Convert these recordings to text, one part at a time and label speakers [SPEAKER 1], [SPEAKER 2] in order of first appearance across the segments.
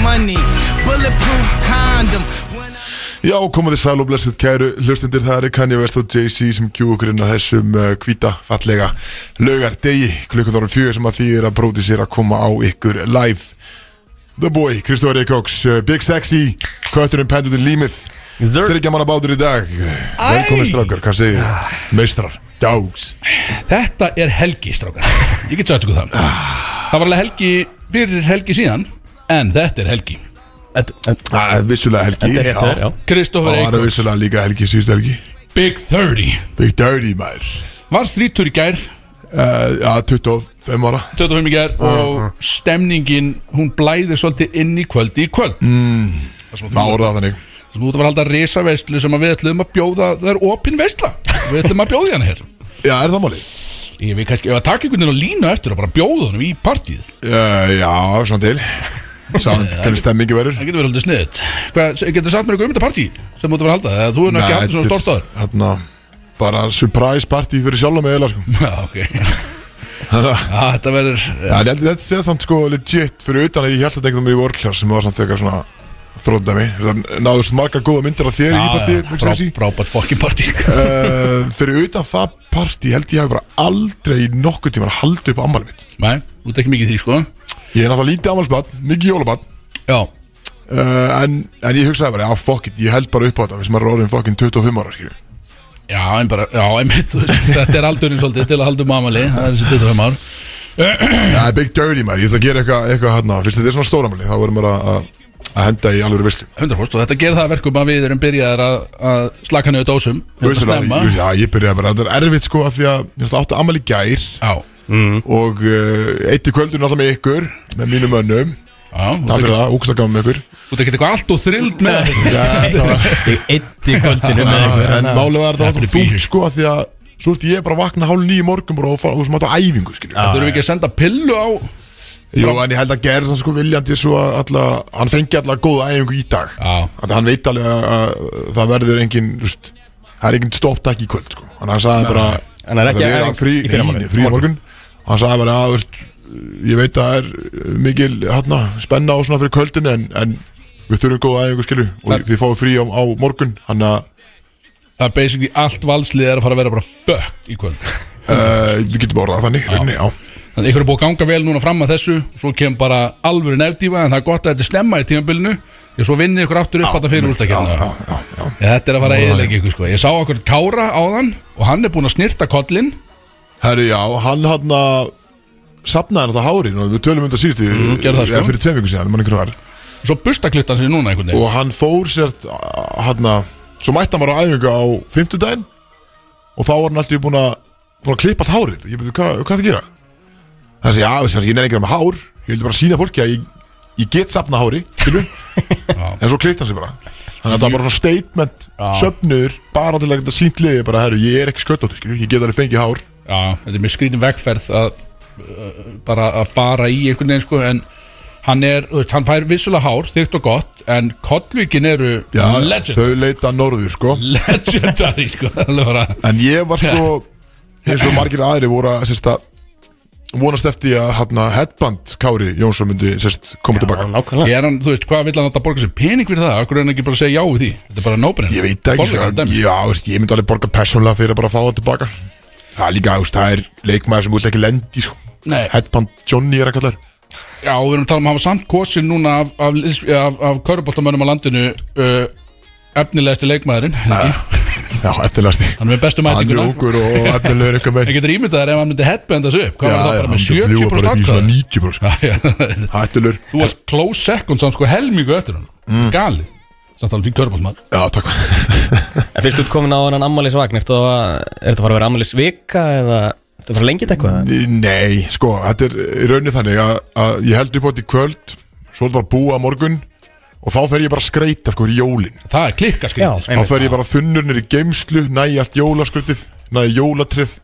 [SPEAKER 1] money, bulletproof condom. When I-
[SPEAKER 2] Já, komaði sæl og blessuð kæru hlustundir það er Kanye West og Jay-Z sem kjú okkur inn á þessum uh, hvíta fallega laugar degi klukkundarum fjögur sem að því er að bróti sér að koma á ykkur live The Boy, Kristóður Eikóks, uh, Big Sexy, Kötturinn Pendur til Límið
[SPEAKER 3] Sir.
[SPEAKER 2] Þryggja manna bátur í dag Velkomin strakkar, hvað segir þið? Meistrar, dogs
[SPEAKER 4] Þetta er helgi, strákar Ég get sagt ykkur það Það var alveg helgi fyrir helgi síðan En þetta er helgi
[SPEAKER 3] Þetta
[SPEAKER 2] Það er vissulega helgi
[SPEAKER 3] er rétt þér, já
[SPEAKER 4] Kristoffer
[SPEAKER 2] Það var
[SPEAKER 4] Eikóks,
[SPEAKER 2] vissulega líka helgi, síðust helgi
[SPEAKER 4] Big 30
[SPEAKER 2] Big Dirty, maður
[SPEAKER 4] Var strítur í gær,
[SPEAKER 2] Uh, Já, 25 ára
[SPEAKER 4] 25 í gær Og stemningin, hún blæðir svolítið inn í kvöldi í kvöld mm. Það sem
[SPEAKER 2] Má
[SPEAKER 4] þú-
[SPEAKER 2] orða það þannig
[SPEAKER 4] það sem út að var halda risaveislu Sem að við ætlum að bjóða, það er opin veisla Við ætlum að bjóða hérna hér
[SPEAKER 2] Já, er það málið?
[SPEAKER 4] Ég vil kannski, ef að taka einhvern veginn á línu eftir Og bara bjóða honum í partíð
[SPEAKER 2] Uh, já, svona til Sáðan hvernig stemmingi verður
[SPEAKER 4] Það getur verið aldrei sniðt Hvað, getur sagt mér eitthvað um þetta partí Sem út að var halda, eða þú er ekki haldið svona stort áður
[SPEAKER 2] Hérna, bara surprise party fyrir sjálf með eða sko.
[SPEAKER 4] Já, ok
[SPEAKER 2] Þannig að-
[SPEAKER 4] Já, þetta verður
[SPEAKER 2] Já, en ég held að Þetta séð þannig sko legit fyrir utan að ég held að þetta einhvern í vorklar sem var samt þegar svona þrótdæmi Náðust marga góða myndir af þér í partíð Big
[SPEAKER 4] frá,
[SPEAKER 2] Sexy.
[SPEAKER 4] frábært fokkin partí sko.
[SPEAKER 2] Eh, Fyrir utan það partí held ég hafi bara aldrei í nokkuð tíma haldið upp á ammæli mitt
[SPEAKER 4] Nei, þú ert ekki mikið í því sko
[SPEAKER 2] Ég er náttúrulega lítið ammælsbann, mikið jólabann
[SPEAKER 4] Já,
[SPEAKER 2] Uh, en, en ég hugsaði bara, já fuck it, ég held bara upp á þetta Við sem er orðin fucking 25 ára, skiljum
[SPEAKER 4] já, en bara, já, einmitt þú veist, Þetta er aldurinn svolítið til að halda um amali Það er þessi 25 ár
[SPEAKER 2] Það er big dirty maður, ég ætla að gera eitthvað eitthva hérna Fyrst þetta er svona stóramæli, þá verðum við að, að, að henda í alveg visslu
[SPEAKER 4] 100% og þetta gerir það að verkum að við erum byrjaðir að, að slaka niður dósum hérna snemma.
[SPEAKER 2] ég, já, ég byrjaði bara, þetta er erfitt sko af Því að ég ætla átti ammæli í gær
[SPEAKER 4] Já,
[SPEAKER 2] Og uh, eitt í kvöldun alltaf með ykkur Með mínum mönnum,
[SPEAKER 4] já, þú
[SPEAKER 2] það
[SPEAKER 4] ert
[SPEAKER 2] fyrir
[SPEAKER 4] ekki-
[SPEAKER 2] það, ógst að gaman með ykkur
[SPEAKER 4] þú ert ekki eitthvað allt og þrild með þetta.
[SPEAKER 2] Nei, það var-
[SPEAKER 3] Ég eitti kvöldinu með einhver
[SPEAKER 2] En málega er þetta
[SPEAKER 4] Þetta er
[SPEAKER 2] alltaf þungt
[SPEAKER 4] bíl.
[SPEAKER 2] sko af Því að svo ert ég bara að vakna hálf nýjum morgun bara Og fara- og sem átt á æfingu, skiljum
[SPEAKER 3] Já.
[SPEAKER 4] Þurfum við ekki að senda pillu á
[SPEAKER 2] Jú, en ég held að gera það sko viljandi svo að alla, hann fengi alla góða æfingu í dag
[SPEAKER 4] Já.
[SPEAKER 2] Þannig að hann veit alveg að, að það verður engin, þú veist, það er engin stopptak í kvöld sko Þannig að hann sagði bara
[SPEAKER 3] En það er ekki
[SPEAKER 2] að
[SPEAKER 3] æfing
[SPEAKER 2] frí,
[SPEAKER 3] í fyrramálið.
[SPEAKER 2] neini, frí á morgun Hann sagði bara að, þú veist, ég veit að það er mikil, hérna, spenna og svona fyrir kvöldin En, en við þurfum góða æfingu skilju og
[SPEAKER 4] Það-
[SPEAKER 2] þið fáið frí á, á morgun Þannig að
[SPEAKER 4] Það er basically allt valslið er að fara að vera bara fucked í kvöld
[SPEAKER 2] uh, við getum orðað þannig, rauninni, já
[SPEAKER 4] Þannig að ykkur er búið að ganga vel núna fram að þessu Svo kemur bara alvöru nefndífa En það er gott að þetta er snemma í tímabilinu Því að svo vinnið ykkur aftur upp að það fyrir úrstakefna
[SPEAKER 2] Já, já, já, já
[SPEAKER 4] Þetta er að fara að eðilegja ykkur sko Ég sá okkur Kára á þann Og hann er búin að snirta kollin
[SPEAKER 2] Herri, já, hann hann að sapnaði hann það hárin og við tölum um þetta síðustu mm,
[SPEAKER 4] gerðu það, sko.
[SPEAKER 2] fyrir tveim vikur síðan, mann einhvern var
[SPEAKER 4] Svo bustaklittan sér núna einhvern veginn
[SPEAKER 2] og hann fór sérst uh, hann að, svo mætti hann bara á æfingu á fimmtudaginn og þá var hann alltaf búin að búin að klippa allt hárið ég byrju, hvað, hvað er það að gera? Það sé, já, þessi, ég nefnir ekki að vera með hár ég vildi bara sína fólki að ég, ég get sapna hári skilju, en svo klippt hann sér bara þannig að það var bara svona statement söfnur, bara til að geta sínt liði bara, herru, ég er ekki sköttóttur, skilju, ég get alveg fengið hár
[SPEAKER 4] Já, þetta er mjög skrýtin vegferð að, uh, Bara að fara í einhvern veginn sko En hann er, þú veist, hann fær vissulega hár Þygt og gott En kollvíkin eru
[SPEAKER 2] já,
[SPEAKER 4] legend,
[SPEAKER 2] þau leita norður, sko
[SPEAKER 4] legendary sko Þannig bara
[SPEAKER 2] En ég var sko eins og margir aðri voru að sérst að vonast eftir að hérna headband Kári Jónsson myndi sérst koma tilbaka
[SPEAKER 3] Nákvæmlega
[SPEAKER 4] Er hann, þú veist, hvað vill hann að borga sér pening fyrir það? Akkur er hann ekki bara að segja já við því? Þetta er bara nóbrinn
[SPEAKER 2] Ég veit ekki, sko, já, veist, ég myndi alveg borga persónulega fyrir að bara fá það tilbaka Það er líka, veist, það er leikmaður sem út ekki lendi sko.
[SPEAKER 4] Nei.
[SPEAKER 2] Headband Johnny er að kalla þær
[SPEAKER 4] Já, við erum að tala um að hafa samt kosin núna af, af, liðs- af, af köruboltamönnum á landinu uh, efnilegasti leikmaðurinn uh.
[SPEAKER 2] Já, eftirlasti
[SPEAKER 4] Hann er með bestu
[SPEAKER 2] Ah. Hann er
[SPEAKER 4] mætinguna
[SPEAKER 2] ungur og eftirlegur eitthvað með
[SPEAKER 4] Ég getur ímyndað þær ef hann myndi headband þessu upp Hvað
[SPEAKER 2] Já,
[SPEAKER 4] var það bara
[SPEAKER 2] já, hann
[SPEAKER 4] með
[SPEAKER 2] myndi fljúga bara upp í
[SPEAKER 4] 70% atkvæða?
[SPEAKER 2] svona 90% sko.
[SPEAKER 4] Já, já.
[SPEAKER 2] Hættilegur
[SPEAKER 4] Þú varst close second samt sko helmingu eftir hann mm. Galið Samt alveg fyrir köruboltamönn
[SPEAKER 2] Já, takk
[SPEAKER 3] En fyrst þú ert komin á hann ammælisvagn Er þetta að fara að vera ammælisvika Eða ertu að fara lengi þetta eitthvað
[SPEAKER 2] Nei, sko, þetta er í rauninni þannig að, að ég held upp á þetta í kvöld Svo er bara búa á morgun Og þá fer ég bara að skreita, sko, í jólin
[SPEAKER 4] Það er klikka
[SPEAKER 3] Já,
[SPEAKER 4] skrið
[SPEAKER 2] Þá
[SPEAKER 3] einmitt
[SPEAKER 2] fer ég bara þunnur nýr í geimslu Næ allt jólaskryttið, næ jólatrið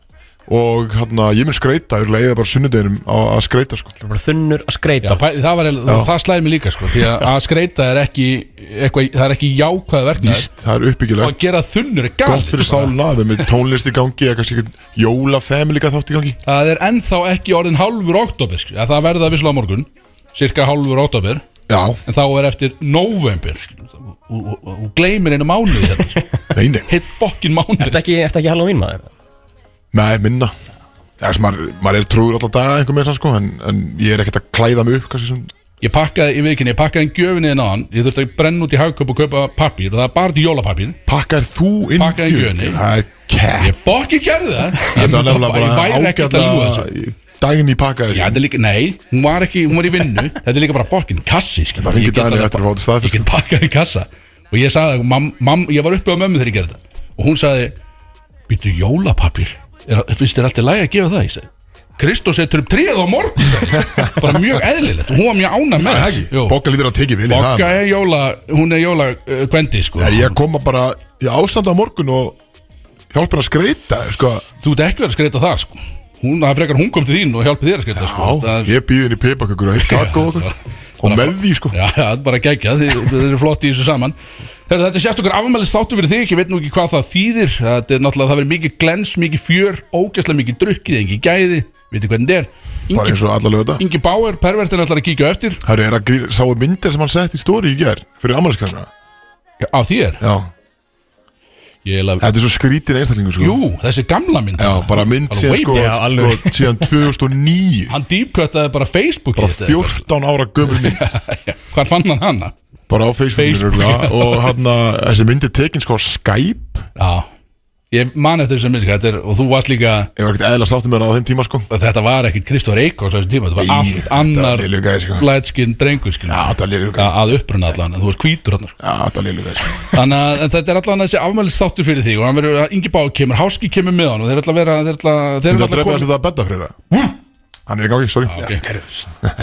[SPEAKER 2] Og hann ég mun skreita Ég leiði bara sunnudeginum á- að skreita, sko
[SPEAKER 3] Bara þunnur að skreita
[SPEAKER 4] Það, pæ- það, var, eiginlega- það slæði mig líka sko Því að, að skreita er ekki, eitthvað, það er ekki jákvæða verknar
[SPEAKER 2] Víst, það er
[SPEAKER 4] og að
[SPEAKER 2] uppbyggilegt
[SPEAKER 4] gera þunnur er galt
[SPEAKER 2] Gott fyrir sáluna, við erum með tónlist í gangi Eða kannski eitthvað jólafemi líka þátt í gangi
[SPEAKER 4] Það er ennþá ekki orðin hálfur oktober sko. Það verða vissulega á morgun Cirka hálfur oktober
[SPEAKER 2] Já,
[SPEAKER 4] en þá er eftir november skilur, og, og, og, og gleymir einu mánuði hérna, sko.
[SPEAKER 2] nei, nei,
[SPEAKER 4] heitt fokkin mánuði
[SPEAKER 3] Ertu ekki, ertu ekki Halloween maður?
[SPEAKER 2] nei, minna Það sem maður, maður er trúður alltaf daga einhver með það sko en, en ég er ekkert að klæða mig upp kannski sem
[SPEAKER 4] ég pakkaði í vikinni, ég pakkaði en gjöfinni en aðan ég þurfti að brenna út í hagköp og kaupa pappír og það er bara til jólapapír
[SPEAKER 2] Pakkaðir þú inn
[SPEAKER 4] Pakkaði
[SPEAKER 2] gjöfina?
[SPEAKER 4] gjöfina.
[SPEAKER 2] Það er
[SPEAKER 4] ég
[SPEAKER 2] kepp
[SPEAKER 4] fokkin gerði það ég,
[SPEAKER 2] Þetta er
[SPEAKER 4] ég,
[SPEAKER 2] nefnilega bara
[SPEAKER 4] væri ekki að ljúga þessu
[SPEAKER 2] ágæta Daginn í pakkaðir
[SPEAKER 4] Já, þetta er líka, nei, hún var ekki, hún var í vinnu Þetta er líka bara fokkin kassi skilur.
[SPEAKER 2] Það ringir
[SPEAKER 4] Ég get
[SPEAKER 2] Dani
[SPEAKER 4] alveg-
[SPEAKER 2] eftir að fá þetta
[SPEAKER 4] Ég
[SPEAKER 2] staðfest. sko.
[SPEAKER 4] get pakkað í kassa Og ég sagði, mam, mam, ég var uppi á mömmu þegar ég gerði þetta Og hún sagði, býttu jólapapir er, Finnst þér alltaf lægi að gefa það? Ég sagði, Kristó setur upp tríð á morgun sagði ég. Bara mjög eðlilegt Og hún var mjög ána
[SPEAKER 2] Það
[SPEAKER 4] með
[SPEAKER 2] er
[SPEAKER 4] það.
[SPEAKER 2] ekki,
[SPEAKER 4] Jú.
[SPEAKER 2] bokka lítur að tekið vilja
[SPEAKER 4] Bogga er jóla, hún er jóla uh, Gvendi, sko
[SPEAKER 2] Er ég að koma bara í ástanda á morgun og hjálpa henni að skreita sko.
[SPEAKER 4] Þú ert ekki verið að skreita það, sko Hún, það er frekar hún kom til þín og hjálpi þér að skreita, sko
[SPEAKER 2] Já,
[SPEAKER 4] Það er-
[SPEAKER 2] ég býð henni pipakökur og heitt kakó og,
[SPEAKER 4] Já,
[SPEAKER 2] og með því sko
[SPEAKER 4] Já, já, þetta er bara gegja, þið, þið eru flott í þessu saman Herra, Þetta er sérstakar afmælist þáttu fyrir þig Ég veit nú ekki hvað það þýðir Þetta er náttúrulega, það verður mikið glens, mikið fjör Ógæslega mikið drukkið, engi gæði Vitið hvernig þetta
[SPEAKER 2] Bara
[SPEAKER 4] er
[SPEAKER 2] eins og alla lögða
[SPEAKER 4] Ingi Bauer, pervertin ætlar að kíkja á eftir
[SPEAKER 2] Það er að grín, sáu myndir sem hann sett í stóri í ger fyrir ammæliskæðina
[SPEAKER 4] Á þér
[SPEAKER 2] Já,
[SPEAKER 4] Ég er að
[SPEAKER 2] þetta er svo skrítin einstaklingur sko
[SPEAKER 4] Jú, þessi gamla mynd
[SPEAKER 2] Já, bara mynd
[SPEAKER 4] Bara
[SPEAKER 2] síðan
[SPEAKER 4] way
[SPEAKER 2] sko,
[SPEAKER 3] back. Já, alveg.
[SPEAKER 2] sko síðan 2009
[SPEAKER 4] Hann dýpköttaði bara Facebook
[SPEAKER 2] bara 14 ára gömur mynd
[SPEAKER 4] Hvar fann hann hana?
[SPEAKER 2] bara á Facebook,
[SPEAKER 4] Facebook.
[SPEAKER 2] Facebook. og hann að þessi mynd er tekin sko á Skype
[SPEAKER 4] Já, ég man eftir þessu mynd sko, þetta er- Og þú varst líka
[SPEAKER 2] ég var ekkert eðla sáttum með hann á þeim tíma sko
[SPEAKER 4] Þetta var ekkit Kristóður Eikos á þessum tíma Þetta var
[SPEAKER 2] Nei,
[SPEAKER 4] allt
[SPEAKER 2] þetta var
[SPEAKER 4] annar
[SPEAKER 2] lélegur gæði, sko.
[SPEAKER 4] Lætskinn drengur skilur.
[SPEAKER 2] Já, þetta er lélegur
[SPEAKER 4] Já,
[SPEAKER 2] gæði.
[SPEAKER 4] að uppruna allan, en þú veist hvítur hann sko.
[SPEAKER 2] Já, þetta er léluga sko.
[SPEAKER 4] þannig að en þetta er allan þessi afmælist þáttur fyrir þig og hann verður að Ingi Bá kemur, Háski kemur með hann og þeir ætla að vera, þeir ætla, þeir
[SPEAKER 2] Þú
[SPEAKER 4] ætla
[SPEAKER 2] ert að
[SPEAKER 4] að
[SPEAKER 2] drepa
[SPEAKER 4] koma
[SPEAKER 2] þess að þetta bedda fyrir það Hann er í gangi, sorry
[SPEAKER 4] Ok.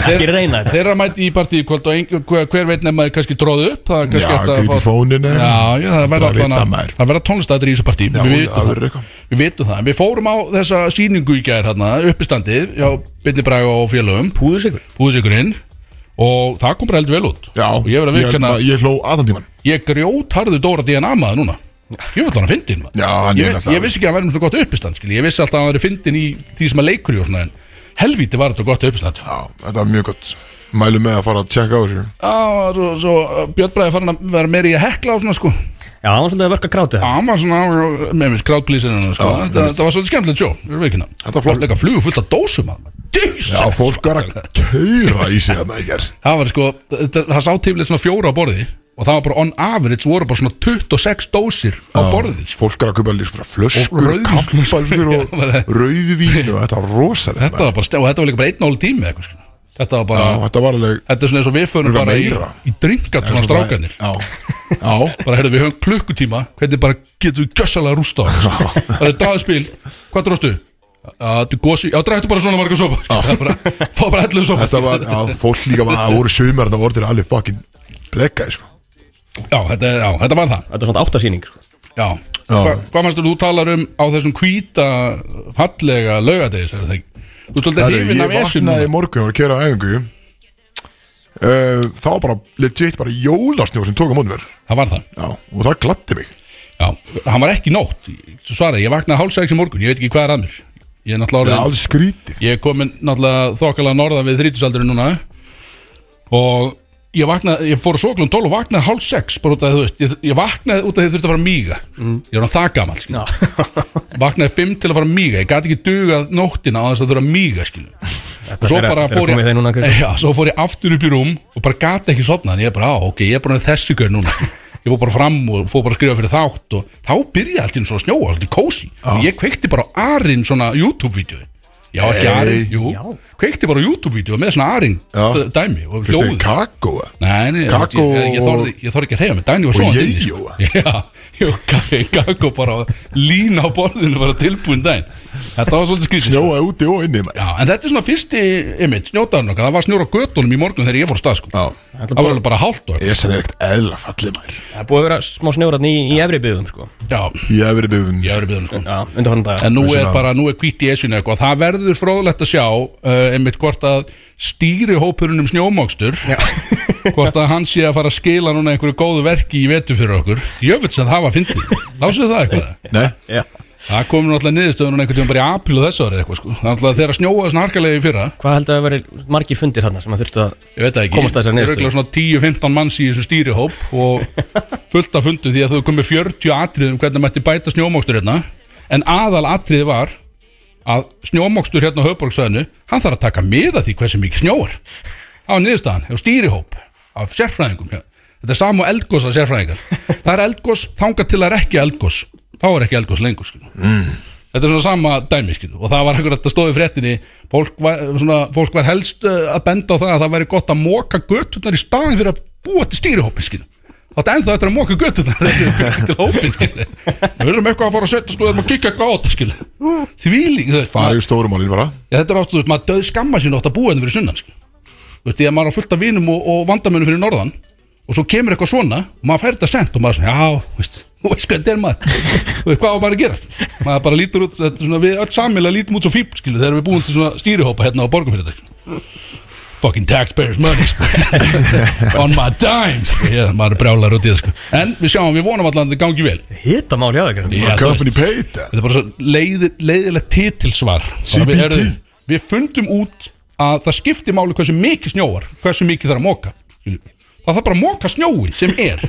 [SPEAKER 3] Ekki reyna þetta
[SPEAKER 4] þeir eru að mæti í partíi í kvöld og ein, hver, hver veit nema þeir kannski dróðu upp það er
[SPEAKER 2] Já,
[SPEAKER 4] kannski hægt að
[SPEAKER 2] grípi
[SPEAKER 4] fá-
[SPEAKER 2] fóninu
[SPEAKER 4] Já, já, það verður
[SPEAKER 2] Bara vita
[SPEAKER 4] allan að
[SPEAKER 2] maður.
[SPEAKER 4] það verða tónlistættir í þessu partí
[SPEAKER 2] eh. Já,
[SPEAKER 4] við
[SPEAKER 2] það
[SPEAKER 4] vitum það,
[SPEAKER 2] verður eitthvað.
[SPEAKER 4] við vitum það en við fórum á þessa sýningu í gær hérna, uppistandið, já, Binni Braga og félögum
[SPEAKER 3] Púðursikur
[SPEAKER 4] búðsikurinn og það kom bara heldur vel út
[SPEAKER 2] Já,
[SPEAKER 4] og ég verður að viðkjanna
[SPEAKER 2] ég, ég hló aðan tíman
[SPEAKER 4] Ég grjótarðu Dóra DNA maður núna Ég vil hann að fyndin maður
[SPEAKER 2] Já, hann er
[SPEAKER 4] ég,
[SPEAKER 2] náttúrulega-
[SPEAKER 4] ég vissi ekki að hann verður með svo gott uppistand skil. Ég vissi alltaf að hann verður fyndin í því sem að leikur í og svona En helvíti var þetta gott uppistand Já,
[SPEAKER 2] Já, þetta var mjög gott Mælu með að fara að tjekka á þessu
[SPEAKER 4] svo, svo uh, Björn Bræði farin að vera meiri í að hekla og svona sko
[SPEAKER 3] Já, það var svolítið að verka krátið það
[SPEAKER 4] Hann var svona uh, með mér skrátblísirinn sko.
[SPEAKER 2] Já,
[SPEAKER 4] Þetta þetta var svolítið skemmtilegt sjó Þetta
[SPEAKER 2] Þetta var flott.
[SPEAKER 4] Leika flugu fullt af dósum að
[SPEAKER 2] Já, fólk var að kæra í sig þarna í ger
[SPEAKER 4] Það var sko, það, það sá tíflið svona fjóra á borði Og það var bara on average voru bara svona 26 dósir á borði
[SPEAKER 2] Fólk var að kaupa líka bara flöskur,
[SPEAKER 4] Og
[SPEAKER 2] kampalskur
[SPEAKER 4] rauðvínsflöskur. Já, bara-
[SPEAKER 2] og rauðvín og þetta var rosalega
[SPEAKER 4] Þetta var bara, og þetta var líka bara einn og hálf tími eða eitthvað skilur. Þetta var bara,
[SPEAKER 2] Já, þetta var alveg
[SPEAKER 4] þetta er svona eins og við fönum
[SPEAKER 2] Örugglega
[SPEAKER 4] bara í,
[SPEAKER 2] meira.
[SPEAKER 4] í dringatúna strákanir
[SPEAKER 2] Já, já
[SPEAKER 4] Bara, heyrðu, við höfum klukkutíma, hvernig bara getum við gjössalega rústa á okkur, sko. Það er draðið spil, hvað dróstu? Já, gósi, já, drættu bara svona marga sopa Það er bara, fá bara hellu sopa
[SPEAKER 2] Þetta var, já, fólk líka var, það voru sömur Það voru þeir alveg bakinn blekkaði, sko
[SPEAKER 4] Já, þetta, já, þetta var það
[SPEAKER 3] Þetta er svona áttasýning sko.
[SPEAKER 4] Já,
[SPEAKER 2] Já.
[SPEAKER 4] Hva, hvað fannst þú talar um á þessum hvíta fallega laugadegis Þú ert svolítið
[SPEAKER 2] Herru,
[SPEAKER 4] hrifin
[SPEAKER 2] Ég
[SPEAKER 4] af esjum
[SPEAKER 2] vaknaði í morgun og var að kera á æfingu uh, Það var bara legit bara jólasnjór sem tók á mótum mér
[SPEAKER 4] Það var það
[SPEAKER 2] Já, og það gladdi mig
[SPEAKER 4] Já, hann var ekki í nótt Svo svaraði, ég vaknaði hálfsæks í morgun, ég veit ekki hvað er að mér Ég er
[SPEAKER 2] Það
[SPEAKER 4] náttúrulega
[SPEAKER 2] er
[SPEAKER 4] orðin,
[SPEAKER 2] alls skrítið
[SPEAKER 4] ég er komin náttúrulega þokkalega norðan við þrítisaldurinn núna Og ég vaknaði, ég fór að soklum 12 og vaknaði hálfsæks Bara út af því, þú veist, ég, ég vaknaði út af því þurfti að fara að míga Ég er hann það gamall, skil Vaknaði 5 til að fara að míga, ég gat ekki dugað nóttina á þess að þurfa að míga, skil Og svo
[SPEAKER 3] fer að-
[SPEAKER 4] bara
[SPEAKER 3] fer að
[SPEAKER 4] fór
[SPEAKER 3] koma í
[SPEAKER 4] ég,
[SPEAKER 3] þeim núna, Kristján.
[SPEAKER 4] já, svo fór ég aftur upp í rúm og bara gata ekki sopna en ég bara, á, ok, ég er bara með þessu gaur núna ég fór bara fram og fór bara að skrifa fyrir þátt og þá byrjaði allt inn svo að snjóa, svolítið kósi og ég kveikti bara á Arin svona YouTube-vídeói já, ekki
[SPEAKER 2] Nei.
[SPEAKER 4] Arin, jú
[SPEAKER 3] Já.
[SPEAKER 4] kveikti bara á YouTube-vídeói með svona Arin
[SPEAKER 2] Já.
[SPEAKER 4] d- dæmi og
[SPEAKER 2] Fyrst þeir
[SPEAKER 4] hljóð
[SPEAKER 2] kakó eða?
[SPEAKER 4] Nei, nei,
[SPEAKER 2] Kakó
[SPEAKER 4] ég, ég, ég, þorði, ég þorði ekki að reyja mig Dæni var svo
[SPEAKER 2] Og ég, jú.
[SPEAKER 4] Já, jú, kaffi, kakó bara að lína á borðinu bara tilbúin dæn Þetta var svolítið sko. skrýsins
[SPEAKER 2] Snjóaði úti og inni maður.
[SPEAKER 4] Já, en þetta er svona fyrsti image, snjótaðurinn okkar, það var snjór á götunum í morgun þegar ég fór á stað, sko.
[SPEAKER 2] Já,
[SPEAKER 4] Það var alveg bara hálft og
[SPEAKER 2] Esjan er ekkert eðla fallið maður
[SPEAKER 3] Það er búið að vera smá snjóratni í, í efri byggðum sko.
[SPEAKER 4] Já,
[SPEAKER 2] Ég hef verið um- byggðun
[SPEAKER 4] ég hefur byggðun, sko.
[SPEAKER 3] Já, undanfarna daga.
[SPEAKER 4] En nú
[SPEAKER 2] Þessi
[SPEAKER 4] er
[SPEAKER 2] ná-
[SPEAKER 4] bara, nú er hvítt í esjunni eitthvað, það verður fróðlegt að sjá, uh, einmitt hvort að stýri hópurinn um snjómokstur, hvort að hann sé að fara að skila núna einhverju góðu verki í vetu fyrir okkur. Jöfull sem það var fyndið, lásuðu það eitthvað?
[SPEAKER 2] Nei,
[SPEAKER 3] Já.
[SPEAKER 4] Það komur náttúrulega niðurstöðunum einhvern tíma bara í apílu þessu árið eitthvað sko Það er náttúrulega þegar snjóaði svona harkalega í fyrra
[SPEAKER 3] Hvað heldur að vera margir fundir þarna sem að þurftu að
[SPEAKER 4] Ég veit það ekki
[SPEAKER 3] Komast að þessari niðurstöðu.
[SPEAKER 4] Það eru örugglega svona 10-15 manns í þessu stýrihóp og fullt af fundu því að þau komið 40 atrið um hvernig mætti bæta snjómokstur hérna en aðal atrið var að snjómokstur hérna á höfborgsvæðinu hann þarf að taka með að því hversu mikið snjóar á niðurstaðan, á stýrihóp af sérfræðingum ja. þetta er sam og eldgósa sérfræðingar það er eldgós þangað til að er ekki eldgós þá er ekki eldgós lengur skilur. Þetta er svona sama dæmi, skilu, og það var akkurat að stóði fréttinni, fólk var, svona, fólk var helst uh, að benda á það að það væri gott að moka götturnar í staðin fyrir að búa til stýrihópin, skilu. Þá þetta ennþá eftir að moka götturnar þegar við byggum til hópin, skilu. Við erum eitthvað að fara að setja skoðum og kikka gáta, skilu. Þvíling, þú veist,
[SPEAKER 2] Það er
[SPEAKER 4] maður-
[SPEAKER 2] í stórumálinn bara
[SPEAKER 4] Já, þetta er átt, þú veist, maður döð skamma sín átt að búa henni fyrir sunnan, skilu. Þú veist, ég maður á fullt af vinum og, og vandamönnum fyrir norðan og svo kemur eitthvað svona og maður fær þetta sent og maður svona, já, þú veist, þú veist hvað þetta er maður þú veist hvað á maður að gera maður bara lítur út, þetta er svona við öll samilega lítum út svo fíbl, skilu, þegar við búum til svona stýrihópa hérna á borgum fyrir þetta, skilu fucking taxpayers money, sko on my dime, sko, já, maður er brjálar út í það, sko, en við sjáum, við vonum allan að þetta gangi vel,
[SPEAKER 3] Hita mál hjá það ekki
[SPEAKER 4] Já, þú
[SPEAKER 2] Company paid
[SPEAKER 4] þetta er bara svo leiði, leiðilegt titilsvar Bara
[SPEAKER 2] CBT.
[SPEAKER 4] við, heyrðu, við fundum út að það skiptir máli hversu mikið snjóar hversu mikið það er að móka það þarf bara að móka snjóin sem er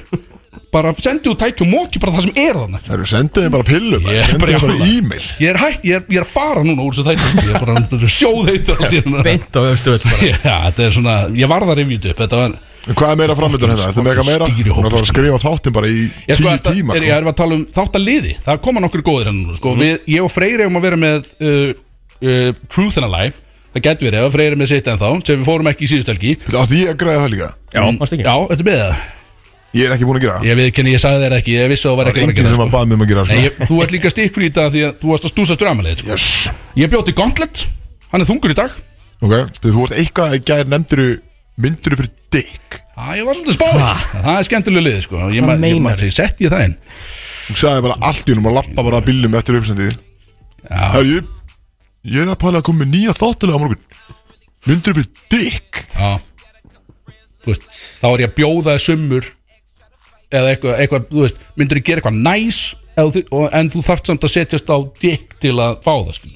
[SPEAKER 4] bara sendi út tæki og móki bara það sem er þannig
[SPEAKER 2] Það eru sendið þeim bara pillum
[SPEAKER 4] Ég er
[SPEAKER 2] yeah, Sendið þeim bara
[SPEAKER 4] brjálaður.
[SPEAKER 2] e-mail
[SPEAKER 4] ég er, hæ, ég, er, ég er að fara núna úr þessu þætti ég er bara sjóðheitur allt í einu.
[SPEAKER 3] Beint á öfstu öll bara
[SPEAKER 4] Já, þetta er svona, ég varð að revjúti upp þetta var,
[SPEAKER 2] En hvað er meira framöndan hérna? Þetta er mega meira
[SPEAKER 4] Stýrihópur, sko.
[SPEAKER 2] Hún ætlar að skrifa þáttinn bara í
[SPEAKER 4] Ég
[SPEAKER 2] tíu
[SPEAKER 4] sko, þetta,
[SPEAKER 2] tíma
[SPEAKER 4] er, ég er að tala um þáttaliði Það koma nokkur góðir hann núna sko. Við, Ég og Freyr eigum að vera með uh, uh, Truth and a Lie Það getur verið ef að Freyr er með sitt ennþá sem við fórum ekki í síðustelgi
[SPEAKER 2] sko Átti ég að græða það líka
[SPEAKER 3] Já, varstu ekki?
[SPEAKER 4] Já, þetta er með það
[SPEAKER 2] Ég er ekki búin að gera það
[SPEAKER 4] Ég veit ekki, ég sagði þér ekki, ég vissi að það var
[SPEAKER 2] Það
[SPEAKER 4] ekki
[SPEAKER 2] er enginn sem
[SPEAKER 4] sko.
[SPEAKER 2] að baða mig um að gera það,
[SPEAKER 4] Nei,
[SPEAKER 2] sko.
[SPEAKER 4] ég, Þú ert líka stikkfrí í dag því að þú varst að stúsa strömmalið sko.
[SPEAKER 2] Yes
[SPEAKER 4] Ég bjóti Gauntlet, hann er þungur í dag
[SPEAKER 2] Ok, þú þú vorst eitthvað að gæri nefndiru myndiru fyrir dick
[SPEAKER 4] Æ, ég var svolítið spáð Það er skemmtilega liði, sko Ég, ma- ég, ma-
[SPEAKER 3] meinarðu?
[SPEAKER 4] ég setti ég það inn
[SPEAKER 2] Hún sagði bara allt í húnum og lappa bara að bílum eftir uppsendið
[SPEAKER 4] Já,
[SPEAKER 2] Herri, ég, ég er að pæla að koma með nýja þáttilega á morgun Myndiru fyrir dick
[SPEAKER 4] já Þú veist, þá er ég að bjóða þér summur eða eitthvað, eitthvað þú veist, myndur ég gera eitthvað næs eða, þú- og, en þú þarft samt að setjast á dikk til að fá það, skil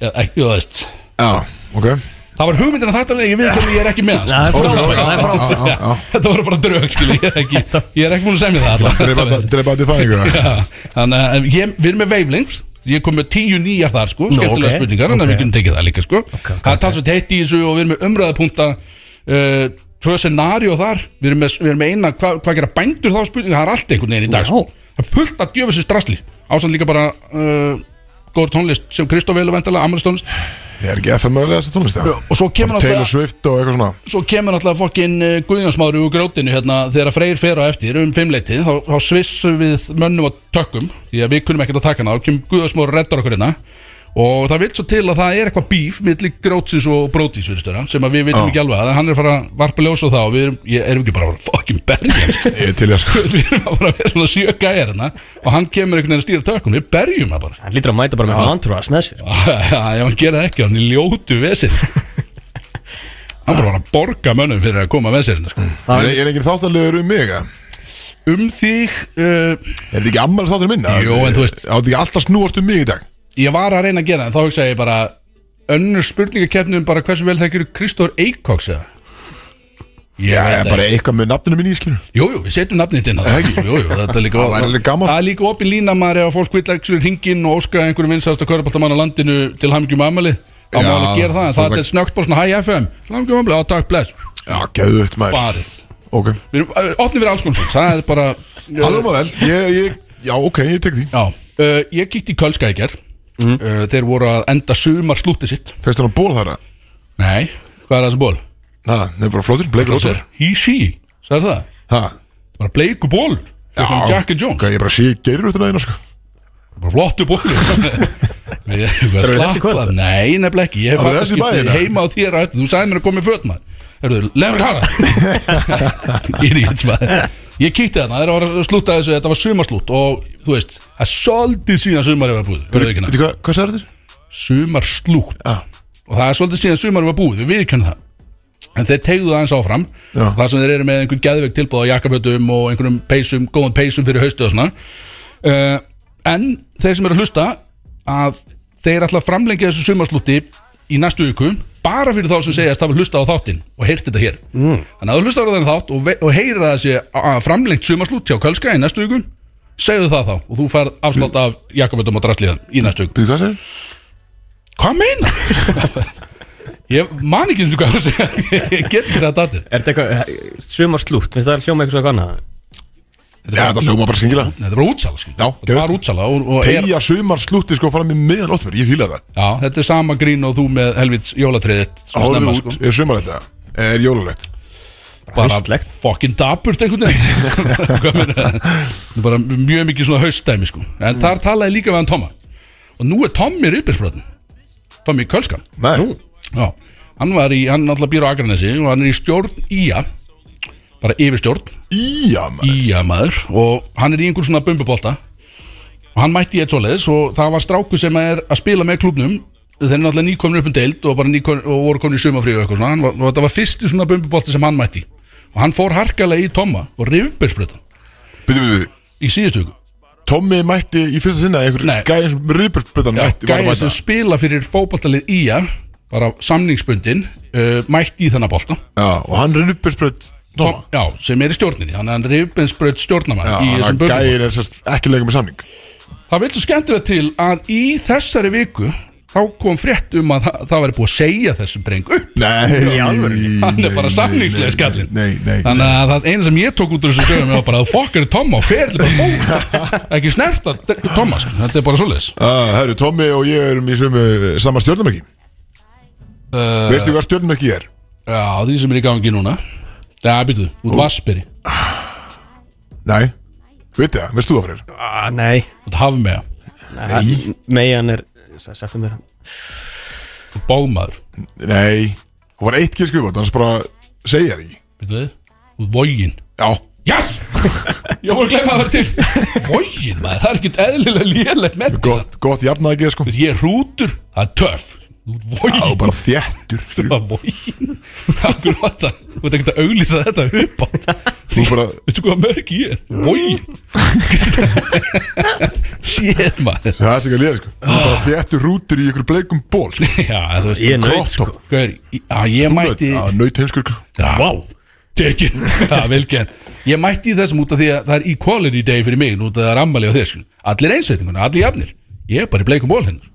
[SPEAKER 4] eða, ekki, þú veist
[SPEAKER 2] Já, ok
[SPEAKER 4] Það var hugmyndin að þetta leik, ég veit ekki, ég er ekki með
[SPEAKER 3] Það
[SPEAKER 4] hann,
[SPEAKER 2] Ó,
[SPEAKER 3] er
[SPEAKER 2] já,
[SPEAKER 3] frábært,
[SPEAKER 2] já,
[SPEAKER 3] það er
[SPEAKER 2] já,
[SPEAKER 3] frábært
[SPEAKER 2] já, já, já.
[SPEAKER 4] sko Þetta voru bara drög, skil, ég er ekki ég er ekki búin að semja það alla-
[SPEAKER 2] Drepa þetta- drepa þetta í fæðingu það?
[SPEAKER 4] Já, Þannig að en ég, við erum með wavelength Ég kom með tíu nýjar þar sko
[SPEAKER 3] Nú,
[SPEAKER 4] Skemmtilega
[SPEAKER 3] ok,
[SPEAKER 4] spurningar, en
[SPEAKER 3] ok.
[SPEAKER 4] við kunum tekið það líka sko
[SPEAKER 3] ok,
[SPEAKER 4] Það er talsveit heitt í þessu og við erum með umræðapunta uh, Tvö scenario þar Við erum með, við erum með eina, hva, hvað gera bændur þá spurninga Það er allt einhvern veginn í dag sko.
[SPEAKER 3] Já.
[SPEAKER 4] Það er fullt af djöfisins drasli Ásand líka bara uh, góður tónlist sem Kristof Velu vendala, amalistónlist
[SPEAKER 2] Ég er ekki FM mögulega þessi tónlist eða?
[SPEAKER 4] Og svo kemur
[SPEAKER 2] Taylor
[SPEAKER 4] náttúrulega
[SPEAKER 2] Swift og eitthvað svona
[SPEAKER 4] svo kemur alltaf fokkin Guðjónsmári úr grjótinu hérna þegar Freyr fer á eftir um fimmleitið þá, þá svissum við mönnum og tökum því að við kunum ekkert að taka hana þá kemur Guðjónsmári og reddar okkur hérna og það vil svo til að það er eitthvað bíf milli grótsins og brótis virðistöra sem að við vitum
[SPEAKER 2] Já.
[SPEAKER 4] ekki alveg að hann er að fara að varpa ljós á það og við erum, ég erum ekki bara að fokkin berja
[SPEAKER 2] Ég er til ég að sko
[SPEAKER 4] við erum að bara að vera svona sjö gæjar hérna og hann kemur einhvern veginn að stýra tökum við berjum það bara
[SPEAKER 3] Hann lítur að mæta bara með antúras með sér
[SPEAKER 4] Já, ef hann gera það ekki, hann er ljótu vesir Hann bara var að borga mönnum fyrir að koma vesirinn sko.
[SPEAKER 2] Er, er enginn þáttarlegur um mig? eða?
[SPEAKER 4] Um þig uh,
[SPEAKER 2] Er þetta ekki ammæli þáttur minna?
[SPEAKER 4] Jú, en þú veist-
[SPEAKER 2] Á þetta ekki alltaf snúast um mig í dag
[SPEAKER 4] Ég var að reyna að gera það, en þá hugsaði ég bara Önnur spurningakeppni um bara hversu vel það gerir Kristór Eikóks eða Ég
[SPEAKER 2] Það
[SPEAKER 4] veit
[SPEAKER 2] er
[SPEAKER 4] það
[SPEAKER 2] bara eitthvað með nafninu minni í skilur
[SPEAKER 4] Jú, jú, við setjum nafnið þitt inn á það Jú, jú, þetta er líka
[SPEAKER 2] Það væri alveg gaman.
[SPEAKER 4] Það er líka opin lína maður ef að fólk vill ekki hringin og óska einhverjum vinsast að körbáltamann á landinu til hamingjum amali Það má
[SPEAKER 2] Já,
[SPEAKER 4] alveg gera það, en
[SPEAKER 2] þú
[SPEAKER 4] það er
[SPEAKER 2] veist-
[SPEAKER 4] snögt bara svona Hæ FM, hamingjum amali, á takk bless
[SPEAKER 2] Já, geðvögt maður
[SPEAKER 4] Farið
[SPEAKER 2] Ok,
[SPEAKER 4] Við erum ö, opnir fyrir alls konar svona, það er bara
[SPEAKER 2] alveg maður vel ég, ég, Já, ok, ég tek því
[SPEAKER 4] Já, uh, ég kíkti í Kölska í ger
[SPEAKER 2] Mhm.
[SPEAKER 4] uh, Þeir voru að enda sumar slútið sitt
[SPEAKER 2] Fyrst hann að ból þar að
[SPEAKER 4] Nei, hvað er það sem ból?
[SPEAKER 2] Það það er bara flótur, bleik rótur
[SPEAKER 4] Hísí, sagði það
[SPEAKER 2] Já,
[SPEAKER 4] Bara bleiku ból Frekar en Jack and Jones,
[SPEAKER 2] ok, Ég bara sé gerir út hérna sko
[SPEAKER 4] bara flottu ból Ég er
[SPEAKER 3] Eru þessi
[SPEAKER 4] slappa
[SPEAKER 3] kvöld?
[SPEAKER 4] Nei, nefnilega ekki Ég hef
[SPEAKER 2] Það eru
[SPEAKER 4] fattaskipti
[SPEAKER 2] þessi bæði, það?
[SPEAKER 4] heima á þér að Þú sagði mér að koma í föt maður Erðu, lefnir hana Idiots maður Ég kíkti þarna, þeir voru að slúta þessu Þetta var sumarslút og þú veist Það er svolítið síðan sumarið var búið verður viðurkenna.
[SPEAKER 2] Veitu hvað, hvað sagði þér?
[SPEAKER 4] sumarslútt
[SPEAKER 2] Já.
[SPEAKER 4] og það er svolítið síðan sumarið var búið, við viðkjönum það en þeir tegðu það eins áfram
[SPEAKER 2] Já.
[SPEAKER 4] það sem þeir eru með einhvern geðveik tilbúð á jakkafötum og einhverjum peysum, góðum peysum fyrir haustið og svona uh, en þeir sem eru að hlusta að þeir ætla að framlengja þessu sumarslúti í næstu viku bara fyrir þá sem segjast hafa hlusta á þáttinn og heyrt þetta hér mm. þannig að þú hlusta á þennan þátt og, ve- og heyra þessi að framlengt sumarslút hjá Kölska í næstu viku segðu það þá og þú færð afslátt af Jakoböldum og Drasliðan í næstu viku
[SPEAKER 2] Býðu hvað segir?
[SPEAKER 4] hvað meina? ég man ekki eins og hvað að segja ég get ekki sagt datir
[SPEAKER 3] Er þetta eitthvað, eh, sumar slútt, finnst það hljóma eitthvað svo annað?
[SPEAKER 2] Já, þetta hljóma bara skengila
[SPEAKER 4] þetta er bara útsala skil.
[SPEAKER 2] Já,
[SPEAKER 4] þetta er bara útsala og, og er,
[SPEAKER 2] Tegja sumar slútti sko fram í miðan óttmur Ég fýla það
[SPEAKER 4] já, þetta er sama grín og þú með helvits jólatriðið
[SPEAKER 2] Áður út, er sumarlegt það? Er jólalegt?
[SPEAKER 4] sko. bara
[SPEAKER 3] Haustlegt.
[SPEAKER 4] fokkin daburt einhvern veginn Hvað meina það? Þetta er bara mjög mikið svona haustdæmi sko en
[SPEAKER 2] Mm.
[SPEAKER 4] þar talaði ég líka við hann Tomma og nú er Tommi Rippinsbröðin Tommi Kölskan
[SPEAKER 2] Nei Nú
[SPEAKER 4] já, hann var í, hann alltaf býr á Akranesi og hann er í stjórn IA bara yfirstjórn,
[SPEAKER 2] Íja, maður
[SPEAKER 4] IA maður og hann er í einhver svona bumbubolta og hann mætti í eitt svoleiðis og það var stráku sem er að spila með klubnum þeir eru náttúrulega nýkomnir upp um deild og, bara nýkom, og voru komin í sumafríu og eitthvað svona Hann var, og þetta var fyrsti svona bumbubolti sem hann mætti í. og hann fór harkalega í Tomma og rifbeinsbröðan
[SPEAKER 2] Býðu, býðu, býðu
[SPEAKER 4] í síðustu viku
[SPEAKER 2] Tommi mætti í fyrsta sinna einhver
[SPEAKER 4] Nei.
[SPEAKER 2] gæði sem rýpurbrutan mætti var að
[SPEAKER 4] gæði
[SPEAKER 2] mæta.
[SPEAKER 4] sem spila fyrir fótballtalið IA bara samningsbundin uh, mætti í þennan bolta
[SPEAKER 2] Já, og hann rýpurbrutt Tomma
[SPEAKER 4] já, sem er í stjórninni þannig að hann rifbeinsbröð
[SPEAKER 2] Já,
[SPEAKER 4] stjórnamaður í þessum
[SPEAKER 2] hann
[SPEAKER 4] bumbubolta
[SPEAKER 2] gæðir er sérst ekki leikum með samning
[SPEAKER 4] Það viltu skemmtilega til að í þessari viku þá kom frétt um að það, það væri búið að segja þessum dreng upp
[SPEAKER 2] Nei, í
[SPEAKER 4] alvörunni? Hann er bara samningslega skallinn.
[SPEAKER 2] Nei, nei, nei
[SPEAKER 4] Þannig að það eina sem ég tók út úr þessu sögum var bara að fokkar í Tomma og ferli bara bóð ekki snert að Tomma sko. þetta er bara svoleiðis
[SPEAKER 2] Ah, Herru, Tommi og ég erum í sömu sama stjórnumerki
[SPEAKER 4] uh,
[SPEAKER 2] Veistu hvað stjórnumerki er?
[SPEAKER 4] Já, því sem er í gangi núna Já, býtu, út Vassberi
[SPEAKER 2] Nei Veitu það, veistu þú það fyrir?
[SPEAKER 3] Ah, nei,
[SPEAKER 4] út Hafmea,
[SPEAKER 2] Nei.
[SPEAKER 3] Meian er, sættu mér
[SPEAKER 4] út Bómaður
[SPEAKER 2] Nei Hún var eitt kýr skrifað, annars bara segja þér ekki
[SPEAKER 4] býtu við, út Vógin
[SPEAKER 2] Já,
[SPEAKER 4] Yes! Ég voru að glemma það til Vógin, maður, það er ekkert eðlilega lélegt með
[SPEAKER 2] gott, gott jafnaði sko
[SPEAKER 4] Ég er hrútur, það er töff Út
[SPEAKER 2] Já,
[SPEAKER 4] Vógin
[SPEAKER 2] bara þjættur
[SPEAKER 4] Þú var vógin Akkurat það Þú veit ekki að auglýsa þetta upp átt
[SPEAKER 2] Þú bara,
[SPEAKER 4] Veistu hvað mörg ég er? Vógin Shit maður
[SPEAKER 2] það er sér ekki að liða sko Þú bara þjættur rútur í ykkur bleikum ból sko.
[SPEAKER 4] Já, þú veist
[SPEAKER 3] Ég er naut,
[SPEAKER 2] Kropptopp.
[SPEAKER 3] sko
[SPEAKER 4] Gaur, já, ég mætti
[SPEAKER 2] Já, naut heimskur sko.
[SPEAKER 4] Já, wow. tekin Já, velgen Ég mætti í þessum út af því að það er equality day fyrir mig Nú út af það er ammali á þér sko. Allir einsætinguna, allir jafnir Ég er bara í bleikum ból hérna, hennar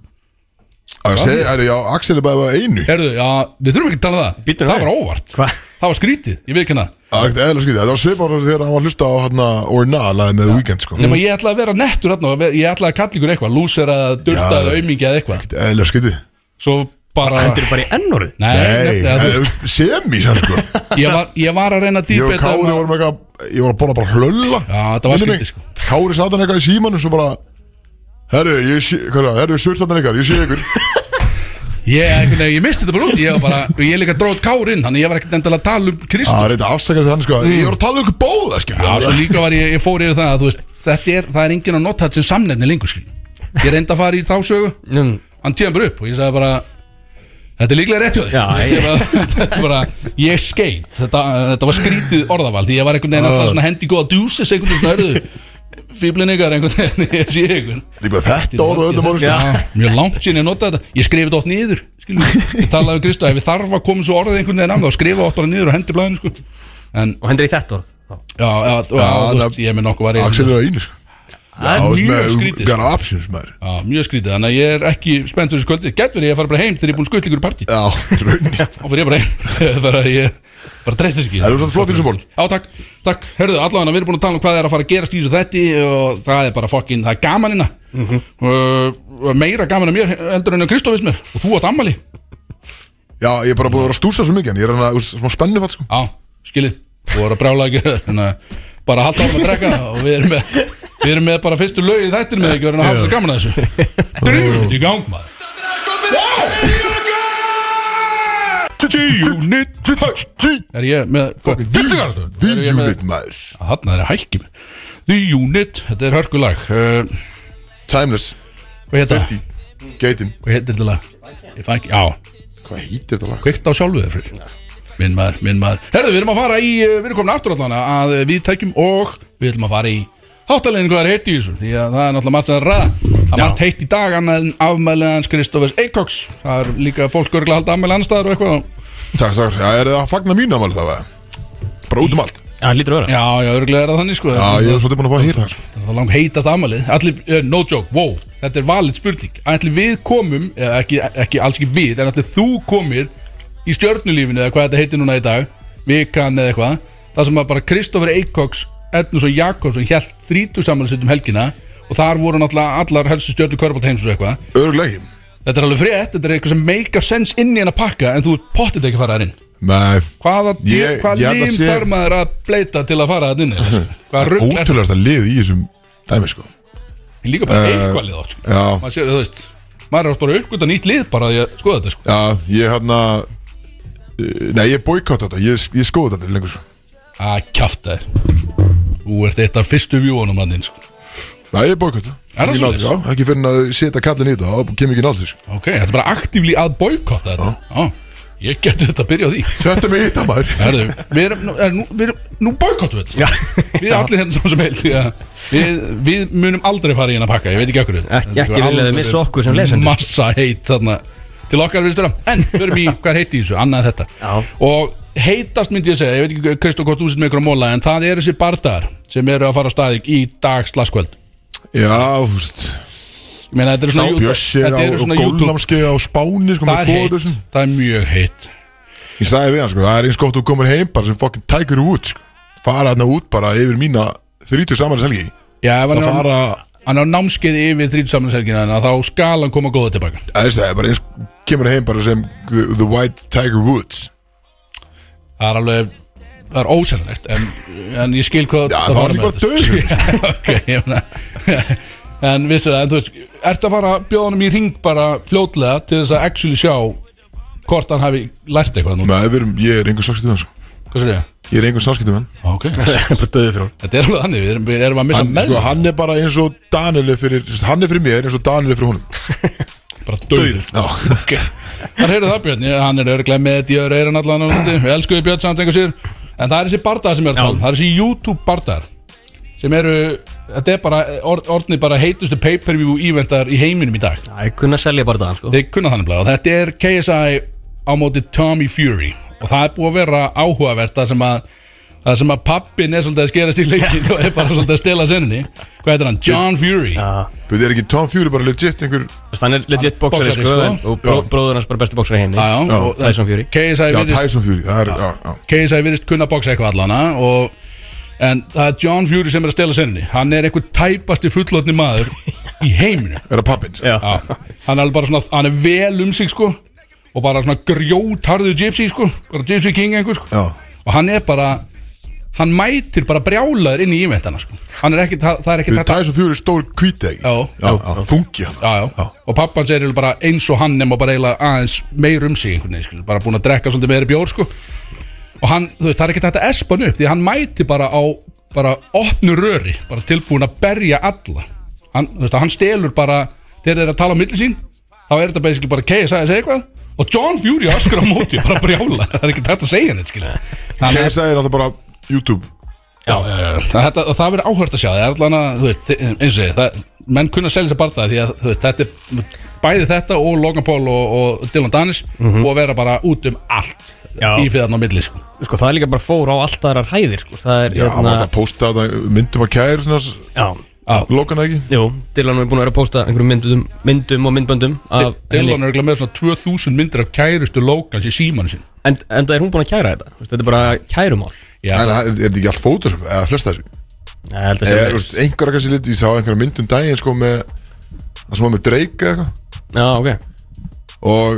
[SPEAKER 2] Það segja, herru, já, Axel er bara einu
[SPEAKER 4] Herðu, já, við þurfum ekki að tala um það
[SPEAKER 3] Bíddu,
[SPEAKER 4] Það
[SPEAKER 3] nei.
[SPEAKER 4] var óvart
[SPEAKER 3] Hva?
[SPEAKER 4] Það var skrítið, ég veit ekki hana
[SPEAKER 2] Það er ekkert eðla skýtið, þetta var svipárar þegar hann var að hlusta á hann Or Nah, laðið með Weekend sko
[SPEAKER 4] Nefnum ég ætla að vera nettur þarna og ver- Ég ætla að kalla ykkur eitthvað, lúsera,
[SPEAKER 2] Já.
[SPEAKER 4] dörta, aumingi eða eitthvað
[SPEAKER 2] Ekkert Eðla skýtið
[SPEAKER 4] Svo bara
[SPEAKER 3] Hendur bara í ennórið
[SPEAKER 4] Nei,
[SPEAKER 2] Nei,
[SPEAKER 4] nefnilega, þú veist,
[SPEAKER 2] eh, semis hann sko
[SPEAKER 4] ég var, ég var að reyna að
[SPEAKER 2] Ég og
[SPEAKER 4] dýpa
[SPEAKER 2] Kári vorum eitthvað, ég var að borða bara hlölla
[SPEAKER 4] Já, þetta var skrítið sko
[SPEAKER 2] Kári sat hann eitthvað í símanum svo bara Herru, ég sé, hvað er það, herru, surtandan ykkar, ég sé ykkur
[SPEAKER 4] Ég, einhvern veginn, ég misti þetta bara út Ég, var bara, og ég líka dróð kárinn Þannig ég var ekkert endilega að tala um Krist
[SPEAKER 2] Það er eitthvað afsakast þannig sko Ég var að tala um ykkur bóða, skilur
[SPEAKER 4] Mm. Já,
[SPEAKER 2] við.
[SPEAKER 4] svo líka var ég, ég fór yfir það að þú veist, þetta er, það er enginn að nota þetta sem samnefni lengur skil. Ég reyndi að fara í þá sögu,
[SPEAKER 3] Mm.
[SPEAKER 4] hann tíðan bara upp og ég sagði bara, þetta er líklega rétt hjá þér.
[SPEAKER 3] Já,
[SPEAKER 4] ég bara, þetta er bara, ég er skeit, þetta, þetta var skrítið orðavald, því ég var einhvern veginn alltaf svona hendi góða djúsis einhvern veginn snöruðu. Fýblin ykkar einhvern veginn, ég sé einhvern.
[SPEAKER 2] Líka þetta orð og öllum orð sko
[SPEAKER 3] Já.
[SPEAKER 4] Mjög langt síðan ég notaði þetta, ég skrifið þetta oft niður, skilur, ég talaði við Kristó, ef ég þarf að koma svo orðið einhvern veginn af það, skrifa oft orðið niður og hendi blæðinu, sko. En,
[SPEAKER 3] Og hendur í þetta orð
[SPEAKER 4] já, já, þú- já, þú veist, ég er með nokkuð var ég-
[SPEAKER 2] Axel er að einu sko
[SPEAKER 4] Það er mjög skrítið
[SPEAKER 2] Gana absins um maður
[SPEAKER 4] Já, mjög skrítið, þannig að ég er ekki spennt fyrir skvöldi Gætt verið ég að fara bara heim þegar ég er búinn skuttlingur í partí
[SPEAKER 2] Já, raunni
[SPEAKER 4] Þá fyrir ég bara heim Bara ég, bara treyst þess ekki
[SPEAKER 2] Það er svona flott í þessu ból
[SPEAKER 4] Já, takk, takk, hörðu, allavega við erum búin að tala um hvað er að fara að gerast í þessu þetti og það er bara fokkin, það er gaman hérna mm meira gaman að mér heldur en að Kristofis mér og þú átt ammali
[SPEAKER 2] Já, ég er bara búin að vera að stúsa svo mikið En ég er hann að, úst, smá spennu fatt sko
[SPEAKER 4] Já, skilið, þú voru að brjála ekki þannig að bara halda áfram að drekka og við erum með, við erum með bara fyrstu lög í þættinum eða ekki verðum að hafa sér gaman að þessu Drifum þetta í gang maður G-Unit Er ég með
[SPEAKER 2] The unit maður
[SPEAKER 4] Hanna er að hækki mig The Unit, þetta er hörkulag uh,
[SPEAKER 2] Timeless,
[SPEAKER 4] Hvað heitir það?
[SPEAKER 2] 50 Geitin
[SPEAKER 4] Hvað heitir þetta lag? Ég fæ ekki, já
[SPEAKER 2] Hvað hýttir þetta lag?
[SPEAKER 4] Kveikt á sjálfu þér fyrir Minn maður, eh, minn maður Herðu, við erum að fara í, uh, við erum komin aftur allan að uh, við tækjum og við ætlum að fara í þáttalegin hvað er heitt í þessu því að það er náttúrulega margt að ræða það er margt heitt í dag annað en afmælið hans Kristofers Eikoks það er líka fólk örgulega að halda afmælið annars staðar og eitthvað
[SPEAKER 2] Takk, takk, já, er það að fagna mínu afmæli þá eða? Bara út um allt
[SPEAKER 3] Já, það lítur að vera
[SPEAKER 4] já, já, örgulega er það þannig sko
[SPEAKER 2] Já, ég er svolítið búin að fá að hýra það sko.
[SPEAKER 4] Það er langt heitast afmælið Allir, eh, no joke, wow, þetta er valid spurning Ætli við komum, eða ekki, ekki alls ekki við En ætli þú komir í stjörnulífinu Eða hvað þetta heitir núna í dag Vikan eða eitthvað Það sem að bara Kristoffer Eikoks, Ednus og Jakobsson Hjælt þrítug samanlega sitt um helgina Og þar voru náttúrulega allar helstu stjörnur Körbált heims og eitthvað
[SPEAKER 2] Örugglega ekki
[SPEAKER 4] Þetta er alveg frétt, þetta er eitthvað sem make a sense inn í henn að pakka En þú er pottið ekki að fara þar inn
[SPEAKER 2] Nei,
[SPEAKER 4] Hvaða,
[SPEAKER 2] Ég-
[SPEAKER 4] hvaða
[SPEAKER 2] ég held að
[SPEAKER 4] lím
[SPEAKER 2] sé-
[SPEAKER 4] þarf maður að bleita til að fara þar inn Hvaða
[SPEAKER 2] það er
[SPEAKER 4] rugl er
[SPEAKER 2] ótrúlegasta lið í þessum dæmi sko
[SPEAKER 4] líka bara
[SPEAKER 2] Eh,
[SPEAKER 4] eitthvað lið sko. átt
[SPEAKER 2] Já,
[SPEAKER 4] maður sér, þú veist maður er oft bara að uppgöta nýtt lið bara að ég skoða þetta sko.
[SPEAKER 2] já, ég hérna eh, Nei, ég boykotta þetta, ég, ég skoði þetta aldrei lengur sko.
[SPEAKER 4] að kjafta þér þú ert eitt af fyrstu vjúanum hann þinn sko.
[SPEAKER 2] Nei, ég boykotta
[SPEAKER 4] Er það
[SPEAKER 2] Ekki náð-
[SPEAKER 4] svoleiðis?
[SPEAKER 2] Já, ekki fyrir að þau setja kallin í þetta, þá kemur ekki náttúrulega sko.
[SPEAKER 4] ok, þetta er bara aktífli að boykotta þetta ah. ég geti þetta að byrja á því
[SPEAKER 2] Þetta er með hitta maður
[SPEAKER 4] Herðu, við erum, nú- er, nú, við erum, nú boykottum við þetta sko. Við allir hérna saman sem heil því að við, við munum aldrei fara í hérna að pakka, ég veit ekki okkur
[SPEAKER 3] Ekki- ekki viljið þið missa okkur sem lesendur.
[SPEAKER 4] Massa heit þarna til okkar við störa En, förum í hvað heiti í þessu, annað en þetta
[SPEAKER 3] Já.
[SPEAKER 4] Og heitast myndi ég segja, ég veit ekki Kristó hvort þú sitt með ykkur að móla En það eru þessi bardagar sem eru að fara á staði í dag slaskvöld
[SPEAKER 2] Já, þú veist
[SPEAKER 4] Ég meina, þetta eru svona, YouTube-
[SPEAKER 2] Bjössi er
[SPEAKER 4] þetta
[SPEAKER 2] á
[SPEAKER 4] eru svona YouTube
[SPEAKER 2] gólnámskei á Spáni sko,
[SPEAKER 4] Það
[SPEAKER 2] með
[SPEAKER 4] er heitt,
[SPEAKER 2] Flóðursen.
[SPEAKER 4] það er mjög heitt
[SPEAKER 2] Ég sagði við hann sko, það er eins gott þú komir heim bara sem fokkin tækur út sko. Fara hérna út bara yfir mína 30 samanlega selgi
[SPEAKER 4] Já, ef hann
[SPEAKER 2] Það
[SPEAKER 4] er á-
[SPEAKER 2] fara,
[SPEAKER 4] hann er á námskeiði yfir þrítsamlingshelgina Þá skal hann koma góða tilbaka
[SPEAKER 2] það er það, bara eins kemur heim bara sem the, the White Tiger Woods
[SPEAKER 4] það er alveg það er ósennilegt en, en ég skil hvað
[SPEAKER 2] Já,
[SPEAKER 4] hvað
[SPEAKER 2] þá
[SPEAKER 4] fara
[SPEAKER 2] er
[SPEAKER 4] með
[SPEAKER 2] líka bara dauður.
[SPEAKER 4] þetta. sko. Já, ok, ég meina- en vissu það, en þú veist ertu að fara að bjóða honum í ring bara fljótlega til þess að actually sjá hvort hann hafi lært eitthvað nú
[SPEAKER 2] Nei, við erum, ég er einhver samskiptum hann sko.
[SPEAKER 4] hvað sér ég?
[SPEAKER 2] Ég er einhver samskiptum hann
[SPEAKER 4] ok,
[SPEAKER 3] Bara döðið fyrir hún
[SPEAKER 4] þetta er alveg þannig við erum, við erum að missa
[SPEAKER 2] hann,
[SPEAKER 4] með
[SPEAKER 2] sko, hann er bara eins og Daniel er fyrir Hann er fyrir mér eins og Daniel er fyrir honum
[SPEAKER 4] bara döður
[SPEAKER 2] Já,
[SPEAKER 4] ok, þar heyrðu það Björn ég- hann er örglega með þetta í öðru eirun allan á landi við elskuðu Björn samt einhver sér en það er þessi bardaðar sem ég er að tala um það er þessi YouTube bardaðar sem eru, þetta er bara orð, orðni bara heitustu pay-per-view eventar í heiminum í dag
[SPEAKER 3] Það er kunn að selja bara það, sko
[SPEAKER 4] Þeir kunna þannig blæða og þetta er KSI á móti Tommy Fury og það er búið að vera áhugavert það sem að það sem að pappin er svolítið að skerast í leikin og er bara svolítið að stela senninni hvað heitir hann? John Fury
[SPEAKER 2] við erum ekki Tom Fury bara legit einhver
[SPEAKER 3] Þú veist, Hann er legit boxari,
[SPEAKER 4] boxari,
[SPEAKER 3] sko
[SPEAKER 4] sko.
[SPEAKER 3] en- Og bró-
[SPEAKER 2] Já.
[SPEAKER 3] bróður hans bara besti boxari í heimi
[SPEAKER 4] Já, já, og það-
[SPEAKER 3] Tyson Fury.
[SPEAKER 4] KSI
[SPEAKER 2] Já,
[SPEAKER 4] virðist,
[SPEAKER 2] Tyson Fury, það er, já, já
[SPEAKER 4] KSI virðist kunna boxa eitthvað allana og en það er John Fury sem er að stela senninni hann er einhver tæpasti fullotni maður í heiminu
[SPEAKER 2] Er það pappin?
[SPEAKER 3] Já.
[SPEAKER 4] Já, hann er alveg bara svona hann er vel um sig sko og bara svona grjótarðu gypsy sko bara gypsy king einhver sko
[SPEAKER 2] Já.
[SPEAKER 4] og hann er bara hann mætir bara brjálaður inn í íventana sko hann er ekki, það, það er ekki
[SPEAKER 2] Við Tyson Fury er stór kvítið ekki
[SPEAKER 4] Já.
[SPEAKER 2] já, já Þungi hann
[SPEAKER 4] já, já. og pappan segir eiginlega bara eins og hann nema bara eiginlega aðeins meir um sig einhvern veginn sko bara búin að drekka svolítið meiri bjór sko og hann, þú veist, það er ekki þetta espan upp því hann mæti bara á bara opnu röri bara tilbúin að berja alla hann, þú veist, hann stelur bara þegar þeir eru að tala á milli sín þá er þetta basically bara KSI að segja eitthvað og John Fury öskur á móti, bara brjála það er ekki þetta að segja neitt, skilja hann er Hérna-
[SPEAKER 2] KSI er alltaf bara YouTube
[SPEAKER 4] Já, já, já, já. Þetta, og það verður áhört að sjá það er allan að, þú veit, þi- eins og ég það, menn kunna að selja sér barða því að þú veit, þetta er, bæði þetta og Logan Paul og, og Dylan Danis og vera bara út um allt
[SPEAKER 3] Já.
[SPEAKER 4] í fyrir þarna á milli, sko
[SPEAKER 3] Sko, það er líka bara fór á allt aðrar hæðir, sko Það er,
[SPEAKER 2] Já, hann var alltaf að posta þetta myndum að kæra svona,
[SPEAKER 3] Já,
[SPEAKER 2] lokan ekki
[SPEAKER 3] Jú, Dylan er búin að vera að posta einhverjum myndum, myndum og myndböndum af henni
[SPEAKER 4] Dylan er örugglega með svona 2000 myndir af kærustu Logans í símanu sín
[SPEAKER 3] en, en það er hún búin að kæra þetta Þú veist, Þetta er bara kærumál
[SPEAKER 4] Já,
[SPEAKER 2] En það- er þetta ekki allt Photoshop eða flest af þessu?
[SPEAKER 3] Nei, ég held að
[SPEAKER 2] Eða,
[SPEAKER 3] sé-
[SPEAKER 2] Eh, þú veist, einhverja kannski liti, ég sá einhverja myndum daginn sko með það sem var með Drake eða eitthvað
[SPEAKER 3] Já, ok
[SPEAKER 2] og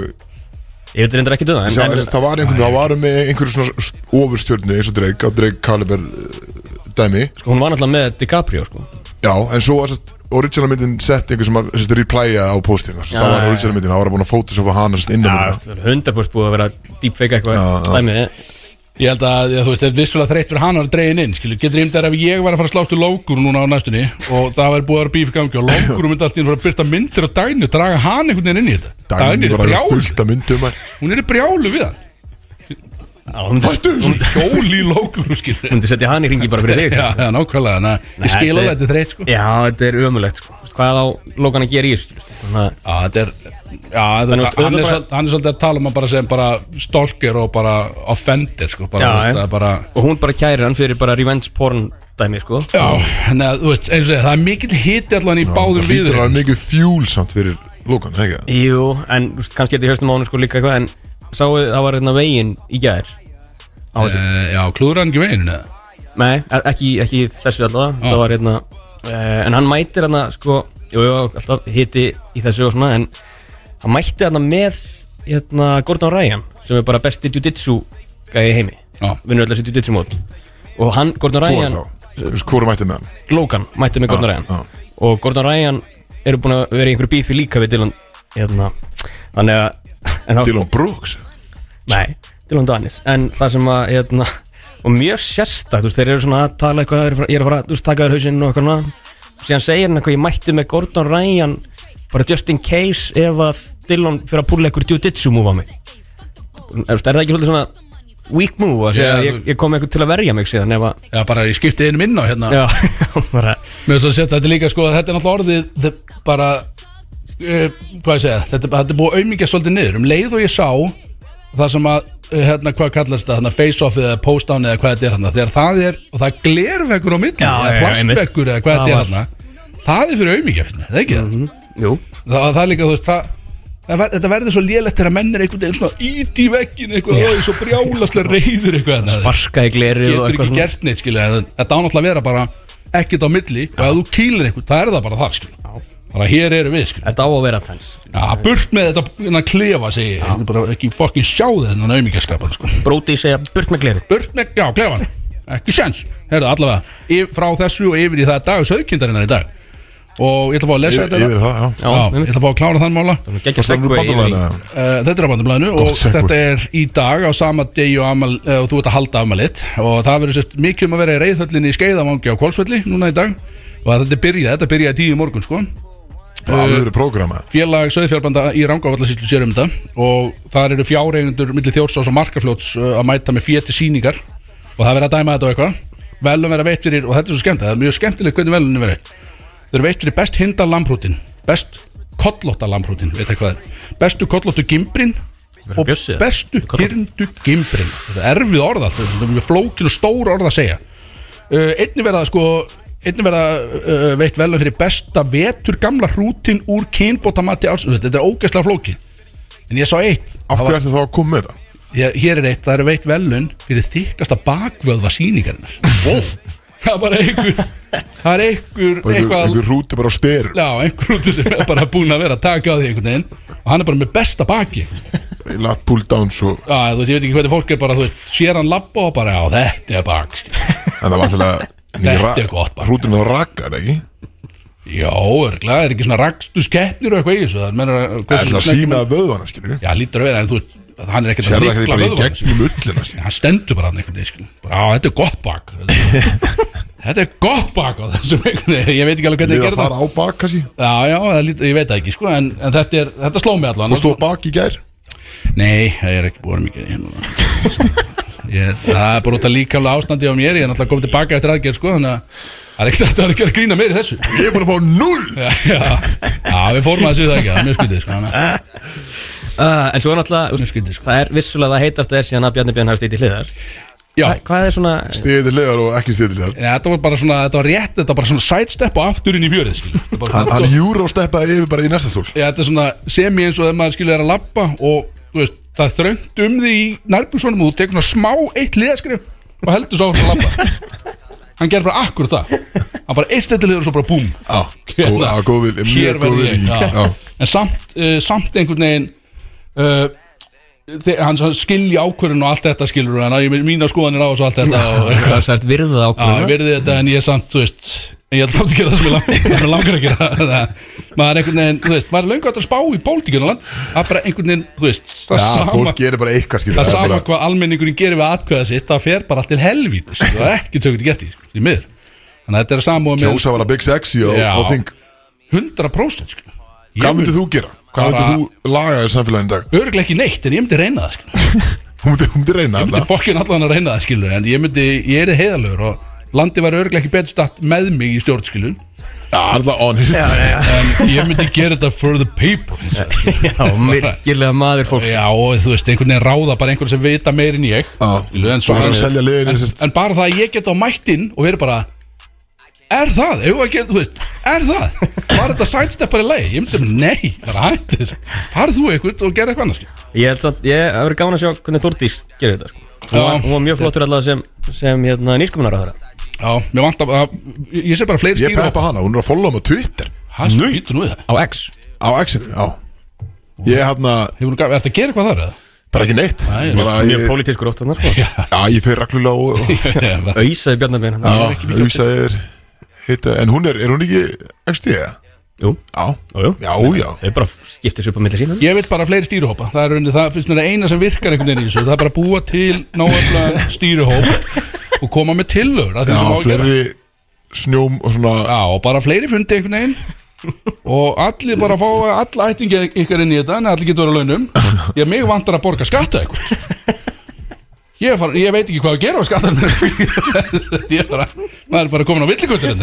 [SPEAKER 3] Ég veit reyndar ekki döða
[SPEAKER 2] ég
[SPEAKER 3] en,
[SPEAKER 2] sá,
[SPEAKER 3] en,
[SPEAKER 2] þessi, það var einhverju, það var með einhverju svona ofurstjörnu eins og Drake á Drake Caliber uh, dæmi
[SPEAKER 3] sko, Hún var náttúrulega með DiCaprio sko.
[SPEAKER 2] Já, en svo var sérst original myndin sett einhver sem var sérst replaya á postin sérst, það var
[SPEAKER 3] já,
[SPEAKER 2] original myndin, það var búin að photoshopa hana sérst innan
[SPEAKER 3] Já,
[SPEAKER 2] myndina.
[SPEAKER 3] þú veist, 100% búið að vera deepfake
[SPEAKER 2] Já,
[SPEAKER 3] eitthvað
[SPEAKER 2] já.
[SPEAKER 3] Dæmið
[SPEAKER 4] Ég held að, ég, þú veist, þetta er vissulega þreytt fyrir hann að vera dregin inn, skilju Getur ímdar ef ég var að fara að slástu Logan núna á næstunni og það væri búið að vera bíf í gangi og Logan myndi allt í enn fara að byrta myndir á Dæni og draga hann einhvern veginn inn í þetta
[SPEAKER 2] Dagný
[SPEAKER 4] Dæni er
[SPEAKER 2] bara
[SPEAKER 4] brjál
[SPEAKER 2] fullt af myndum að-
[SPEAKER 4] hún er í brjálu við hann
[SPEAKER 3] hún myndi-
[SPEAKER 2] Hættu þessu
[SPEAKER 4] Hjól í lókunum skilur
[SPEAKER 3] myndi setja hann í ringi bara fyrir þig sko.
[SPEAKER 4] Já, já, nákvæmlega, þannig að
[SPEAKER 3] Nei,
[SPEAKER 4] ég skil alveg
[SPEAKER 3] þetta-
[SPEAKER 4] að þetta er þreitt sko Já,
[SPEAKER 3] Já, þetta er ömulegt sko. Þú veist, Hvað á lókan að gera í þessu sko? Þannig að
[SPEAKER 4] þetta er, já, þetta
[SPEAKER 3] Þannig
[SPEAKER 4] er,
[SPEAKER 3] að þú
[SPEAKER 4] hann er,
[SPEAKER 3] bara-
[SPEAKER 4] svol- hann er svolítið að tala um að bara segja bara stalker og bara offender sko bara,
[SPEAKER 3] Já,
[SPEAKER 4] þú veist,
[SPEAKER 3] já.
[SPEAKER 4] það er bara
[SPEAKER 3] Og hún bara kærir hann fyrir bara revenge porn dæmi sko
[SPEAKER 4] Já, þannig að, þú veist, eins og ég, það er mikill hiti allan í báðum
[SPEAKER 2] Það
[SPEAKER 4] viður
[SPEAKER 2] hlýtur að mikið fjúl samt fyrir lókan, þegar ekki
[SPEAKER 3] Jú, en þú veist, kannski er þetta í höstum mánu sko líka eitthvað En sáu það var hérna veginn í gær Á þessu
[SPEAKER 4] Eh, Já, klúður hann ekki veginn eða?
[SPEAKER 3] Nei, e- ekki, ekki þessu allavega Það var hérna uh, En hann mætir hérna sko Jú, jú, alltaf hiti í þessu og svona En hann mætti hérna með hérna Gordon Ryan Sem er bara besti jujitsu gæði í heimi
[SPEAKER 4] Já.
[SPEAKER 3] Vinnur öll þessi jujitsu mót Og hann, Gordon
[SPEAKER 2] Hvor
[SPEAKER 3] Ryan
[SPEAKER 2] þá? Hvers- Hvor er mættið með hann?
[SPEAKER 3] Logan mætti með Gordon Ryan
[SPEAKER 2] já.
[SPEAKER 3] og Gordon Ryan eru búin að vera í einhverju bífi líka við Dylan hérna, þannig að en þá,
[SPEAKER 2] Dylan Brooks
[SPEAKER 3] nei, Dylan Danis en það sem að hérna, og mjög sérstakt, þú veist, þeir eru svona að tala eitthvað, eru að fara- ég er að fara, þú veist, taka þér hausinn og eitthvað svona. og síðan segir hann eitthvað, ég mætti með Gordon Ryan bara just in case ef að Dylan fyrir að púla einhver jiu-jitsu move á mig er, er það ekki svolítið svona weak move að segja
[SPEAKER 4] Já,
[SPEAKER 3] ég,
[SPEAKER 4] þú-
[SPEAKER 3] ég kom eitthvað til að verja mig síðan ef að,
[SPEAKER 4] Já, bara ég skipti einum inn á hérna
[SPEAKER 3] já, bara
[SPEAKER 4] Mér finnst að setja þetta líka sko að þetta er náttúrulega orðið the, bara uh, hvað ég segja, þetta, þetta er búið að aumingja svolítið niður um leið og ég sá það sem að, uh, hérna, hvað kallast það hérna, face-offið eða post-down eða hvað þetta er hérna þegar það er, og það er glerveggur á milli
[SPEAKER 3] Já, já,
[SPEAKER 4] eða
[SPEAKER 3] já,
[SPEAKER 4] plastbekkur eða hvað
[SPEAKER 3] Það
[SPEAKER 4] þetta er
[SPEAKER 3] var- Mhm.
[SPEAKER 4] hérna það er fyrir aumingja, finnst mér, það er ekki það
[SPEAKER 3] jú,
[SPEAKER 4] það, það er líka, þú veist, það Það ver, þetta verður svo lélegt þegar menn er einhvern veginn svona ít í veggin eitthvað og svo brjálaslega reyður eitthvað hérna.
[SPEAKER 3] barkaði glerið og
[SPEAKER 4] getur
[SPEAKER 3] eitthvað
[SPEAKER 4] ekki
[SPEAKER 3] svona
[SPEAKER 4] gert neitt skilja þetta ánáttúrulega að vera bara ekkert á milli og ef þú kýlir einhvern, það er það bara það skilja bara hér eru við skilja
[SPEAKER 3] Þetta á að vera tens
[SPEAKER 4] ja, burt með þetta hérna, klefa segi ég Þetta er bara ekki fokkin sjá þennan auðmíkjaskapan sko.
[SPEAKER 3] Bróti segja burt með glerið
[SPEAKER 4] burt með, já, klefan ekki sjans, herðu allavega yf, frá þessu og yfir í það dag sögkindarinnar í dag og ég ætla að fá að lesa
[SPEAKER 2] Yfir
[SPEAKER 4] þetta
[SPEAKER 2] yfir það, já
[SPEAKER 4] Já, ég ætla að fá að klára þann mála
[SPEAKER 3] Gekkja
[SPEAKER 2] Það eru bandurlega
[SPEAKER 4] Uh, þetta er á bandablaðinu og
[SPEAKER 2] segue.
[SPEAKER 4] þetta er í dag á sama degi og, amal, uh, og þú ert að halda afmælit og það verður sérst mikið um að vera í reyðhöllinni í skeiðamangi á Kolsvölli núna í dag og að þetta byrja, þetta byrja tíu í morgun sko
[SPEAKER 2] Það eru prógrama
[SPEAKER 4] Félag Söðfjárbanda í Rangavallarsýtlu sér um þetta og þar eru fjárreigundur milli þjórsás og markafljóts uh, að mæta með fjöti síningar og það verður að dæma þetta og eitthvað velum vera veitt fyrir, og þetta er svo skemmt það er mjög skemmtilegt hvernig velunni verið þau eru veitt fyrir best hindar lambrútin best kollótta lambrútin, veit það hvað er bestu kollóttu gimbrin og
[SPEAKER 3] bjössið.
[SPEAKER 4] bestu hyrndu gimbrin þetta er erfið orða, allt, þetta er mjög flókin og stór orða að segja uh, einnig verða sko einnig verða uh, veitt velum fyrir besta vetur gamla hrútin úr kynbótamati árs þetta er ógeðslega flóki en ég sá eitt
[SPEAKER 2] Af hverju ertu þá að koma með þetta?
[SPEAKER 4] ég, hér er eitt, það eru veitt velun fyrir þykasta bakvöðva sýningarinnar það er bara einhver það er einhver,
[SPEAKER 2] Bara einhver,
[SPEAKER 4] eitthvað
[SPEAKER 2] einhver rúti bara á styr
[SPEAKER 4] já, einhver út sem er bara búin að vera að taka á því einhvern veginn og hann er bara með besta baki
[SPEAKER 2] Lat pull downs og
[SPEAKER 4] já, þú veist, ég veit ekki hvernig fólk er bara, þú veist, sér hann labba og bara, já, þetta er bak skilur.
[SPEAKER 2] En það var alltaf
[SPEAKER 4] Þetta er gott bara.
[SPEAKER 2] Rútin er rakkar, ekki?
[SPEAKER 4] já, örglega, er ekki svona rakstu skeppnir og eitthvað í þessu, það menar
[SPEAKER 2] Það er að sína vöðvana, skilur
[SPEAKER 4] já, lítur að vera, en þú veist, hann er ekkert
[SPEAKER 2] Sér það ekki bara í
[SPEAKER 4] vöðvana, skilur.
[SPEAKER 2] gegnum ullina, skilur
[SPEAKER 4] hann stendur bara hann einhvern veginn skilur. bara, á, þetta er gott bak þetta er gott bak á þessum einhvern veginn ég veit ekki alveg hvernig ég
[SPEAKER 2] Við að
[SPEAKER 4] gerði það
[SPEAKER 2] fara á bak, kannski
[SPEAKER 4] já, já, það lít, ég veit það ekki, sko, en, en þetta, er, þetta sló mig allan
[SPEAKER 2] Fórstu á bak í gær?
[SPEAKER 4] nei, það er ekki búin mikið hérna. ég, það er bara út að líka ástandi á mér, ég er náttúrulega komið tilbaka eftir aðgerð sko, þannig að það er ekki þetta að gera grína mér í þessu
[SPEAKER 2] Ég er búin að fá null
[SPEAKER 4] já, já, já, við fórum að þessu það ekki það er mjög skytið, sko, þannig að-
[SPEAKER 3] uh, En svo er náttúrulega
[SPEAKER 4] mjög
[SPEAKER 3] úst,
[SPEAKER 4] skytið, sko.
[SPEAKER 3] Það er vissulega það heitast er síðan að Bjarni Björn hafi stýtt í hliðar
[SPEAKER 4] já,
[SPEAKER 3] Hva- Hvað er svona
[SPEAKER 2] Stiðið til hliðar og ekki stiðið til hliðar
[SPEAKER 4] en þetta var bara svona, þetta var rétt þetta var bara svona sidestep og aftur inn í fjörið skilur. Þetta bara-
[SPEAKER 2] Hann, hann júrósteppaði yfir bara í næsta stól
[SPEAKER 4] Já, þetta er svona semi eins og þegar maður skilur er að lappa og þú veist, það er þröngt um því í nærbúsunum og þú tekur svona smá eitt liðaskrif og heldur svo áfram að lappa Hann gerir bara akkur það Hann bara eitt stendiliður og svo bara búm
[SPEAKER 2] Já, góð- já, góð vil-
[SPEAKER 4] Hér
[SPEAKER 2] mjög góð
[SPEAKER 4] verði ég
[SPEAKER 2] vilji,
[SPEAKER 4] já.
[SPEAKER 2] já.
[SPEAKER 4] En samt, uh, samt einhvern veginn uh, þe- hann svona skilji ákvörðun og allt þetta skilur hann að ég mína skoðanir á þessu og allt þetta og
[SPEAKER 3] Það er sært virðað
[SPEAKER 4] Já, ég
[SPEAKER 3] ákveðuna
[SPEAKER 4] verði þetta en ég er samt, þú veist En ég ætla samt að gera það sem ég langar, sem ég langar að gera Þannig að Maður er einhvern veginn, þú veist, maður er löngu hægt að spá í pólitíkinu land Það er bara einhvern veginn, þú veist Það
[SPEAKER 2] Já,
[SPEAKER 4] sama,
[SPEAKER 2] fólk gerir bara eitthvað, skilur
[SPEAKER 4] það sama
[SPEAKER 2] bara-
[SPEAKER 4] hvað almenningurinn gerir við atkvæða sitt Það fer bara allt til helvít Það er ekkert sem getur gert í, sko, því miður Þannig að þetta er samúa með
[SPEAKER 2] Kjósa var að Big Sexy og,
[SPEAKER 4] Já.
[SPEAKER 2] og þing
[SPEAKER 4] 100% sko. Ég
[SPEAKER 2] Hvað myndir
[SPEAKER 4] myndi
[SPEAKER 2] þú gera? Hvað
[SPEAKER 4] Bara-
[SPEAKER 2] myndir þú laga í samfélaginu í dag?
[SPEAKER 4] örglega ekki neitt, en ég myndi reyna það sko.
[SPEAKER 2] Hún myndi, hún myndi reyna
[SPEAKER 4] Ég myndi fokkin allan að reyna það skilu En ég myndi, ég er heiðalögur og Landi var örglega ekki betur statt með mig í stjórn skilu
[SPEAKER 2] Já, alltaf honest já, já.
[SPEAKER 4] En ég myndi gera þetta for the people hins vegar, skilurðu.
[SPEAKER 3] Já, myrkilega maður fólk
[SPEAKER 4] Já, og þú veist, einhvern veginn ráða bara einhvern sem vita meir en ég
[SPEAKER 2] Já.
[SPEAKER 4] Skilurðu, en, svo,
[SPEAKER 2] Bara að selja liðinu,
[SPEAKER 4] en,
[SPEAKER 2] sérst.
[SPEAKER 4] en bara það að ég geta á mættin og verið bara Er það, ef að gera, þú veist, er það Var þetta sidesteppar í leið? Ég myndi sem, nei, það er hættis Farð þú eitthvað og gera eitthvað sko. annars
[SPEAKER 3] Ég held samt, ég, það verið gaman að sjá hvernig Þórdís gerir þetta sko. hún,
[SPEAKER 4] Já.
[SPEAKER 3] var, hún var mjög flottur alltaf sem, sem hérna, nýskuminar á þeirra
[SPEAKER 4] Já, mér vant að, að ég sé bara fleiri
[SPEAKER 2] Ég
[SPEAKER 4] stýra
[SPEAKER 2] peppa hana, hún er að followa mig á Twitter
[SPEAKER 4] Hæ, skýtu nú í það
[SPEAKER 3] Á X
[SPEAKER 2] Á X-inu, já Ég er hérna,
[SPEAKER 4] Hefur nú, er þetta að gera eitthvað þar eða?
[SPEAKER 2] bara ekki neitt
[SPEAKER 4] Nei,
[SPEAKER 2] bara,
[SPEAKER 3] Mjög
[SPEAKER 2] ég,
[SPEAKER 3] pólitískur ótt þarna sko
[SPEAKER 2] Já, ég fer reglulega og, og
[SPEAKER 4] Já,
[SPEAKER 3] Ísaði Bjarnabén
[SPEAKER 2] Já, hugsaðir Hitta, en hún er, er hún ekki XD? eða?
[SPEAKER 3] Jú,
[SPEAKER 2] Já,
[SPEAKER 3] jú, jú
[SPEAKER 2] já, já
[SPEAKER 3] Þau bara skiptir sér upp á milli sína
[SPEAKER 4] Ég vil bara fleiri stýruhópa Það er rauninni, það finnst mér að eina sem virkar einhvern veginn í þessu Það er bara að búa til náöfla stýruhóp Og koma með tillögur að því
[SPEAKER 2] Já,
[SPEAKER 4] sem á að gera.
[SPEAKER 2] fleiri snjóm og svona
[SPEAKER 4] Já, og bara fleiri fundi einhvern veginn Og allir bara fá Alla ættingi ykkar inn í þetta En allir getur verið á launum Ég mig vantar að borga skatta eitthvað Ég, far, ég veit ekki hvað að gera á skattar Ég er bara Maður er bara komin á villikutur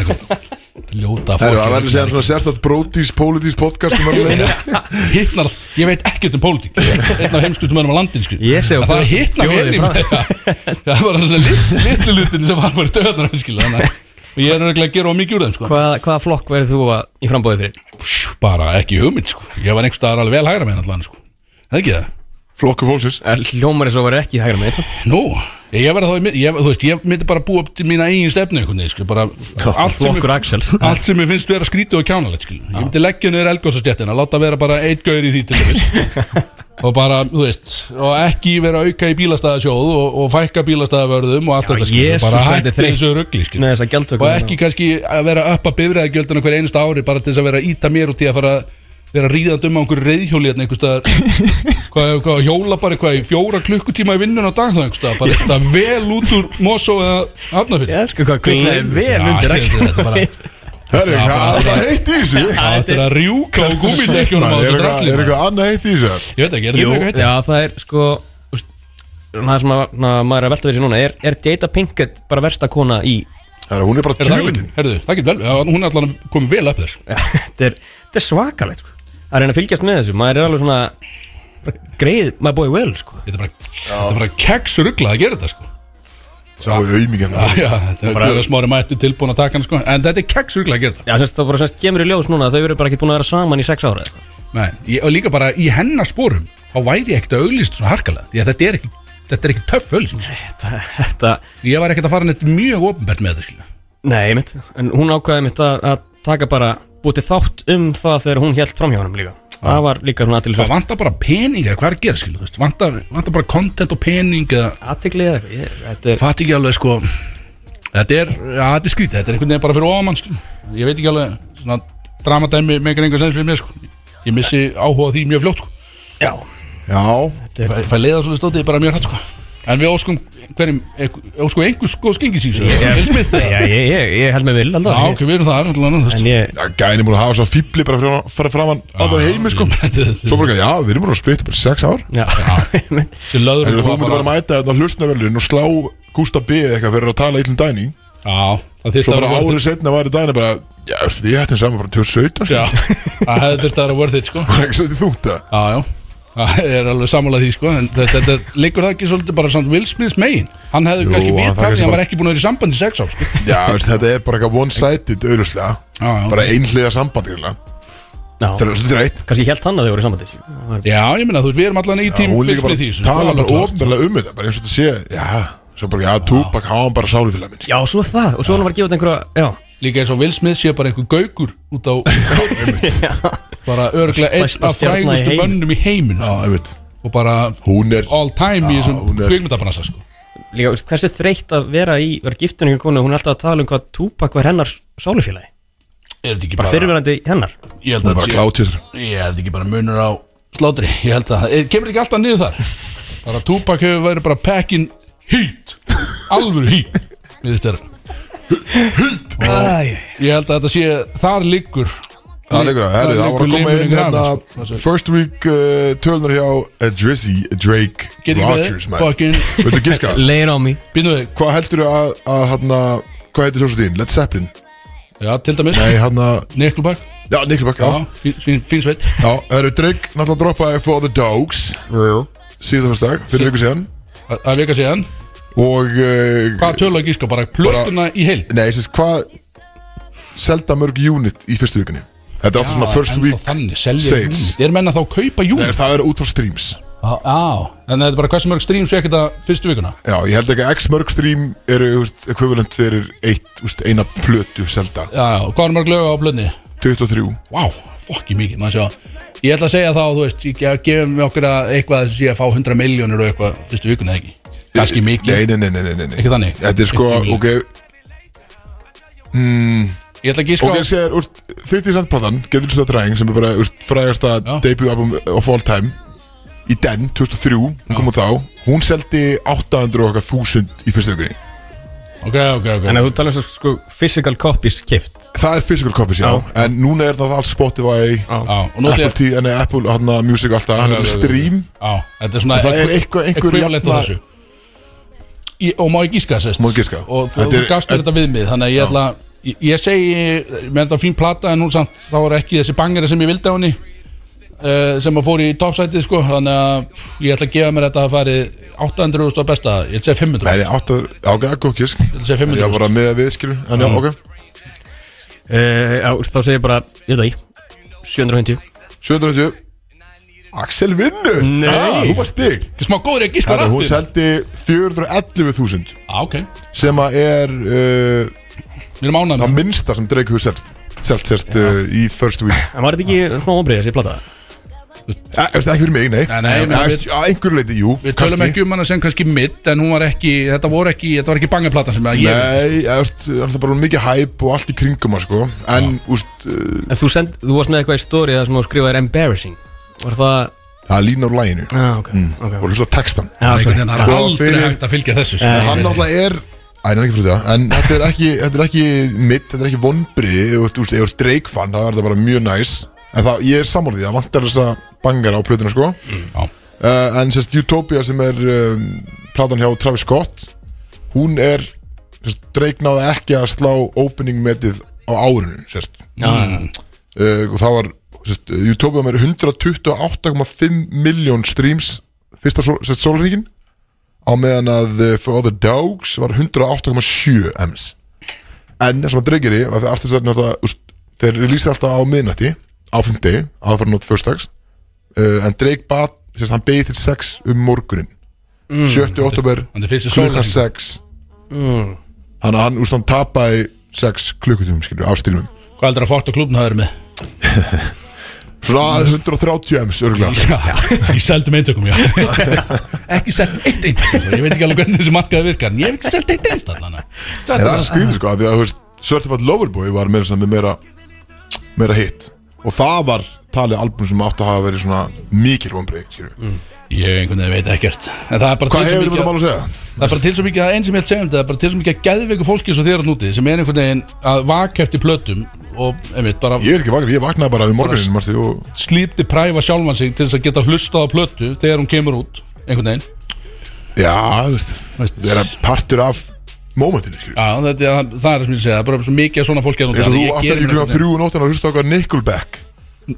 [SPEAKER 4] Ljóta
[SPEAKER 2] Það eru að
[SPEAKER 4] fólk.
[SPEAKER 2] verða að segja svona sérstætt brótís, pólitís podcast um öll leið.
[SPEAKER 4] hittnar, ég veit ekkert um pólitík einn af heimskustum mönnum á landin sko.
[SPEAKER 3] Ég sé á
[SPEAKER 4] Að það
[SPEAKER 3] bjóðin-
[SPEAKER 4] hittnar
[SPEAKER 3] bjóðin
[SPEAKER 4] mér í
[SPEAKER 3] frá.
[SPEAKER 4] mig það var þessi litlu, litlu lutin sem var bara í döðnar og ég er örgulega að gera á mikið úr þeim sko.
[SPEAKER 3] Hvað, Hvaða flokk verður þú að, í frambóði fyrir?
[SPEAKER 4] bara ekki hugmynd sko. ég var einhvers staðar alveg vel hægra með hann sko. Er það ekki það
[SPEAKER 2] Flokku fólksins
[SPEAKER 3] Er hljómarins og verður ekki í hægra með
[SPEAKER 4] Nú, ég verða þá, í mið- ég, þú veist, ég myndi bara búa upp til mína eigin stefnu einhvern veginn, sko, bara allt sem,
[SPEAKER 3] Flokkur
[SPEAKER 4] mér,
[SPEAKER 3] Axels
[SPEAKER 4] allt sem ég finnst vera skrítið og kjánalegt, sko, ég myndi leggja niður elgósastjættina, láta vera bara eitt gaur í því til þess og bara, þú veist, og ekki vera að auka í bílastæðasjóð og, og fækka bílastæðavörðum og allt þetta, sko,
[SPEAKER 3] Jesus,
[SPEAKER 4] bara
[SPEAKER 3] hvað þetta
[SPEAKER 4] hætti
[SPEAKER 3] er þreytt.
[SPEAKER 4] þessu rugli, sko,
[SPEAKER 3] Nei, hérna. þess að gjaldtöku
[SPEAKER 4] og ekki kannski að vera upp að bifræðagjöldina hver einasta ári bara til þess að vera að íta mér út í að fara að vera að ríða um á einhverju reyðhjóli hérna einhvers staðar hvað, hvað, hjóla bara eitthvað í fjóra klukkutíma í vinnun á dag þá einhvers staðar bara eitthvað vel út úr Mosó eða Hafnafjörn
[SPEAKER 3] Ég elsku hvað kviknaði vel undir Axel
[SPEAKER 4] Þetta er bara
[SPEAKER 2] Herri, hvað er það heitt í þessu?
[SPEAKER 4] þetta er að rjúka á gúmidekjunum á
[SPEAKER 2] Er
[SPEAKER 4] þessu
[SPEAKER 2] eitthvað-
[SPEAKER 4] drasli
[SPEAKER 2] er
[SPEAKER 4] maður.
[SPEAKER 2] eitthvað annað heitt í þessu?
[SPEAKER 4] Ég veit ekki, er
[SPEAKER 3] Jú,
[SPEAKER 4] þetta eitthvað heitt?
[SPEAKER 3] já, það er sko þú veist, Það sem að, na, maður er að velta fyrir sér núna Er, er Jada Pinkett bara versta kona í
[SPEAKER 2] Herri, hún er bara
[SPEAKER 4] Er það ekki?
[SPEAKER 2] djúvillin
[SPEAKER 4] Herðu, það getur vel, já, hún er allan komið vel upp þér
[SPEAKER 3] þetta er, þetta er svakalegt sko. að reyna að fylgjast með þessu, maður er alveg svona bara greið, my boy well sko.
[SPEAKER 4] Þetta er bara, þetta er bara keksrugla að gera þetta sko
[SPEAKER 2] Sáðu auðmíkjan
[SPEAKER 4] Já, já, þetta er bara smári mættu tilbúin að taka hann sko En þetta er keksrugla að gera þetta
[SPEAKER 3] Já, semst, það bara semst, kemur í ljós núna að þau eru bara ekki búin að vera saman í sex ára sko. eða eitthvað.
[SPEAKER 4] Nei, ég, og líka bara í hennar spórum þá væri ég ekkert að auglýst svona harkalega því að þetta er ekki, þetta er ekki töff auglýst
[SPEAKER 3] þetta, þetta,
[SPEAKER 4] ég var ekkert að fara neitt mjög ofnbært með þetta skilja
[SPEAKER 3] nei, mitt en hún ákvaði mitt að, að taka bara bútið þátt um það þegar hún held framhjá honum líka það var líka svona
[SPEAKER 4] það
[SPEAKER 3] aðtilfært
[SPEAKER 4] vantar bara pening eða hvað er að gera skilja veist? Vantar, vantar bara content og pening eða
[SPEAKER 3] aðtiklið eða eitthvað, ég- þetta er
[SPEAKER 4] fatt ekki alveg sko þetta er, ja, þetta er skrítið, þetta er einhvern veginn bara fyrir ofamann skilja ég veit ekki alveg, svona dramadæmi megar einhvern sens við mér sko ég missi áhuga á því mjög fljótt sko
[SPEAKER 3] já,
[SPEAKER 2] Já,
[SPEAKER 4] Ég fæ- fæ leiða svolítið stótið bara mjög hrætt sko En við óskum hverjum, óskum einhvers sko góð skengis í þessu
[SPEAKER 3] já ég, ég, ég held með vil alltaf
[SPEAKER 4] Já, ok, við erum þar sko. allan, þú veist.
[SPEAKER 3] en ég,
[SPEAKER 2] Já, gæðin er múin að hafa svo fýbli bara fyrir að fara fram hann
[SPEAKER 4] Ah.
[SPEAKER 2] aðra heimi sko Svo bara, já, við erum múin að splitta bara í sex ár
[SPEAKER 3] já,
[SPEAKER 4] Þessi löður
[SPEAKER 2] En þú múin bara að mæta þetta hlustnaverlun og slá Gústa B eða eitthvað fyrir að tala illum dæni
[SPEAKER 4] Já, það þurfti
[SPEAKER 2] Svo
[SPEAKER 4] að
[SPEAKER 2] bara
[SPEAKER 4] vera worth
[SPEAKER 2] árið
[SPEAKER 4] it
[SPEAKER 2] setna var í dæni bara Já, veistu, ég hætti saman bara 2017 sko.
[SPEAKER 4] Já, það hefði þurfti að vera worth it, sko
[SPEAKER 2] Það er ekki svolítið þungt að
[SPEAKER 4] Já, já Það er alveg samanlega því sko En þetta, þetta liggur það ekki svolítið bara samt Will Smiths megin Hann hefði
[SPEAKER 2] Jú,
[SPEAKER 4] kannski
[SPEAKER 2] hann
[SPEAKER 4] vitað
[SPEAKER 2] kannski
[SPEAKER 4] því Hann
[SPEAKER 2] bara-
[SPEAKER 4] var ekki búin að vera í sambandi í sex á sko.
[SPEAKER 2] Já, veistu, þetta er bara eitthvað one-sided auðvitað
[SPEAKER 4] Já, já.
[SPEAKER 2] Bara einhliða samband greinilega. Það
[SPEAKER 3] já,
[SPEAKER 2] er svolítið reitt
[SPEAKER 3] kannski ég held hann að þau voru í sambandi Það var-
[SPEAKER 4] Já, ég meina, þú veist, við erum allan í tím
[SPEAKER 2] Hún
[SPEAKER 4] Will
[SPEAKER 2] líka
[SPEAKER 4] Smith í
[SPEAKER 2] bara
[SPEAKER 4] þessu sko,
[SPEAKER 2] tala
[SPEAKER 4] alveg
[SPEAKER 2] bara
[SPEAKER 4] klárt.
[SPEAKER 2] ofnverlega um þetta Bara eins og þetta sé, já Svo bara, já, Tupac, hann var bara sálufélag minn sko.
[SPEAKER 3] Já, svo það, og svo hann var að gefa þetta einhverja, já
[SPEAKER 4] Líka eins og Will Smith sé bara einhver gaukur út á Bara örglega einn
[SPEAKER 3] Stærsta
[SPEAKER 4] af
[SPEAKER 3] stjarna í
[SPEAKER 4] frægustu
[SPEAKER 3] heiminum.
[SPEAKER 4] mönnum í heiminn
[SPEAKER 2] Já,
[SPEAKER 4] sko.
[SPEAKER 2] ég veit
[SPEAKER 4] Og bara
[SPEAKER 2] Hún er
[SPEAKER 4] all time í
[SPEAKER 2] Já,
[SPEAKER 4] þessum
[SPEAKER 2] hún er-
[SPEAKER 4] kvikmyndabransa sko.
[SPEAKER 3] Líka, veist, hversu þreytt að vera í, vera giftun ykkur konu, hún er alltaf að tala um hvað Tupac var hennar sálufélagi,
[SPEAKER 4] Er þetta ekki
[SPEAKER 3] bara
[SPEAKER 4] bara
[SPEAKER 3] fyrirverandi hennar
[SPEAKER 4] Ég held
[SPEAKER 2] Hún
[SPEAKER 4] að
[SPEAKER 2] er bara
[SPEAKER 4] sé-
[SPEAKER 2] klátt sér
[SPEAKER 4] Ég er þetta ekki bara munur á slátri Ég held að það eh, Kemur ekki alltaf niður þar Bara Tupac hefur verið bara packing heat Alvöru heat Við þetta er
[SPEAKER 3] Æ,
[SPEAKER 4] Ég held að þetta sé Þar liggur
[SPEAKER 2] Það er leikur að, herru, það var að koma inn
[SPEAKER 4] sko.
[SPEAKER 2] hérna First week uh, tölunar hjá uh, Drizzy, Drake,
[SPEAKER 4] Get ekki
[SPEAKER 2] Rodgers
[SPEAKER 4] beðið, fucking
[SPEAKER 2] Viltu giska?
[SPEAKER 3] Lay it on me
[SPEAKER 4] Býnum við,
[SPEAKER 2] Hvað heldur þú að, að hérna Hvað heitir hljómsveit þín? Led Zeppelin?
[SPEAKER 4] já, til dæmis
[SPEAKER 2] Nei, hérna
[SPEAKER 4] Nickelback,
[SPEAKER 2] Já, Nickelback,
[SPEAKER 4] já,
[SPEAKER 2] já
[SPEAKER 4] fín- fín fín sveit
[SPEAKER 2] Já, herru, Drake náttúrulega droppaði For the Dogs Síðan fyrst dag, fyrir viku síðan
[SPEAKER 4] Það það er vika síðan
[SPEAKER 2] Og uh,
[SPEAKER 4] Hvað tölu að gíska, bara plötuna í heild
[SPEAKER 2] Nei, þess að hvað Selda mörg unit í fyrstu vikunni Þetta er alltaf svona first
[SPEAKER 4] En þá
[SPEAKER 2] week
[SPEAKER 4] þannig, selja
[SPEAKER 2] sales.
[SPEAKER 4] unit Er menna þá að kaupa
[SPEAKER 2] Nei,
[SPEAKER 4] unit?
[SPEAKER 2] það er út frá streams
[SPEAKER 4] Já, en þetta er bara hversu mörg streams fekk þetta fyrstu vikuna
[SPEAKER 2] Já, ég held ekki að X mörg stream eru þú veist, equivalent fyrir eitt, úst, eina plötu selda
[SPEAKER 4] Já, já, hvað er mörg lög á plötni?
[SPEAKER 2] 23
[SPEAKER 4] Vá, fokki mikið, maður sjá Ég ætla að segja þá, þú veist, ég gef- gefum við okkur að eitthvað sem sé að fá 100 miljónir og eitthvað fyrstu vikuna eða ekki, kannski mikið
[SPEAKER 2] Nei, nei, nei, nei, nei, nei, nei.
[SPEAKER 4] Ekki þannig?
[SPEAKER 2] Þetta er sko,
[SPEAKER 4] Ekki
[SPEAKER 2] ok,
[SPEAKER 4] Ég ætla að gíska
[SPEAKER 2] ok,
[SPEAKER 4] á
[SPEAKER 2] sér, úst, 50 cent platan Getur þetta dræðing sem er bara, úst, frægasta
[SPEAKER 4] Já.
[SPEAKER 2] debut album of all time Í den, 2003, hún kom út þá Hún seldi 800 og eitthvað þúsund í fyrstu vikunni
[SPEAKER 4] Ok, ok, ok
[SPEAKER 3] En að þú talar svo sko physical copies kift
[SPEAKER 2] Það er physical copies, já, En núna er það allt Spotify
[SPEAKER 4] Já, og nú ætla
[SPEAKER 2] Apple,
[SPEAKER 4] ég
[SPEAKER 2] tí, nei, Apple hana, Music alltaf Hann er
[SPEAKER 4] já, já, já.
[SPEAKER 2] stream
[SPEAKER 4] Já, þetta er svona
[SPEAKER 2] En það er eitthvað- einhver
[SPEAKER 4] Equivalent á
[SPEAKER 2] jafna-
[SPEAKER 4] þessu Ég- Og má ég gíska sérst
[SPEAKER 2] Má ég giska?
[SPEAKER 4] Og þú
[SPEAKER 2] Þetta er-
[SPEAKER 4] þú gafst mér þetta við mig Þannig að ég ætla Ég, ég segi Mér er þetta fín plata En hún samt Þá er ekki þessi bangera sem ég vildi á henni uh, Sem að fór í topsætið sko Þannig að Ég ætla að gefa mér þetta að fari 800.000 á besta Ég ætla að segja 500
[SPEAKER 2] Nei, nei, áttar, já, ok, góð kísk
[SPEAKER 4] ætla að segja Mm. 500
[SPEAKER 2] Ég var bara með að við, skilur En já, ok,
[SPEAKER 3] Uh, já, þá segir ég bara, ég veit það ekki 750
[SPEAKER 2] 790 Axel vinnur
[SPEAKER 3] Nei.
[SPEAKER 2] ah, Þú var stig
[SPEAKER 4] Ekki smá góður ég gíska
[SPEAKER 2] Herra, Hún
[SPEAKER 4] rættin
[SPEAKER 2] seldi 411.000
[SPEAKER 4] ah, ok
[SPEAKER 2] Sem að er uh,
[SPEAKER 4] Mér er mánað
[SPEAKER 2] Það
[SPEAKER 4] mér
[SPEAKER 2] minnsta sem Drake hefur selst Selt sérst uh, í first week
[SPEAKER 3] En var þetta ekki svona óbreið þessi plata?
[SPEAKER 2] Eh, Þú veist, ekki fyrir mig, nei
[SPEAKER 4] Nei, nei,
[SPEAKER 2] Þú
[SPEAKER 4] menn
[SPEAKER 2] veist, Að einhverju leiti, jú
[SPEAKER 4] Við tölum ekki um hana sem kannski mitt En hún var ekki Þetta, voru ekki, þetta var ekki bangeplata sem að ég
[SPEAKER 2] Nei, þú veist, það er alltaf bara mikið hæp og allt í kringum hann, sko. En, þú veist, uh,
[SPEAKER 3] En þú, send, þú varst með eitthvað í story það sem þú skrifaðir embarrassing Var það...
[SPEAKER 2] það er lína úr læginu
[SPEAKER 3] Já, ah,
[SPEAKER 5] Mm.
[SPEAKER 3] ok,
[SPEAKER 2] og hlusta á textan
[SPEAKER 3] Já,
[SPEAKER 4] Einhvern
[SPEAKER 3] sorry
[SPEAKER 5] hérna,
[SPEAKER 4] veginn, Það er
[SPEAKER 2] Og
[SPEAKER 4] aldrei
[SPEAKER 2] Sko, fyrir-
[SPEAKER 4] hægt að fylgja þessu sko.
[SPEAKER 3] Nei.
[SPEAKER 2] En hann náttúrulega er Æ, nei, ekki fyrir það En þetta er ekki, þetta er ekki mitt, þetta er ekki vonbriði Ef þú veist, ef þú ert Drake fan, það er þetta bara mjög næs En það, ég er sammálið því, það vantar þessa bangar á plötuna, sko
[SPEAKER 4] Já.
[SPEAKER 2] uh, En sérst, Utopia sem er um, platan hjá Travis Scott Hún er, sérst, Drake náði ekki að slá opening metið á árinu, sérst
[SPEAKER 3] Já,
[SPEAKER 2] uh, Og það var, sérst, Utopia með 128,5 miljón streams Fyrsta, sól- sérst, sólringin á meðan að uh, For the Dogs var 108,7 ems en það sem að dregjir í var það allt þess að náttúrulega, úst, þeir lýsa alltaf á miðnætti á fundi, aðfæra nótt fyrstags uh, en Drake bat, sérst, hann beigði til 6 um morgunin 7. oktober
[SPEAKER 4] Mm. Hann er fyrsti Mm.
[SPEAKER 2] klukkan
[SPEAKER 4] sólhring
[SPEAKER 2] 6 hann, hann, úst, hann tapaði 6 klukkutum skilur, af stílum
[SPEAKER 4] Hvað heldur að fótt á klubn það eru með?
[SPEAKER 2] svona 130 ems örgulega
[SPEAKER 4] Já, í seldum eintökum, já Ekki selgt eitt eintökum Ég veit ekki alveg hvernig þessi markaði virkar En ég hef ekki selgt eitt einst allan
[SPEAKER 2] En það er skrítið sko, af því að þú veist, Certified Lover Boy var meira, svona, með meira, meira hitt Og það var talið album sem átti að hafa verið svona mikil vonbreið, skilju mm.
[SPEAKER 4] Ég einhvern veginn veit ekkert En það er bara
[SPEAKER 2] Hvað
[SPEAKER 4] til svo
[SPEAKER 2] hefur
[SPEAKER 4] mikið
[SPEAKER 2] þetta
[SPEAKER 4] að-
[SPEAKER 2] mál að segja?
[SPEAKER 4] Það er bara til svo mikið að einn sem ég held segja um þetta Það er bara til svo mikið að geðveiku fólki eins og þér að núti Sem er einhvern veginn að vakefti plötum Og einmitt bara
[SPEAKER 2] Ég er ekki vaknað, ég vaknaði bara við morguninn, mannstu, og
[SPEAKER 4] slípti præfa sjálfan sig Til þess að geta hlustað á plötu þegar hún kemur út Einhvern veginn
[SPEAKER 2] Já, þú veist,
[SPEAKER 4] Veist-
[SPEAKER 2] það er að partur af mómentinu, skilju
[SPEAKER 4] Já, þetta, það, það er það sem ég segja, það er bara svo mikið að svona fólki að
[SPEAKER 2] Eins og þú
[SPEAKER 4] geri mér
[SPEAKER 2] aftur í klukkan
[SPEAKER 4] einhvern veginn-
[SPEAKER 2] þrjú og nóttan að hlusta okkar Nickelback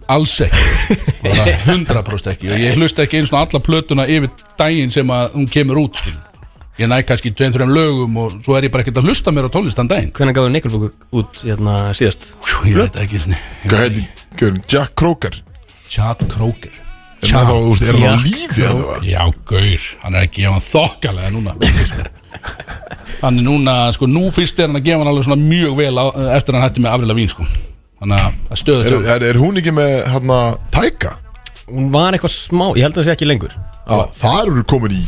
[SPEAKER 4] alls ekki bara 100% ekki og ég hlusta ekki einu svona alla plötuna yfir daginn sem að hún kemur út skil. ég næ kannski 2-3 lögum og svo er ég bara ekkert að hlusta mér á tónlist þann daginn
[SPEAKER 3] hvernig gafur Nickelbook út hérna síðast?
[SPEAKER 4] Jú, ég veit ekki svona
[SPEAKER 2] Hvað heiti, hvað er hann, Jack Croker
[SPEAKER 4] Chad Kroger
[SPEAKER 2] Er hann þá, þú veist, er hann á
[SPEAKER 3] Jack
[SPEAKER 2] lífi eða það?
[SPEAKER 4] já, gaur, hann er ekki ef hann þokkalega núna sko. hann er núna, sko, nú fyrst er hann að gefa hann alveg svona mjög vel á, eftir að hann hætti með afrila vín, sko þannig að það stöður
[SPEAKER 2] Er,
[SPEAKER 4] sig.
[SPEAKER 2] er, er hún ekki með, hérna, Taika?
[SPEAKER 3] Hún var eitthvað smá, ég held að það sé ekki lengur
[SPEAKER 2] Já, þar eru komin í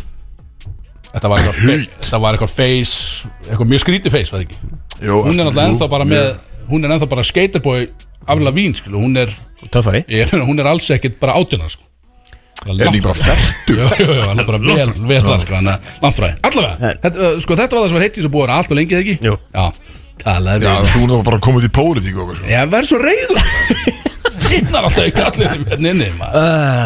[SPEAKER 4] þetta var eitthvað fe-
[SPEAKER 2] Hýt.
[SPEAKER 4] þetta var eitthvað face, eitthvað mjög skrítið face, var það ekki
[SPEAKER 2] Jó,
[SPEAKER 4] hún er náttúrulega
[SPEAKER 2] jú,
[SPEAKER 4] ennþá bara með hún er ennþá bara skaterboy aflega vín skilu, hún er
[SPEAKER 3] Töffari
[SPEAKER 4] ég, meina, hún er alls ekkert bara átjana sko
[SPEAKER 2] Er hann ekki bara fertur?
[SPEAKER 4] Jú, jú, jú, hann er bara vel, vel þar sko, hann er landfræði Allavega, þetta, uh, sko, þetta var það sem var heitt í þessu búið að vera allt og lengi þegar ekki?
[SPEAKER 3] Jú.
[SPEAKER 4] Já, talaði
[SPEAKER 2] Já,
[SPEAKER 4] við
[SPEAKER 2] þú náttúrulega bara komið í pólitík og eitthvað sko.
[SPEAKER 4] Já, verð svo reyður hitnar alltaf í kallinu hérna inni maður.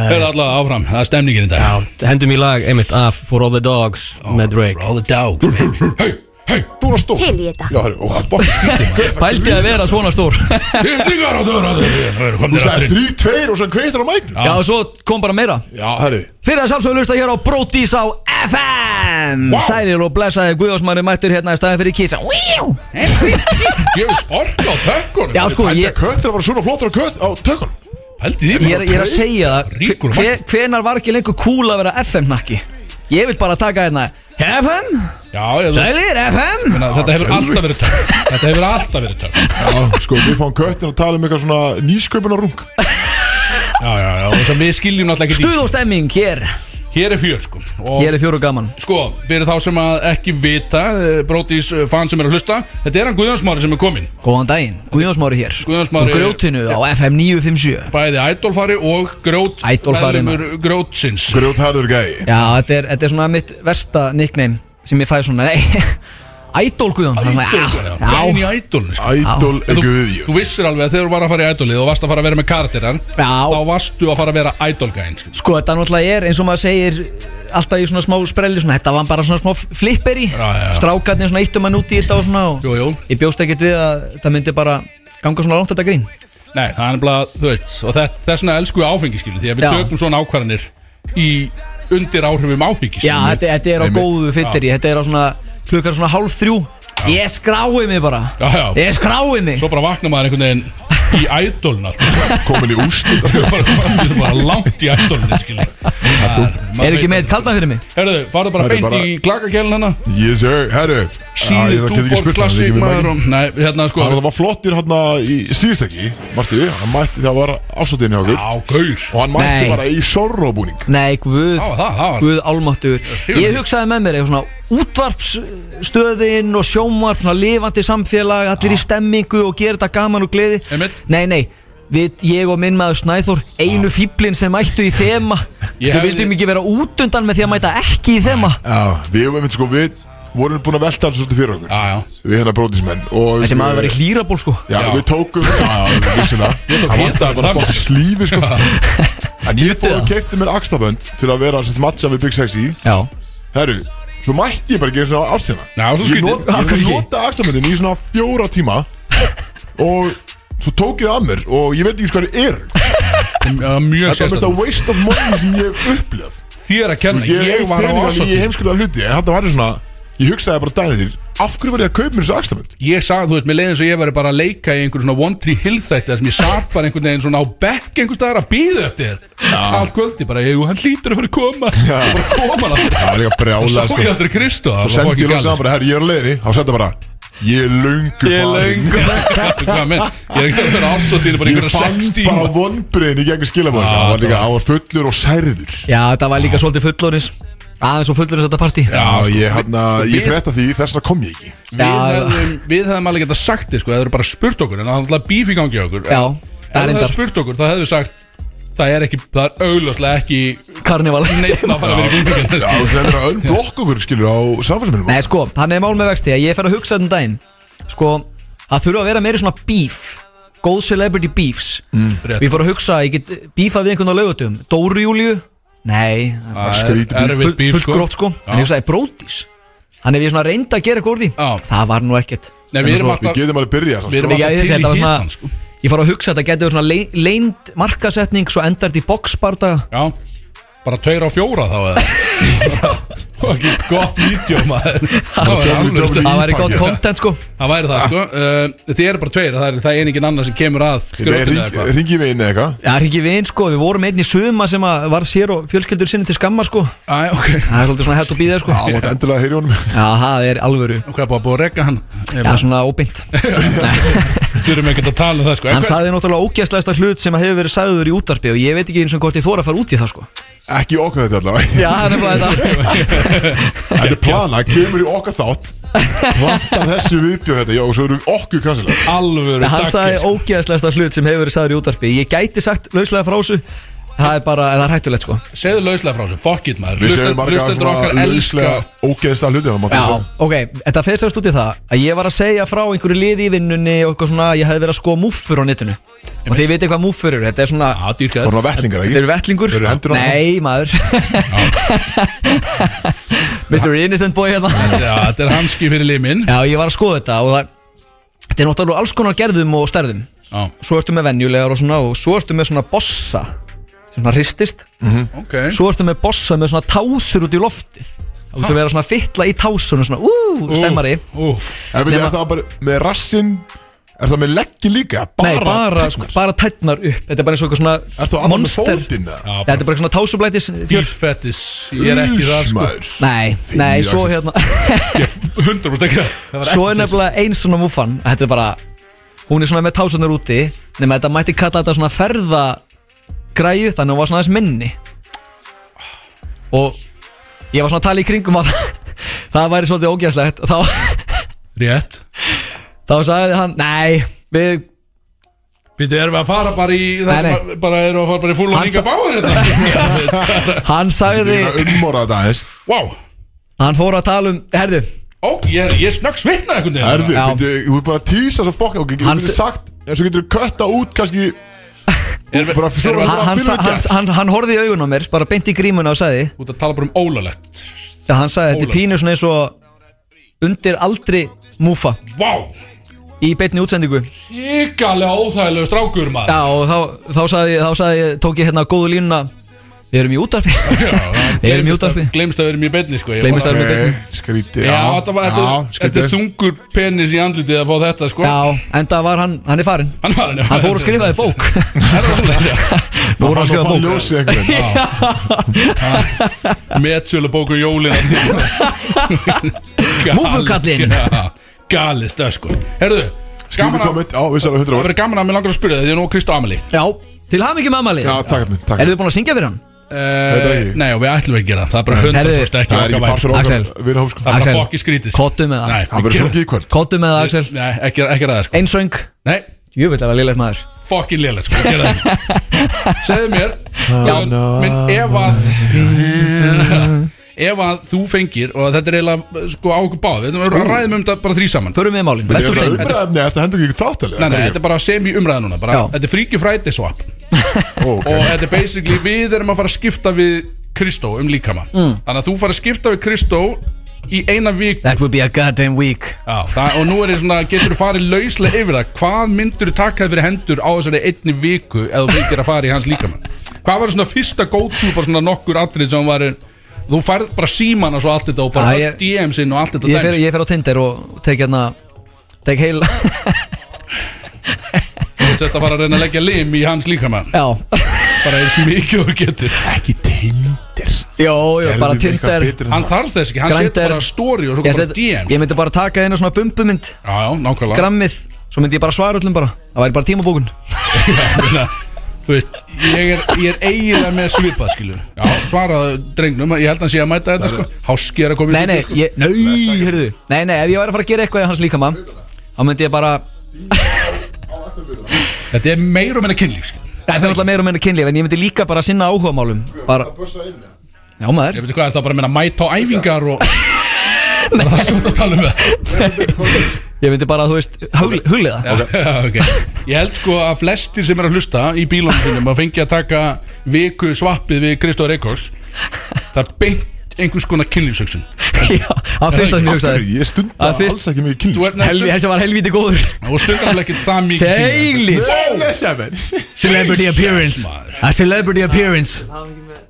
[SPEAKER 4] Hörðu alltaf áfram, það er stemningin í dag
[SPEAKER 3] Já, hendum í lag einmitt af For All The Dogs með Drake
[SPEAKER 4] All the dog baby. Hey, hey,
[SPEAKER 2] Þú er stór
[SPEAKER 6] Til í þetta.
[SPEAKER 2] Já, herru, og
[SPEAKER 4] fuck skýti
[SPEAKER 5] Pældi að vera svona stór
[SPEAKER 4] Hittingar á dörraður
[SPEAKER 2] Þú sagði þrý, tveir og svo kveitur á mæknum
[SPEAKER 5] Já, og svo kom bara meira
[SPEAKER 2] Já, herru
[SPEAKER 5] Þeir að sjálfsögðu lusta hér á Brótis á FM
[SPEAKER 4] Vá.
[SPEAKER 5] Sælir og blessaði Guðjósmanni mættur hérna í staðin fyrir kísa
[SPEAKER 4] Gjöfis orka á tökkunum
[SPEAKER 5] Já, sko,
[SPEAKER 2] Pældi
[SPEAKER 5] ég,
[SPEAKER 2] að köttur var svona flottur á kött á tökum
[SPEAKER 4] Hældi því
[SPEAKER 5] ég, er, ég er að segja
[SPEAKER 4] Ríkur
[SPEAKER 5] það hver, Hvenar var ekki lengur cool að vera FM-nakki? Ég vil bara taka hérna FM,
[SPEAKER 4] Já, ég þú
[SPEAKER 5] sælir FM
[SPEAKER 4] Meina, Þetta hefur alltaf verið tökk Þetta hefur alltaf verið tökk
[SPEAKER 2] Já, sko, við fáum köttin að tala um eitthvað svona nýsköpunarung
[SPEAKER 4] Já, já, já, og sem við skiljum náttúrulega ekki
[SPEAKER 5] Stuð og stemming hér
[SPEAKER 4] í- Hér er fjör, sko og
[SPEAKER 5] Hér er fjóru gaman
[SPEAKER 4] Sko, fyrir þá sem að ekki vita eh, Brótis eh, fan sem er að hlusta Þetta er hann Guðjónsmári sem er kominn
[SPEAKER 5] Góðan daginn, Guðjónsmári hér
[SPEAKER 4] Guðjóns Már
[SPEAKER 5] Úr
[SPEAKER 4] er-
[SPEAKER 5] Grjótinu á FM 957
[SPEAKER 4] Bæði ædolfari og grjót
[SPEAKER 5] Idolfari, maður.
[SPEAKER 4] meðlimur Grjótsins
[SPEAKER 2] Grjótharður gæi
[SPEAKER 5] Já, þetta er, þetta er svona mitt versta nickname sem ég fæ svona, nei Idol Guðjón það er svona,
[SPEAKER 4] Ædolfari,
[SPEAKER 5] já,
[SPEAKER 4] gæin í
[SPEAKER 5] já,
[SPEAKER 4] ædolni
[SPEAKER 2] Ædol
[SPEAKER 4] En þú,
[SPEAKER 2] Guðjón
[SPEAKER 4] þú vissir alveg að þegar þú var að fara í ædolið og varst að fara að vera með karakterar þá
[SPEAKER 5] já,
[SPEAKER 4] varstu að fara að vera ædolgæinn skilur.
[SPEAKER 5] sko þetta náttúrulega er eins og maður segir alltaf í svona smá sprelli svona, þetta var bara svona smá flipperi
[SPEAKER 4] Já, já, já.
[SPEAKER 5] strákarnir svona eittum mann út í þetta og svona og
[SPEAKER 4] Jú, jú,
[SPEAKER 5] ég bjóst ekkert við að þetta myndi bara ganga svona langt þetta grín
[SPEAKER 4] nei, það er nefnilega, þú veit og þess vegna elsku við áfengi, skilu því að við
[SPEAKER 5] Já.
[SPEAKER 4] tökum svona ákvarðanir í undir áhrifum áfengi
[SPEAKER 5] Já, þetta, þetta er á
[SPEAKER 2] Einmitt.
[SPEAKER 5] góðu fyttir þetta er á svona klukkar svona hálf þrjú ég skrái mig bara
[SPEAKER 4] já, já,
[SPEAKER 5] ég skrái mig
[SPEAKER 4] svo bara vakna maður einhvern veginn í ædolin alltaf
[SPEAKER 2] Komin í úrslit
[SPEAKER 4] Við erum bara, við erum bara langt í ædolin, skilu
[SPEAKER 5] er ekki með eitt kaldan fyrir mig
[SPEAKER 4] Herðu, farðu bara
[SPEAKER 2] Herðu,
[SPEAKER 4] beint
[SPEAKER 2] bara-
[SPEAKER 4] í hérna. klakakjælin hana
[SPEAKER 2] Yes sir, herru
[SPEAKER 4] Síðu túbor klassik maður og- Nei, hérna sko
[SPEAKER 2] Það var flottir hérna í síðustekki Marti, hann mætti það var ásáttinni okkur
[SPEAKER 4] Á, gaur
[SPEAKER 2] Og hann mætti
[SPEAKER 5] Nei.
[SPEAKER 2] bara í sorróbúning
[SPEAKER 5] nei, guð
[SPEAKER 4] Á, það, það var
[SPEAKER 5] Guð álmáttur Ég hugsaði með mér eitthvað svona útvarpsstöðin og sjónvarp svona lifandi samfélag, allir í stemmingu og gera þetta gaman og gleði
[SPEAKER 4] Einmitt.
[SPEAKER 5] Nei, nei, við, ég og minn maður Snæþór einu fýblin sem mættu í þema
[SPEAKER 4] Ég
[SPEAKER 5] Við
[SPEAKER 4] hefði-
[SPEAKER 5] vildum ekki vera útundan með því að mæta ekki í þema
[SPEAKER 2] Já, við varum sko, við vorum búin að velta hans svolítið fyrir okkur
[SPEAKER 4] Já, já
[SPEAKER 2] Við hérna bróðismenn og
[SPEAKER 5] Þessi maður var í hlýraból sko
[SPEAKER 2] Já,
[SPEAKER 4] Já.
[SPEAKER 2] við tókum Já, við vissum það Það vantaði bara að fá slífi sko En ég fór og keipti mér axtabönd Til að vera sérst matcha við Big Sexy
[SPEAKER 5] Já
[SPEAKER 2] Herru, svo mætti ég bara að gera svona ástíðana
[SPEAKER 4] Já, svo
[SPEAKER 2] Ég,
[SPEAKER 4] skrítið.
[SPEAKER 2] not,
[SPEAKER 5] Af hverju
[SPEAKER 2] ég
[SPEAKER 5] ekki?
[SPEAKER 2] nota axtaböndin í svona fjóra tíma Og svo tók ég það að mér Og ég veit ekki hvað það er
[SPEAKER 4] Það er Mjög
[SPEAKER 2] Þetta er mest að
[SPEAKER 4] sérstaklega
[SPEAKER 2] waste of money sem ég hef upplöð
[SPEAKER 4] Þér að kenna,
[SPEAKER 2] Ég
[SPEAKER 4] ég
[SPEAKER 2] hef
[SPEAKER 4] var á
[SPEAKER 2] peningar í
[SPEAKER 4] ásvöld
[SPEAKER 2] heimskulega hluti En þetta var ég svona Ég hugsaði bara dæni þér Af hverju var ég að kaupa mér þessu axtabönd?
[SPEAKER 4] Ég sagði, þú veist, mér leiði eins og ég væri bara að leika í einhverjum svona One Tree Hill þætti þar sem ég satt bara einhvern veginn svona á bekk einhvers staðar að býða eftir þér Allt kvöldi bara, ég, jú, hann hlýtur að fara að koma Og bara koma hann aftur
[SPEAKER 2] Það var líka brjála
[SPEAKER 4] Svo ég aldrei Kristó
[SPEAKER 2] sko. Svo sendi ég hún saman bara Herru, ég er á leiðinni Þá sendi bara Ég er löngu
[SPEAKER 5] Ég er
[SPEAKER 2] farin.
[SPEAKER 5] löngu-
[SPEAKER 4] Hvað menn, ég er ekkert að vera ásvöldinu bara
[SPEAKER 2] Ég
[SPEAKER 4] einhverja
[SPEAKER 2] fann
[SPEAKER 4] sex tíma
[SPEAKER 2] bara vonbriðin í gegnum skilabóðin
[SPEAKER 4] Já,
[SPEAKER 2] Það var
[SPEAKER 4] þetta
[SPEAKER 2] líka, hann var fullur og særður
[SPEAKER 5] Já, þetta var líka svolítið fullorins Aðeins og fullorins þetta partí
[SPEAKER 2] Já, ég, hérna, ég
[SPEAKER 4] við-
[SPEAKER 2] frétta því, þess vegna kom ég ekki
[SPEAKER 4] Við
[SPEAKER 5] Já,
[SPEAKER 4] hefðum, við hefðum alveg getað sagt þið sko, það eru bara spurt okkur, en það er alltaf bíf í gangi hjá okkur
[SPEAKER 5] Já, það er
[SPEAKER 4] Ef það
[SPEAKER 5] endar
[SPEAKER 4] hefði spurt okkur, það hefðu sagt Það er ekki, það er augljóslega ekki
[SPEAKER 5] Karnival
[SPEAKER 4] Neitt að fara að vera í gungið
[SPEAKER 2] Já, þú nefnir að önn blokk okkur, skilur, á samfélagsmiðlum
[SPEAKER 5] Nei sko, hann er mál með vexti að Ég fer að hugsa þetta um daginn Sko, það þurfa að vera meiri svona beef Góð celebrity beefs
[SPEAKER 4] Mm. rétt.
[SPEAKER 5] Við fór að hugsa, að ég get beefað við einhvern á laugatum Dóru Júliu Nei, það
[SPEAKER 4] Það er
[SPEAKER 2] Skrítið bíf.
[SPEAKER 5] er
[SPEAKER 4] Ah, erfitt bíf
[SPEAKER 5] full
[SPEAKER 4] sko
[SPEAKER 5] gróft sko En ég hugsaði, brótis Hann ef ég svona reyndi að gera góð því
[SPEAKER 4] Já.
[SPEAKER 5] Það var nú ekkert
[SPEAKER 4] Nei, við
[SPEAKER 5] En
[SPEAKER 4] erum
[SPEAKER 5] svo-
[SPEAKER 4] alltaf,
[SPEAKER 2] Við getum alveg byrjað samt, sko.
[SPEAKER 4] við erum
[SPEAKER 5] Ég- ég-
[SPEAKER 4] alltaf
[SPEAKER 5] ég-
[SPEAKER 4] til
[SPEAKER 5] þetta
[SPEAKER 4] í
[SPEAKER 5] var svona-
[SPEAKER 4] hittan sko
[SPEAKER 5] Ég fór að hugsa að þetta getur svona le- leynd markasetning Svo endar þetta í boxbarda
[SPEAKER 4] Já, bara tveir á fjóra þá eða Og ekki gott vídeo maður Það væri
[SPEAKER 2] WWE.
[SPEAKER 4] alveg stöð.
[SPEAKER 5] Það væri gott
[SPEAKER 2] Íbakið.
[SPEAKER 5] content sko
[SPEAKER 4] Það væri það sko Uh, Þið eru bara tveir, það er, það er einingin annar sem kemur að grjótinu eða eitthvað.
[SPEAKER 2] Nei, ringi við inn eða eitthvað
[SPEAKER 5] Það er ekki við einn sko, við vorum einn í suma sem að var sér og fjölskyldur sinni til skamma sko
[SPEAKER 4] Æ, ok
[SPEAKER 5] Það er svolítið svona hægt að býða sko
[SPEAKER 2] Það mátt endilega að heyri honum
[SPEAKER 5] Já, það er alvöru
[SPEAKER 4] Hvað er bara búið að regga hann?
[SPEAKER 5] Já, svona óbynt
[SPEAKER 4] Við erum ekkert að tala um það sko En
[SPEAKER 5] Hann
[SPEAKER 4] hvað-
[SPEAKER 5] sagði náttúrulega ógæstlegasta hlut sem að hefur verið sagður í útarpi og ég veit ekki eins og hvort ég þóra að fara út í það sko
[SPEAKER 2] Ekki í okkar þetta allavega
[SPEAKER 5] Já, það er nefnilega þetta
[SPEAKER 2] Þetta er plana, kemur í okkar þátt Plantar þessu viðbjörn hérna Já, og svo eru okkur kansilega
[SPEAKER 4] Alvöru
[SPEAKER 5] Hann
[SPEAKER 4] dagir,
[SPEAKER 5] sagði
[SPEAKER 4] sko.
[SPEAKER 5] ógæstlegasta hlut sem hefur verið sagður í útarpi Ég gæti sagt lauslega frá þessu Það er bara, það er hættulegt sko
[SPEAKER 4] Segðu lauslega frá þessu, fuck it maður
[SPEAKER 2] Við segjum
[SPEAKER 4] Hlustendur- Hlustendur
[SPEAKER 2] marga
[SPEAKER 4] okkar
[SPEAKER 2] svona
[SPEAKER 4] elska
[SPEAKER 2] lauslega ógeðsta hluti það mátti
[SPEAKER 5] Já,
[SPEAKER 2] alveg-
[SPEAKER 5] ok, þetta fyrst semst út í það að ég var að segja frá einhverju liði í vinnunni og eitthvað svona, ég hefði verið að sko múffur á netinu og þið veitir hvað múffur eru þetta er svona
[SPEAKER 4] Já, dýrkæður
[SPEAKER 2] Bara vettlingar,
[SPEAKER 5] Þetta
[SPEAKER 2] ekki?
[SPEAKER 5] eru vettlingur
[SPEAKER 2] Eru hendur á
[SPEAKER 5] Nei, maður Mr. Innocent Boy hérna
[SPEAKER 4] Já, þetta er hanski fyrir limin
[SPEAKER 5] Já, ég var að skoða þetta og það Þetta er náttúrulega alls konar gerðum og stærðum
[SPEAKER 4] Já,
[SPEAKER 5] Svo ertu með venjulegar og svona Og svo ertu með svona bossa sem Svona hristist
[SPEAKER 4] ok
[SPEAKER 5] Svo ertu með bossa með svona tásur út í loftið Þú ertu að vera svona að fytla í tásunum Svona, ú, stemmari
[SPEAKER 4] Úf,
[SPEAKER 2] En byrja,
[SPEAKER 5] Nema-
[SPEAKER 2] er það bara með rassin Er það með leggin líka? Bara,
[SPEAKER 5] Nei, bara,
[SPEAKER 2] tærnar?
[SPEAKER 5] sko, bara tætnar upp Þetta er bara eins og eitthvað
[SPEAKER 2] Ert þú
[SPEAKER 5] svona
[SPEAKER 2] allan með
[SPEAKER 5] monster
[SPEAKER 2] fótinn
[SPEAKER 4] já,
[SPEAKER 2] eða?
[SPEAKER 5] Þetta er bara eitthvað svona tásublætis fjör-
[SPEAKER 4] dýrfettis Ég er ekki það, sko
[SPEAKER 2] Úsmaður.
[SPEAKER 5] Nei, nei, svo
[SPEAKER 2] Axel.
[SPEAKER 5] hérna
[SPEAKER 4] Ég er 100% ekki það. það var ekkert
[SPEAKER 5] Svo er
[SPEAKER 4] sem-
[SPEAKER 5] nefnilega eins svona múfan Þetta er bara Hún er svona með tásunar úti Nefnir þetta mætti kalla þetta svona ferðagræju Þannig að hún var svona aðeins minni Og Ég var svona að tala í kringum að Það væri svolítið ógæslegt Þá,
[SPEAKER 4] Rétt
[SPEAKER 5] þá sagði hann Nei, við
[SPEAKER 4] Býttu, erum við að fara bara í það
[SPEAKER 5] Nei,
[SPEAKER 4] sem að- Bara erum við að fara bara í full og
[SPEAKER 5] Hann
[SPEAKER 4] hinga
[SPEAKER 5] sa-
[SPEAKER 4] báður þetta
[SPEAKER 5] Hann sagði
[SPEAKER 2] Það ummorða þetta aðeins
[SPEAKER 4] Vá
[SPEAKER 5] Hann fór að tala um Herðu
[SPEAKER 4] Ó, ég er, ég er snögg svitnað einhvern veginn hérna.
[SPEAKER 2] Erðu,
[SPEAKER 5] Já.
[SPEAKER 2] þú er bara að tísa svo fokk Ok, þú
[SPEAKER 5] Hann
[SPEAKER 2] getur
[SPEAKER 5] se-
[SPEAKER 2] sagt En svo getur þú kötta út kannski
[SPEAKER 4] Erum við-
[SPEAKER 2] bara fyrir-
[SPEAKER 4] erum við
[SPEAKER 5] Hann,
[SPEAKER 4] að-
[SPEAKER 5] hann, sa- hann, hann, hann horfði í augun á mér Bara beint í grímuna og sagði
[SPEAKER 4] Út að tala bara um ólalegt
[SPEAKER 5] Já, hann sagði Þetta er
[SPEAKER 4] Ólöf.
[SPEAKER 5] pínu svona eins og Undir aldri múfa
[SPEAKER 4] Vá
[SPEAKER 5] Í beinni útsendingu
[SPEAKER 4] Ígalega óþægilegu strákur maður
[SPEAKER 5] Já og þá, þá sagði ég, þá sagði ég, tók ég hérna góðu línuna Við erum í útarpi Við erum í útarpi
[SPEAKER 4] Glemst að við erum í beinni sko Ég
[SPEAKER 5] Gleymist
[SPEAKER 4] bara-
[SPEAKER 5] að við erum í
[SPEAKER 2] Nei, Eh, skrítið
[SPEAKER 4] Já, þetta var, þetta, þetta er þungur penis í andlitið að fá þetta sko
[SPEAKER 5] Já, en það var hann, hann er farinn
[SPEAKER 4] Hann var henni
[SPEAKER 5] Hann fór og skrifaði bók
[SPEAKER 4] Það er alveg
[SPEAKER 5] Nú voru að skrifa
[SPEAKER 2] fann
[SPEAKER 5] bók
[SPEAKER 2] ljósið einhvern veginn.
[SPEAKER 4] Metsölu bóku jólin
[SPEAKER 5] Múfukallinn.
[SPEAKER 4] Galið stöð sko Herðu,
[SPEAKER 2] Skýtu
[SPEAKER 4] gaman að
[SPEAKER 2] komment, já, við særum
[SPEAKER 4] Það
[SPEAKER 2] 100
[SPEAKER 4] verður gaman að mér langar að spyrja það Því að nú er Kristó Amelie
[SPEAKER 5] Já, til hafði ekki með amali
[SPEAKER 2] Já, takk minn, takk
[SPEAKER 5] Erum við búin að syngja fyrir hann?
[SPEAKER 2] Þetta er
[SPEAKER 4] uh,
[SPEAKER 2] ekki.
[SPEAKER 4] Nei, og við ætlum ekki að gera það Það er bara
[SPEAKER 5] Herðu,
[SPEAKER 4] 100% ekki
[SPEAKER 2] Það er
[SPEAKER 4] okkar
[SPEAKER 2] ekki
[SPEAKER 4] væri.
[SPEAKER 2] part fyrir
[SPEAKER 5] Axel.
[SPEAKER 2] okkar Við erum sko
[SPEAKER 4] Það er
[SPEAKER 5] Axel,
[SPEAKER 4] bara fokki skrítið
[SPEAKER 5] kottu með það.
[SPEAKER 4] Nei,
[SPEAKER 2] Það verður
[SPEAKER 4] gerum-
[SPEAKER 2] svona gíkvært
[SPEAKER 5] Kóttu með það Axel
[SPEAKER 4] Nei, ekki, ekki ræða sko
[SPEAKER 5] Einsöng
[SPEAKER 4] Nei,
[SPEAKER 5] Jöfell er að liðlegt maður
[SPEAKER 4] fokkin lélega sko gerðu það ekki. Segðu mér
[SPEAKER 2] Oh,
[SPEAKER 4] Já, minn ef að Ef að þú fengir Og þetta er eiginlega sko á okkur báð Við erum að ræðum um þetta bara þrý saman
[SPEAKER 5] Förum við í málin
[SPEAKER 2] Þetta
[SPEAKER 5] Vestur
[SPEAKER 2] er
[SPEAKER 5] stein
[SPEAKER 2] umræðum, nei, þetta hendur ekki þáttalega
[SPEAKER 4] Nei, nei, þetta er bara sem í umræða núna bara,
[SPEAKER 5] Já.
[SPEAKER 4] Þetta er Freaky Friday swap Og
[SPEAKER 2] þetta
[SPEAKER 4] þetta er basically, við erum að fara að skipta við Kristó um líkama
[SPEAKER 5] Mm.
[SPEAKER 4] Þannig að þú fara að skipta við Kristó Í eina vik
[SPEAKER 5] That would be a goddamn week
[SPEAKER 4] Já, það, og nú er ég svona, getur þú farið lauslega yfir það Hvað myndur þú takaði fyrir hendur á þessari einni viku Ef þú fengir að fara í hans líkamann Hvað var svona fyrsta go-to Bara svona nokkur atrið sem var Þú færð bara símana svo allt þetta Og bara
[SPEAKER 5] Já,
[SPEAKER 4] ja,
[SPEAKER 5] ég-
[SPEAKER 4] DM-sinn og allt þetta
[SPEAKER 5] Ég
[SPEAKER 4] dæmi.
[SPEAKER 5] fer, ég fer á Tinder og tek hérna Tek heil
[SPEAKER 4] Þú ert sett að fara að reyna að leggja lim í hans líkamann
[SPEAKER 5] Já
[SPEAKER 4] Bara eins mikið og þú getur
[SPEAKER 2] Ekki tindir
[SPEAKER 5] Jó, jó, bara
[SPEAKER 2] Gerðu eitthvað
[SPEAKER 5] Tinder
[SPEAKER 2] betur en
[SPEAKER 4] Hann
[SPEAKER 2] það.
[SPEAKER 4] þarf þess ekki, hann
[SPEAKER 5] Grand
[SPEAKER 4] setur
[SPEAKER 5] er-
[SPEAKER 4] bara story og svo
[SPEAKER 5] Ég,
[SPEAKER 4] bara
[SPEAKER 5] set,
[SPEAKER 4] DM
[SPEAKER 5] ég myndi bara taka einu svona bumbumynd
[SPEAKER 4] sko. Já, já, nákvæmlega
[SPEAKER 5] grammið Svo myndi ég bara svara öllum bara Það væri bara tímabókun
[SPEAKER 4] Þú veist, ég er, ég er eiginlega með svipað, skilur Já, svaraðu drengnum, ég held að hann sé að mæta þetta, sko Háski er að koma í
[SPEAKER 5] Nei, nei,
[SPEAKER 4] sko.
[SPEAKER 5] ég, nei, heyrðu Nei, nei, ef ég væri að fara að gera eitthvað í hans líkama Þá myndi ég bara
[SPEAKER 4] Þetta er meir og minna kynlíf, skilur
[SPEAKER 5] Það er alltaf meira og meina kynlíf En ég myndi líka bara sinna áhuga málum Bara Já, maður
[SPEAKER 4] Ég veit hvað, er það bara að meina mæta á æfingar og Það er það sem þú ert að tala um
[SPEAKER 5] Ég myndi bara, þú veist, hugliða Já,
[SPEAKER 4] það Já, ok Ég held sko að flestir sem er að hlusta í bílunum sinum að fengi að taka viku svappið við Kristóð Reykjavíks Það er beint einhvers konar kynlífsöksun
[SPEAKER 5] það fyrst að sem
[SPEAKER 2] Aftur,
[SPEAKER 5] ég hugsaði
[SPEAKER 2] Ég stunda
[SPEAKER 5] Að fyrst-
[SPEAKER 2] alls ekki mikið
[SPEAKER 4] Þú
[SPEAKER 2] kynlíf
[SPEAKER 4] er nefnst
[SPEAKER 5] Helvi, þessi var helvíti góður
[SPEAKER 4] og stundanlega ekki það mikið kynlíf.
[SPEAKER 5] Seglið Celebrity appearance
[SPEAKER 4] maður.
[SPEAKER 5] A celebrity appearance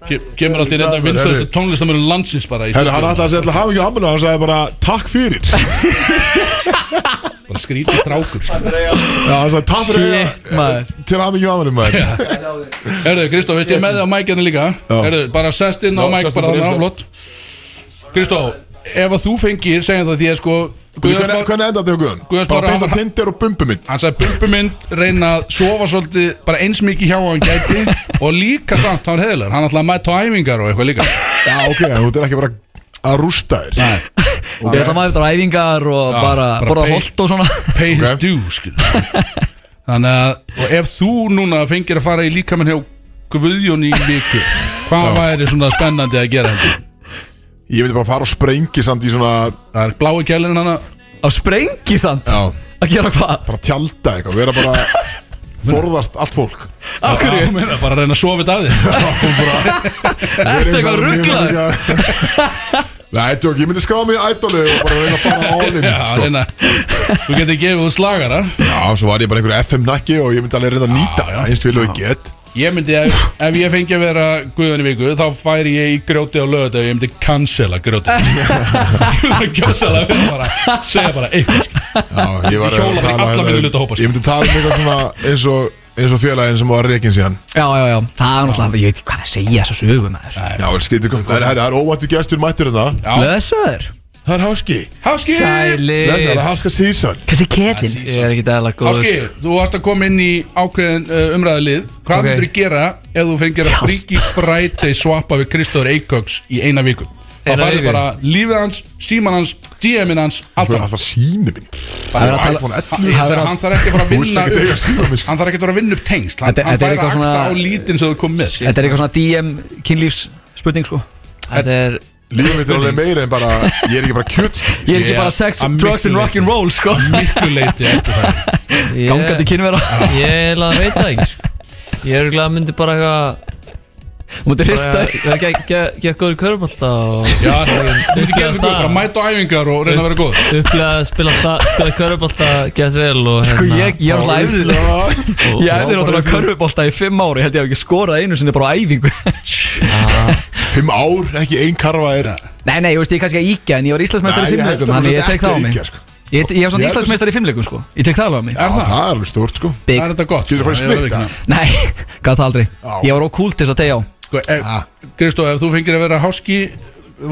[SPEAKER 4] Ke- Kemur alltaf í reynda vinstæðustu tónlistamöru landsins bara í
[SPEAKER 2] Herru, hann ætlaði að segja alltaf hafa ekki ámælu Hann sagði bara takk fyrir Já,
[SPEAKER 4] Bara skrítið strákur sko.
[SPEAKER 2] hann sagði takk fyrir
[SPEAKER 5] Shit, maður.
[SPEAKER 2] eh, Til hafa ekki ámælu maður
[SPEAKER 4] Herðu, Kristó, veist ég er með þig á mæk hérna líka Herðu, bara sest inn á
[SPEAKER 2] Já,
[SPEAKER 4] mæk
[SPEAKER 2] sestu
[SPEAKER 4] bara
[SPEAKER 2] bara
[SPEAKER 4] þannig
[SPEAKER 2] inn.
[SPEAKER 4] áflott Kristó, ef að þú fengir segjum það því að sko Guðjón
[SPEAKER 2] Hvernig
[SPEAKER 4] Már-
[SPEAKER 2] hvernig endaði þetta hjá
[SPEAKER 4] Guðjón
[SPEAKER 2] Guðun?
[SPEAKER 4] Smári,
[SPEAKER 2] Bara
[SPEAKER 4] hann
[SPEAKER 2] beint á
[SPEAKER 4] var-
[SPEAKER 2] tindir og bumbu mitt
[SPEAKER 4] Hann sagði bumbumind, reyna að sofa svolítið bara eins mikið hjá hann gæti og líka samt hann heðilegur, hann ætlaði að mæta á æfingar og eitthvað líka
[SPEAKER 2] Já, ok, en þú er ekki bara að rústa þér
[SPEAKER 5] Ég ætla maður eftir á æfingar og
[SPEAKER 4] Já,
[SPEAKER 5] bara
[SPEAKER 4] bara
[SPEAKER 5] borða
[SPEAKER 4] pay-
[SPEAKER 5] holt og svona
[SPEAKER 4] Pay his
[SPEAKER 2] Ok.
[SPEAKER 4] due, skil Þannig að, og ef þú núna fengir að fara í líkamann hjá Guðjón í viku hvað væri svona spennandi að gera hendur?
[SPEAKER 2] Ég vil bara fara og sprengi samt í svona
[SPEAKER 4] Það er blái kjælinn hana
[SPEAKER 5] Á sprengistand
[SPEAKER 2] Já,
[SPEAKER 5] Að gera hvað?
[SPEAKER 2] bara tjálta eitthvað Vera bara forðast allt fólk
[SPEAKER 5] Af hverju?
[SPEAKER 4] Já, meina, bara að reyna að sofa þetta að þér
[SPEAKER 5] Ertu eitthvað rugglaður?
[SPEAKER 2] Nei, tjók, ég myndi skrá mig í ædoli og bara reyna að fara álinn
[SPEAKER 4] Já,
[SPEAKER 2] sko.
[SPEAKER 4] reyna Þú getur gefið út slagara
[SPEAKER 2] Já, svo var ég bara einhver FM nakki og ég myndi alveg reyna að nýta það eins vil og ég get
[SPEAKER 4] Ég myndi, ef, ef ég fengi að vera guðan í viku Þá færi ég í grjóti á lögut Ég myndi cancela grjóti Ég myndi cancela Ég myndi bara segja bara eitthvað sko.
[SPEAKER 2] Já, ég var um-
[SPEAKER 4] Ég hjóla bara í alla mínu hluta hópa, sko.
[SPEAKER 2] Ég myndi tala um eitthvað svona eins og, eins og félagin sem var reikin síðan
[SPEAKER 5] Já, já, já Það er náttúrulega, ég veit ekki hvað að segja þessu sögum maður
[SPEAKER 2] Já, vel skytið kom Það er- það er óvæntu gestur mættur en það
[SPEAKER 4] Já. Eh.
[SPEAKER 5] Blöðsöður
[SPEAKER 2] Það er Háski
[SPEAKER 4] Háski
[SPEAKER 2] Það er
[SPEAKER 5] Sælir
[SPEAKER 2] Háska season
[SPEAKER 5] Þessi kettin
[SPEAKER 4] Ég
[SPEAKER 5] Ég er ekki dæla góð
[SPEAKER 4] Háski, þú varst að koma inn í ákveðin uh, umræðalið Hvað
[SPEAKER 5] Ok.
[SPEAKER 4] okay. myndur gera ef þú fengir að fríki bræti svappa við Kristóður Eikóks í eina viku Þá
[SPEAKER 5] Eina
[SPEAKER 4] færðu
[SPEAKER 5] viku.
[SPEAKER 4] bara lífið hans, síman hans, DM-in hans, allt
[SPEAKER 2] Það er
[SPEAKER 4] saman
[SPEAKER 2] alltaf sími minn
[SPEAKER 5] Það er að
[SPEAKER 2] Það er
[SPEAKER 5] tala-
[SPEAKER 2] iPhone
[SPEAKER 4] Hann- ég
[SPEAKER 2] 11
[SPEAKER 4] sagði, Hann þarf ekki að fara að
[SPEAKER 2] Þú veist
[SPEAKER 4] vinna
[SPEAKER 2] ekki eiga síma minn
[SPEAKER 4] upp
[SPEAKER 2] sko.
[SPEAKER 4] Hann þarf ekki að fara að vinna upp tengsl Hann,
[SPEAKER 5] Þetta-
[SPEAKER 4] hann fær
[SPEAKER 5] þetta er
[SPEAKER 4] að akta
[SPEAKER 5] eitthvað svona-
[SPEAKER 4] á lítinn sem þú kom með
[SPEAKER 5] Þetta er eitthvað svona DM kynlífs spurning sko
[SPEAKER 6] Þetta er
[SPEAKER 2] Lífið mitt er alveg meira en bara Ég er ekki bara kjöt sko.
[SPEAKER 5] Ég er ekki
[SPEAKER 4] Ég-
[SPEAKER 5] bara sex,
[SPEAKER 4] að
[SPEAKER 5] drugs
[SPEAKER 4] miklu
[SPEAKER 5] and rock'n'roll sko
[SPEAKER 4] miklu leiti eftir það
[SPEAKER 6] ég-
[SPEAKER 5] Gangandi kynvera
[SPEAKER 6] Ég er eiginlega að veita það ekki sko. Ég er eiginlega að myndi bara eitthvað
[SPEAKER 5] Múti hrista
[SPEAKER 6] bara-
[SPEAKER 5] þig.
[SPEAKER 6] Ég er ekki að gera góður körmallta og
[SPEAKER 4] Já, þú veit ekki að það bara mæta á æfingar og reyna að vera góð
[SPEAKER 6] upplega að spila, það- spila körmallta gett vel og hérna,
[SPEAKER 5] Sko
[SPEAKER 2] Hérna,
[SPEAKER 5] ég, ég æfði æfði Ég æfði
[SPEAKER 2] Já, bara
[SPEAKER 5] náttúrulega körfubólta í fimm ári Held ég hef ekki skorað einu sinni bara á æfingu
[SPEAKER 2] Fimm ár, ekki ein karfa er
[SPEAKER 5] Nei, nei, ég veist ég er kannski að íkja En ég var Íslandsmeistar í
[SPEAKER 2] Nei, ég held
[SPEAKER 5] fimmleikum
[SPEAKER 2] að
[SPEAKER 5] Þannig
[SPEAKER 2] þú
[SPEAKER 5] ég
[SPEAKER 2] sért
[SPEAKER 5] tek það á
[SPEAKER 2] ekki að
[SPEAKER 5] mig
[SPEAKER 2] ýkja, sko.
[SPEAKER 5] Ég ég var
[SPEAKER 2] Ég
[SPEAKER 5] svona
[SPEAKER 2] held að-
[SPEAKER 5] Íslandsmeistar í fimmleikum sko Ég tek það alveg á mig
[SPEAKER 4] Er
[SPEAKER 2] Já,
[SPEAKER 4] það?
[SPEAKER 2] Það er alveg stórt sko
[SPEAKER 5] Big
[SPEAKER 4] Það er þetta gott
[SPEAKER 2] Getur farið í
[SPEAKER 4] sko, ég verð
[SPEAKER 2] smit,
[SPEAKER 4] að viðurkenna.
[SPEAKER 5] Nei, gaf það aldrei Ég var ókúl til þess að tegja á
[SPEAKER 4] Sko,
[SPEAKER 2] Ah.
[SPEAKER 4] ef- Kristó, ef þú fengir að vera háski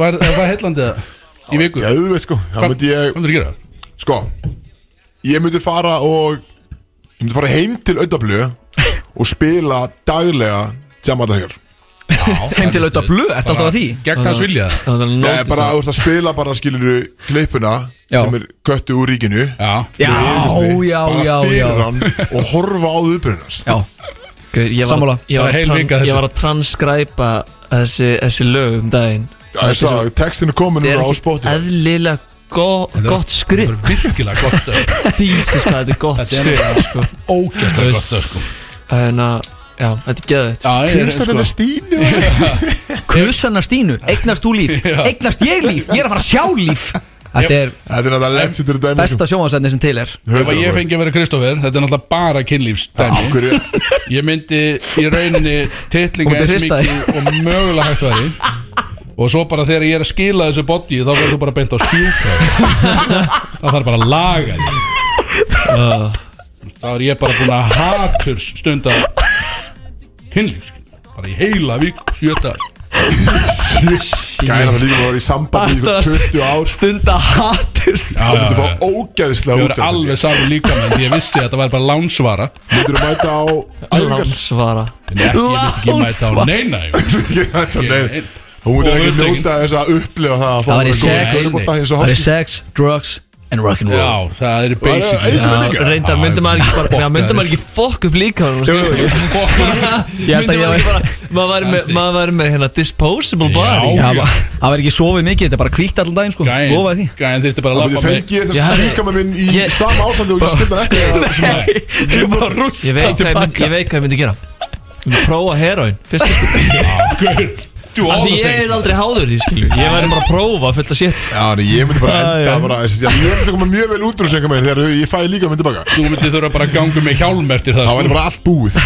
[SPEAKER 4] var, er það heillandi það í viku?
[SPEAKER 2] Geðveit sko Það
[SPEAKER 4] Hvað
[SPEAKER 2] myndi ég
[SPEAKER 4] myndir þú gera?
[SPEAKER 2] Sko Ég myndi fara og Ég myndi fara heim til Öddablu Og spila daglega Jamadahjör
[SPEAKER 5] Heim til auðvitað blöð, ertu alltaf að því?
[SPEAKER 4] Gegn hans vilja
[SPEAKER 2] Ég er bara þú veist, að spila bara skilur klippuna
[SPEAKER 5] Já.
[SPEAKER 2] Sem er köttu úr ríkinu
[SPEAKER 4] Já,
[SPEAKER 5] Já,
[SPEAKER 2] Einu sinni,
[SPEAKER 5] já,
[SPEAKER 2] bara
[SPEAKER 5] já, já
[SPEAKER 2] fyrir hann og horfa á viðbrunast
[SPEAKER 5] Já,
[SPEAKER 6] Gaur, ég var,
[SPEAKER 5] Sammála.
[SPEAKER 6] ég
[SPEAKER 4] Það
[SPEAKER 6] var,
[SPEAKER 4] er heil
[SPEAKER 6] tran,
[SPEAKER 4] vika þessu.
[SPEAKER 6] ég var að transkræpa þessi, þessi lög um daginn
[SPEAKER 2] Þess textin er komin
[SPEAKER 6] Það er
[SPEAKER 2] núna á
[SPEAKER 6] ekki
[SPEAKER 2] spotið
[SPEAKER 6] eðlilega go, gott skrif
[SPEAKER 4] það er virkilega gott öf.
[SPEAKER 6] Jesus hvað þetta er gott
[SPEAKER 4] Þetta er
[SPEAKER 6] skrif sko.
[SPEAKER 4] Ógæslega gott öf, sko
[SPEAKER 6] en að, Hérna, já, þetta er sko. geðvægt
[SPEAKER 4] Já, ég- sko,
[SPEAKER 2] Kristar hennar Stínu
[SPEAKER 5] Kusanna Stínu, eignast þú líf Eignast ég líf, ég er að fara að sjá líf Þetta er
[SPEAKER 2] Þetta er náttúrulega legendary dæmi sko.
[SPEAKER 5] besta sjónvarsætni sem til er
[SPEAKER 4] Ef að ég fengi að vera Kristófer, þetta er náttúrulega bara kynlífsdæmi
[SPEAKER 2] Hverju
[SPEAKER 4] Ég myndi í rauninni titlinga
[SPEAKER 5] Þú myndir
[SPEAKER 4] eins
[SPEAKER 5] hrista
[SPEAKER 4] mikið og mögulega hægt væri Og svo bara þegar ég er að skila þessu boddi þá verður þú bara beint á sjúka Það þarf bara að laga því Þá er ég bara búin að haturs stunda kynlíf skilur. Bara í heila vík, sjöta
[SPEAKER 2] Gæra það líka var í sambandi í ykkur
[SPEAKER 5] Aftast.
[SPEAKER 2] 20 ár
[SPEAKER 5] Stunda hattur
[SPEAKER 4] Já,
[SPEAKER 2] Það myndi
[SPEAKER 4] já,
[SPEAKER 2] fá
[SPEAKER 4] já. Ég
[SPEAKER 2] ógæðislega
[SPEAKER 4] verður alveg sko-
[SPEAKER 2] út
[SPEAKER 4] saman líka með því ég vissi að þetta væri bara lánsvara
[SPEAKER 2] Myndir þú mæta á æfingar
[SPEAKER 6] Lánsvara
[SPEAKER 4] En ekki, ég myndi ekki mæta á neina ég-
[SPEAKER 2] Þetta er
[SPEAKER 4] Ég-
[SPEAKER 2] neður Hún myndir
[SPEAKER 4] Og
[SPEAKER 2] ekki
[SPEAKER 4] öldungin.
[SPEAKER 2] njóta þess að upplifa það að fá
[SPEAKER 5] Það væri
[SPEAKER 2] að vera
[SPEAKER 5] sex.
[SPEAKER 2] góð körfubolta eins og
[SPEAKER 5] Það er
[SPEAKER 2] háski.
[SPEAKER 5] sex, drugs and rock'n'roll
[SPEAKER 4] Já, það eru
[SPEAKER 2] er
[SPEAKER 4] basically
[SPEAKER 2] eitrun líka.
[SPEAKER 6] reynda
[SPEAKER 4] Já,
[SPEAKER 6] myndi maður ekki bara já, myndi
[SPEAKER 4] fokkaður.
[SPEAKER 6] maður ekki fokk upp líka sko.
[SPEAKER 5] Ég held að ég
[SPEAKER 6] myndi maður
[SPEAKER 5] var
[SPEAKER 6] ekki bara maður væri með, maður væri með hérna disposable body
[SPEAKER 4] Já,
[SPEAKER 5] Já, ma- Það var ekki sofið mikið, þetta er bara kvítt allan daginn sko
[SPEAKER 4] Gæn,
[SPEAKER 5] Lofaði því
[SPEAKER 4] gæn þurfti bara að
[SPEAKER 2] Það myndi
[SPEAKER 4] labba með
[SPEAKER 2] fengi þess
[SPEAKER 6] Ég-
[SPEAKER 2] að líka með minn í
[SPEAKER 6] Ég-
[SPEAKER 2] sama ástandi og ég skilna ekki að-
[SPEAKER 5] Ég er bara rústa
[SPEAKER 6] ég veit hvað ég myndi, ég veit hvað ég myndi gera Ég myndi prófa heroin fyrst af
[SPEAKER 4] Gaur, do all
[SPEAKER 6] því
[SPEAKER 4] the
[SPEAKER 6] ég
[SPEAKER 4] things
[SPEAKER 6] er aldrei háður því skilju ég væri bara að prófa fullt að sétt
[SPEAKER 2] Já, en ég myndi bara enda bara þessi- Ég myndi koma mjög vel út úr þessu einhvern veginn Þegar ég fæ líka myndi baka
[SPEAKER 4] Þú myndir þurfa bara að ganga með hjálm eftir það
[SPEAKER 2] Það væri
[SPEAKER 4] sko.
[SPEAKER 2] bara allt búið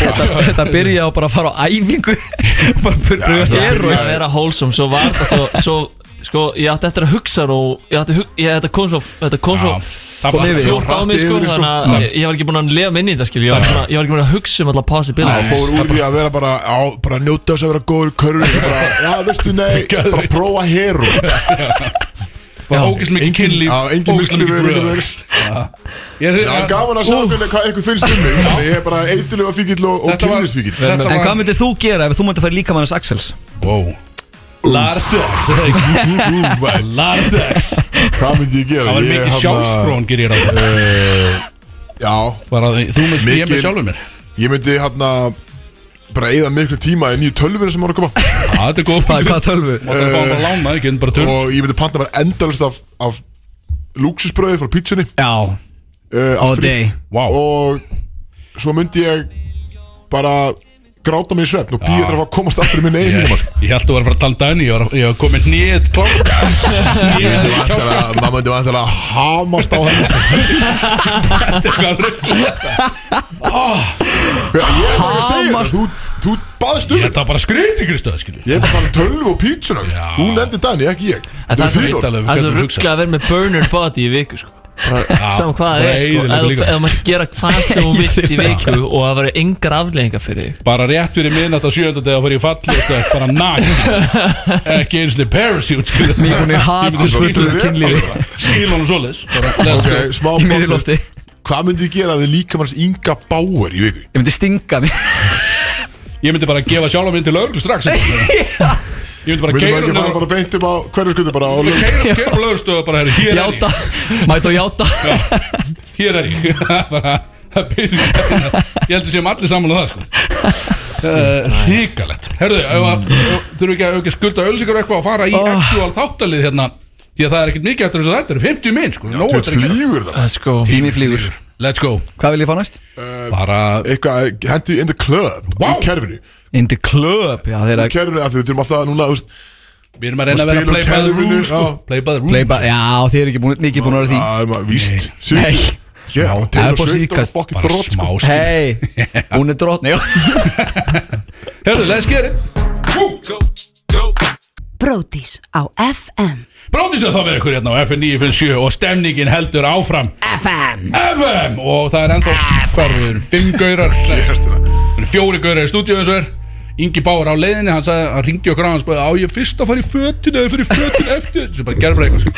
[SPEAKER 5] Þetta byrja á bara að fara á æfingu Bara byrja
[SPEAKER 2] það
[SPEAKER 5] að
[SPEAKER 2] er-
[SPEAKER 6] að vera wholesome svo var það svo, svo sko ég átti eftir að hugsa nú ég átti hug, ég, þetta kom svo þetta kom svo
[SPEAKER 4] Já, Það var
[SPEAKER 5] yfir.
[SPEAKER 4] alltaf
[SPEAKER 6] fljótt á
[SPEAKER 2] hratt
[SPEAKER 6] mig sko
[SPEAKER 2] yfir, sko.
[SPEAKER 6] þannig að ég, ég var ekki búin að lifa minni í þetta skilju ég var ekki búinn að- ég var ekki búin að hugsa um alla
[SPEAKER 2] Það
[SPEAKER 6] possibilities
[SPEAKER 2] fór úr því að vera bara á, bara njóta þess að vera góður í körfu bara, já, veistu, nei,
[SPEAKER 4] Geðveikt.
[SPEAKER 2] bara prófa heru
[SPEAKER 4] bara ógæslega mikið
[SPEAKER 2] engin,
[SPEAKER 4] kynlíf
[SPEAKER 2] á, engin
[SPEAKER 4] ógeðslega
[SPEAKER 2] myndlífur,
[SPEAKER 4] mikið
[SPEAKER 2] engin
[SPEAKER 4] bröð.
[SPEAKER 2] verks
[SPEAKER 4] Ég er-
[SPEAKER 2] það er sko. gaman að sjá hvernig hvað eitthvað finnst um mig Þannig ég er bara eitulega fíkil og, og
[SPEAKER 4] Þetta var-
[SPEAKER 2] kynlisfíkil
[SPEAKER 4] Þetta
[SPEAKER 5] En hvað
[SPEAKER 4] var
[SPEAKER 5] myndir þú gera ef þú myndir fara líka manns Axels?
[SPEAKER 4] Wow. Lars X Lars X
[SPEAKER 2] hvað myndi ég gera
[SPEAKER 4] Það var
[SPEAKER 2] Ég
[SPEAKER 4] mikið
[SPEAKER 2] hafna-
[SPEAKER 4] sjálfsfrón gerir ég ráð
[SPEAKER 2] já,
[SPEAKER 4] Bara því- Þú myndir ég með
[SPEAKER 2] Mikil-
[SPEAKER 4] sjálfur mér
[SPEAKER 2] ég myndi hérna bara eigða miklu tíma í nýju tölvinu sem var að koma
[SPEAKER 4] Já, Þetta er góð
[SPEAKER 5] Hvað, hvað tölvu?
[SPEAKER 4] Máttu að fá hann bara lána ekki en bara törn
[SPEAKER 2] og ég myndi panta bara endalust af, af lúksusbröði frá pítsunni
[SPEAKER 5] Já,
[SPEAKER 2] uh,
[SPEAKER 5] all
[SPEAKER 2] allt frítt.
[SPEAKER 5] day
[SPEAKER 4] Vá.
[SPEAKER 2] og svo myndi ég bara gráta mig í svefn og býja
[SPEAKER 4] Já.
[SPEAKER 2] þér að fá að komast aftur í minni
[SPEAKER 4] Ég,
[SPEAKER 2] eigin
[SPEAKER 4] ég held að þú var að fara að tala um Dani Ég var, að- ég var komið nýð klátt Ég veit
[SPEAKER 2] maður myndi vantilega að hamast á henni
[SPEAKER 4] hvað ruggl
[SPEAKER 2] Ég er bara að segja það, þú, þú baðst um
[SPEAKER 4] Ég
[SPEAKER 2] þetta
[SPEAKER 4] ætla bara að skreyti Kristóð skilju
[SPEAKER 2] Ég er bara að fara tölvu og pítsuna
[SPEAKER 4] Já.
[SPEAKER 2] Þú nefndi Dani, ekki ég
[SPEAKER 6] En
[SPEAKER 2] Þau
[SPEAKER 6] það er
[SPEAKER 2] þín
[SPEAKER 6] svo-
[SPEAKER 2] orð.
[SPEAKER 6] það
[SPEAKER 4] alveg
[SPEAKER 6] er svo
[SPEAKER 4] hvernig þú
[SPEAKER 6] ruggla
[SPEAKER 4] hugsar.
[SPEAKER 6] að vera með burner body í viku sko. bara saman hvað
[SPEAKER 4] bara
[SPEAKER 6] það er sko. eða
[SPEAKER 4] eyðileggur
[SPEAKER 6] þú-
[SPEAKER 4] líka.
[SPEAKER 6] eða þú mátt gera hvað sem þú vilt í viku og það verður engar afleggingar fyrir þig
[SPEAKER 4] Bara rétt fyrir minnat á sjönda deg að fara í falli Þetta er bara næg Ekki einu sinni parachute skilju
[SPEAKER 5] Mér er búin í hatursfullu kynlífi
[SPEAKER 4] Skil honum svoleiðis Bara, let's
[SPEAKER 2] Ok,
[SPEAKER 4] go.
[SPEAKER 2] smá
[SPEAKER 5] Í miðurlofti Ég
[SPEAKER 2] Hvað myndi ég gera við líkamanns Inga Bauer í viku?
[SPEAKER 5] myndi stinga mig
[SPEAKER 4] Ég myndi bara að gefa sjálf minn til lögreglu strax Ég myndi bara að
[SPEAKER 2] Myndi
[SPEAKER 4] keira
[SPEAKER 2] maður ekki fara
[SPEAKER 4] um
[SPEAKER 2] bara beint upp á hverju skutu bara á lög
[SPEAKER 4] Keira um lögreglu og bara "Herri, hér er ég
[SPEAKER 5] Játa Mæta og játa
[SPEAKER 4] Já, hér er ég bara það byrja ég heldur sem allir saman á það sko. uh, hrikalegt herðu, ef að- ef- þurfum við ekki að, ef ekki að skulda ölsingar eitthvað og fara í oh. actual þáttalið hérna því að það er ekkert mikið eftir þess að þetta eru 50 minn sko, nóg
[SPEAKER 2] Þú
[SPEAKER 4] eftir að gera.
[SPEAKER 2] flýgur það
[SPEAKER 6] Það er sko
[SPEAKER 5] Tími flýgur
[SPEAKER 4] let's go
[SPEAKER 5] Hvað vil ég fá næst?
[SPEAKER 4] bara
[SPEAKER 2] Eitthvað, hendi in the club
[SPEAKER 4] Vá.
[SPEAKER 2] Í kerfinu Í
[SPEAKER 5] In the club Já þeir að
[SPEAKER 2] kerfinu, af því við þurfum alltaf núna þú veist,
[SPEAKER 4] við erum að reyna að vera
[SPEAKER 2] Spila
[SPEAKER 4] play by the
[SPEAKER 2] kerfinu,
[SPEAKER 4] rules sko.
[SPEAKER 2] já.
[SPEAKER 4] play by the rules
[SPEAKER 5] Leipa Já þeir eru ekki búin Mikið búin að vera því
[SPEAKER 2] Það er maður víst
[SPEAKER 5] Nei.
[SPEAKER 2] Sýtt Já,
[SPEAKER 5] Smá- Það er
[SPEAKER 2] Taylor
[SPEAKER 5] bara
[SPEAKER 2] Swift og
[SPEAKER 5] síðkast.
[SPEAKER 2] fokkin
[SPEAKER 4] bara
[SPEAKER 2] þrótt
[SPEAKER 4] smá
[SPEAKER 2] sko
[SPEAKER 4] skil
[SPEAKER 5] Hei Hún er drotni
[SPEAKER 4] herðu, let's get it
[SPEAKER 7] Bróðís á FM
[SPEAKER 4] Bróðis að það verður ykkur hérna á FN 957 og stemningin heldur áfram
[SPEAKER 7] FM
[SPEAKER 4] FM og það er ennþá þar við erum fimm gaurar
[SPEAKER 2] Gerst þetta.
[SPEAKER 4] Það eru fjóri gaurar í stúdíu eins og er Ingi Báur á leiðinni, hann sagði, hann ringdi okkur á hann spöði, á ég fyrst að fara í fötinu eða fyrir fötinu eftir þessu bara gerði bara eitthvað sko.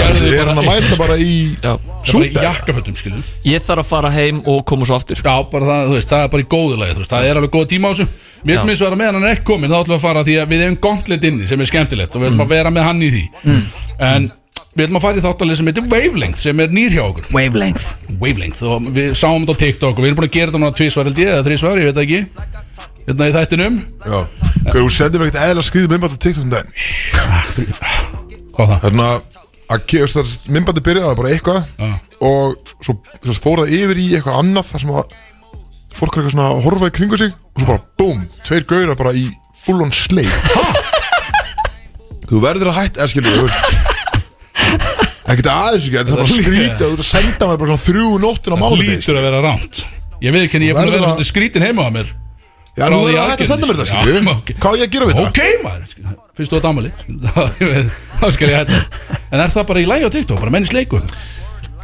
[SPEAKER 4] Gerðu
[SPEAKER 2] Við erum hérna að
[SPEAKER 4] bara
[SPEAKER 2] mæta bara í
[SPEAKER 6] Já.
[SPEAKER 4] bara í
[SPEAKER 2] Súper.
[SPEAKER 4] jakkafötum skilur Já,
[SPEAKER 6] Ég þarf að fara heim og koma svo aftur
[SPEAKER 4] bara það, þú veist, það er bara í góðu lagi þú veist, það er alveg góða tíma á þessu Við ætlum eins og vera með hann er ekki komin, þá ætlum við að fara því að við hefum gauntlet inni sem er skemmtilegt og við
[SPEAKER 2] Mm.
[SPEAKER 4] ætlum að vera með hann í því En við ætlum að fara í þáttalið sem heitir Wavelength sem er nýr hjá okkur
[SPEAKER 5] Wavelength
[SPEAKER 4] Wavelength og við sáum þetta á TikTok og við erum búin að gera þetta núna tvísvar held ég eða þrísvar, ég veit það ekki hérna í þættinum
[SPEAKER 2] Já Hvað, þú sendir mér ekkert eðla skriðið minnbætt á TikTok um daginn
[SPEAKER 4] hvað það?
[SPEAKER 2] Þarna að kefast þar minnbætti byrjaði bara eitthvað
[SPEAKER 4] Já.
[SPEAKER 2] og svo, svo fór það yfir í eitthvað annað þar sem að fólk er eitthvað svona að horfa í kringu sig og svo bara búm, tveir gauðra bara í full on sleik þú verður að hætta eða skilur þú veist ekkert aðeins ekki, þetta er bara
[SPEAKER 4] Þetta er
[SPEAKER 2] skrítið þú ert að senda mér bara svona þrjú nóttin á mánuði
[SPEAKER 4] lítur að vera rámt ég veit ekki, ég er búin að
[SPEAKER 2] sko. Verður
[SPEAKER 4] vera
[SPEAKER 2] að-
[SPEAKER 4] svolítið skrítin heima á mér
[SPEAKER 2] já,
[SPEAKER 4] frá
[SPEAKER 2] nú
[SPEAKER 4] því
[SPEAKER 2] er að hætta að senda mér þetta
[SPEAKER 4] aðgerðinni,
[SPEAKER 2] skilur
[SPEAKER 4] já, ok.
[SPEAKER 2] hvað á ég að gera við
[SPEAKER 4] ok maður, skilur, finnst þú að damali þá skal ég hætta en er það bara í lægi á TikTok, bara mennis leiku